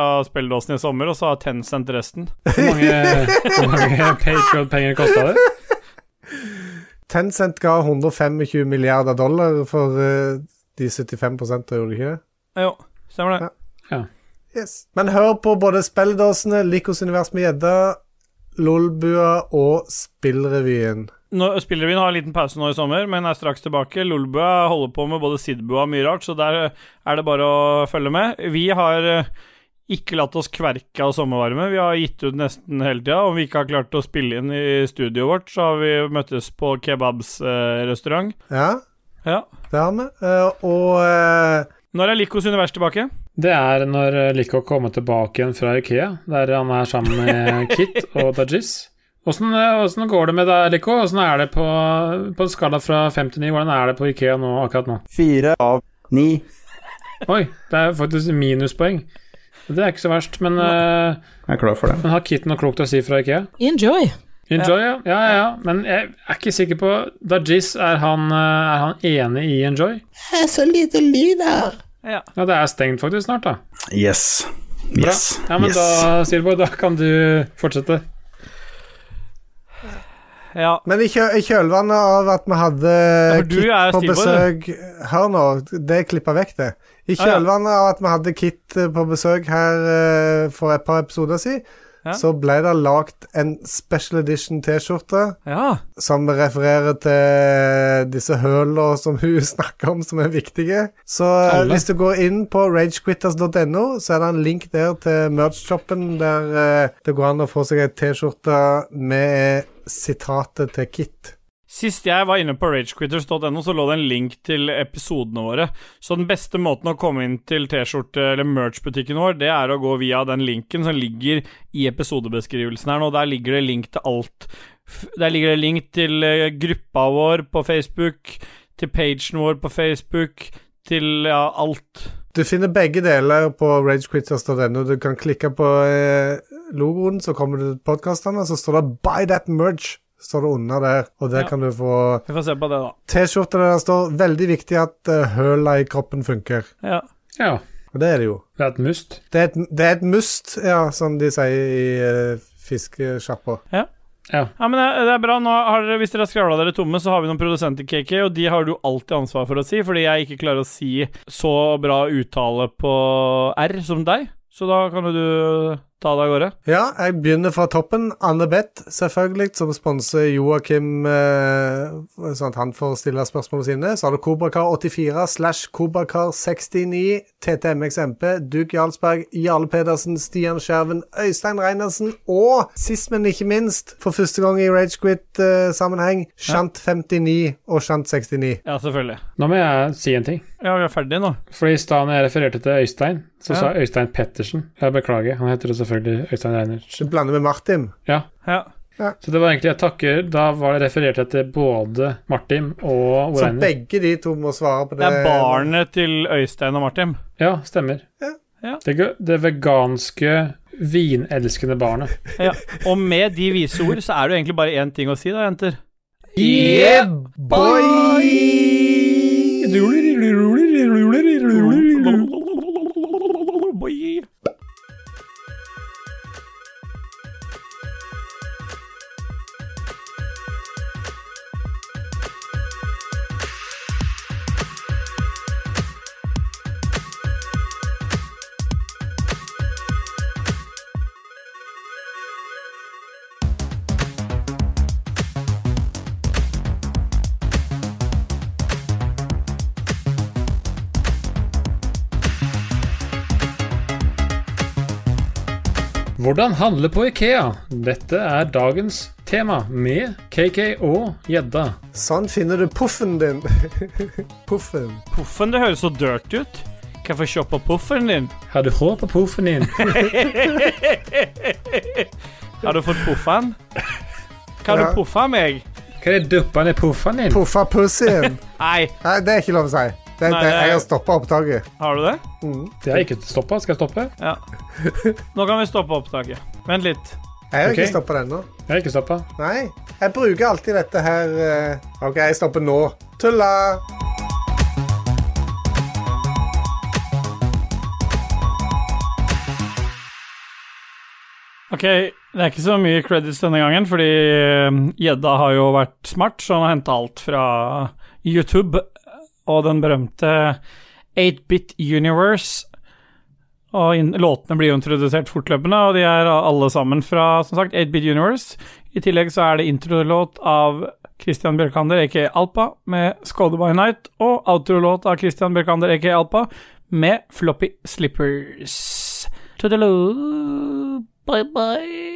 av spilledåsene i sommer, og så har Tencent resten.
Hvor mange, hvor mange Patriot-penger kosta det?
Tencent ga 125 milliarder dollar for eh, de 75 gjorde de ikke det?
Jo, stemmer det.
Ja. Yes. Men hør på både Spelledåsene, Likos univers med gjedda, Lolbua og Spillrevyen.
Nå, Spillrevyen har en liten pause nå i sommer, men er straks tilbake. Lolbua holder på med både Sidbua og mye rart, så der eh, er det bare å følge med. Vi har eh, ikke latt oss kverke av sommervarme. Vi har gitt ut nesten hele tida. Om vi ikke har klart å spille inn i studioet vårt, så har vi møttes på Kebabs eh, restaurant.
Ja,
Ja.
det har vi. Eh, og eh,
Når er Likos univers tilbake?
Det er når Lico kommer tilbake igjen fra Ikea, der han er sammen med Kit og Dajis. Åssen eh, åssen går det med deg, Lico? Åssen er det på, på en skala fra fem til ni? Hvordan er det på Ikea nå, akkurat nå?
Fire av ni.
Oi, det er faktisk minuspoeng. Det er ikke så verst, men, eh,
Jeg er klar for det.
men har Kit noe klokt å si fra Ikea?
Enjoy.
Enjoy, ja. Ja, ja, ja. Men jeg er ikke sikker på Dajis, er han, eh, er han enig i Enjoy?
Det er så lite lyd her.
Ja.
Ja, det er stengt faktisk snart, da.
Yes. Yes.
Ja, men
yes.
da, Silborg, da kan du fortsette.
ja.
Men i, kjø i kjølvannet av at vi hadde
for du
Kit
er
på
stivbånd,
besøk Hør nå, det klippa vekk, det. I
Ah, ja.
kjølvannet av at vi hadde Kit eh, på besøk her eh, for et par episoder siden,
Ja.
så ble det lagd en special edition T-skjorte
ja.
som refererer til disse høla som hun snakker om, som er viktige. Så eh,
Alle.
hvis du går inn på ragequitters.no, så er det en link der til merch-shoppen, der eh, det går an å få seg ei T-skjorte med sitatet til Kit.
Sist jeg var inne på ragequitters.no, så lå det en link til episodene våre. Så den beste måten å komme inn til T-skjorte- eller merch-butikken vår, det er å gå via den linken som ligger i episodebeskrivelsen her nå. Der ligger det link til alt. F- Der ligger det link til eh, gruppa vår på Facebook, til pagen vår på Facebook, til ja, alt.
Du finner begge deler på ragequitters.no. Du kan klikke på eh, logoen, så kommer du til podkastene, så står det 'Buy that merch'. Står det under der, og der
Ja.
kan du få
Vi får se på det, da.
T-skjorte der det står 'Veldig viktig at eh, høla i kroppen funker'.
Ja.
Ja,
Og det er det jo.
det er et must.
Det er et, det er et must, ja, som de sier i uh, eh, fiskesjappa.
Ja.
Ja, men det, det er bra. Nå har dere, hvis dere har skravla dere tomme, så har vi noen produsenter, KK, og de har du alltid ansvar for å si, fordi jeg ikke klarer å si så bra uttale på R som deg. Så da kan jo du ta deg av gårde.
Ja, jeg begynner fra toppen. Anne Beth, selvfølgelig, som sponser Joakim, eh, sånn at han får stille spørsmålene sine. Så har du Kobrakar84 slash Kobrakar69, TTMXMP, Duke Jarlsberg, Jarle Pedersen, Stian Skjerven, Øystein Reinersen og sist, men ikke minst, for første gang i eh, Ragequit-sammenheng, Shant59 og Shant69.
Ja, selvfølgelig.
Nå må jeg si en ting.
Ja, vi er ferdige nå.
For i stad når jeg refererte til Øystein, så
Ja.
sa Øystein Pettersen. Jeg beklager, han heter jo selvfølgelig Øystein Reinertsen.
Du blander med Martin.
Ja.
Ja.
Så det var egentlig jeg takker. Da var det referert til både Martin og
Så
Oreiner.
begge de to må svare på det.
Det er barnet til Øystein og Martin.
Ja, stemmer.
Ja.
Ja.
Det, gu- det veganske, vinelskende barnet.
Ja. Og med de vise ord så er det jo egentlig bare én ting å si, da, jenter.
Yeah,
Boy.
Hvordan handle på Ikea? Dette er dagens tema med KK og Gjedda.
Sånn finner du puffen din. puffen.
Poffen, det høres så dirty ut. Kan jeg få se på poffen din?
Har du hår på poffen din?
Har du fått poffen? Kan
Ja.
du poffe meg?
Hva er det duppa ned poffen din?
Puffa pussien.
Nei,
Nei, det er ikke lov å si. Det,
Nei,
det,
det er-
jeg har stoppa opptaket.
har du det?
Det har jeg ikke stoppa. Skal jeg stoppe?
Ja. Nå kan vi stoppe opptaket. Vent litt.
Jeg har
Ok.
ikke stoppa den nå.
Jeg har ikke stoppa.
Nei. Jeg bruker alltid dette her eh, OK, jeg stopper nå. Tulla!
Ok, det er ikke så mye credits denne gangen, fordi eh, gjedda har jo vært smart, så han har henta alt fra YouTube og den berømte 8-bit Universe. Og inn- låtene blir jo introdusert fortløpende, og de er alle sammen fra som sagt 8-bit Universe. I tillegg så er det introlåt av Christian Bjørkander, aka Alpa, med 'Skåde by Night', og outrolåt av Christian Bjørkander, aka Alpa, med 'Floppy Slippers'. Toodaloo. Bye bye.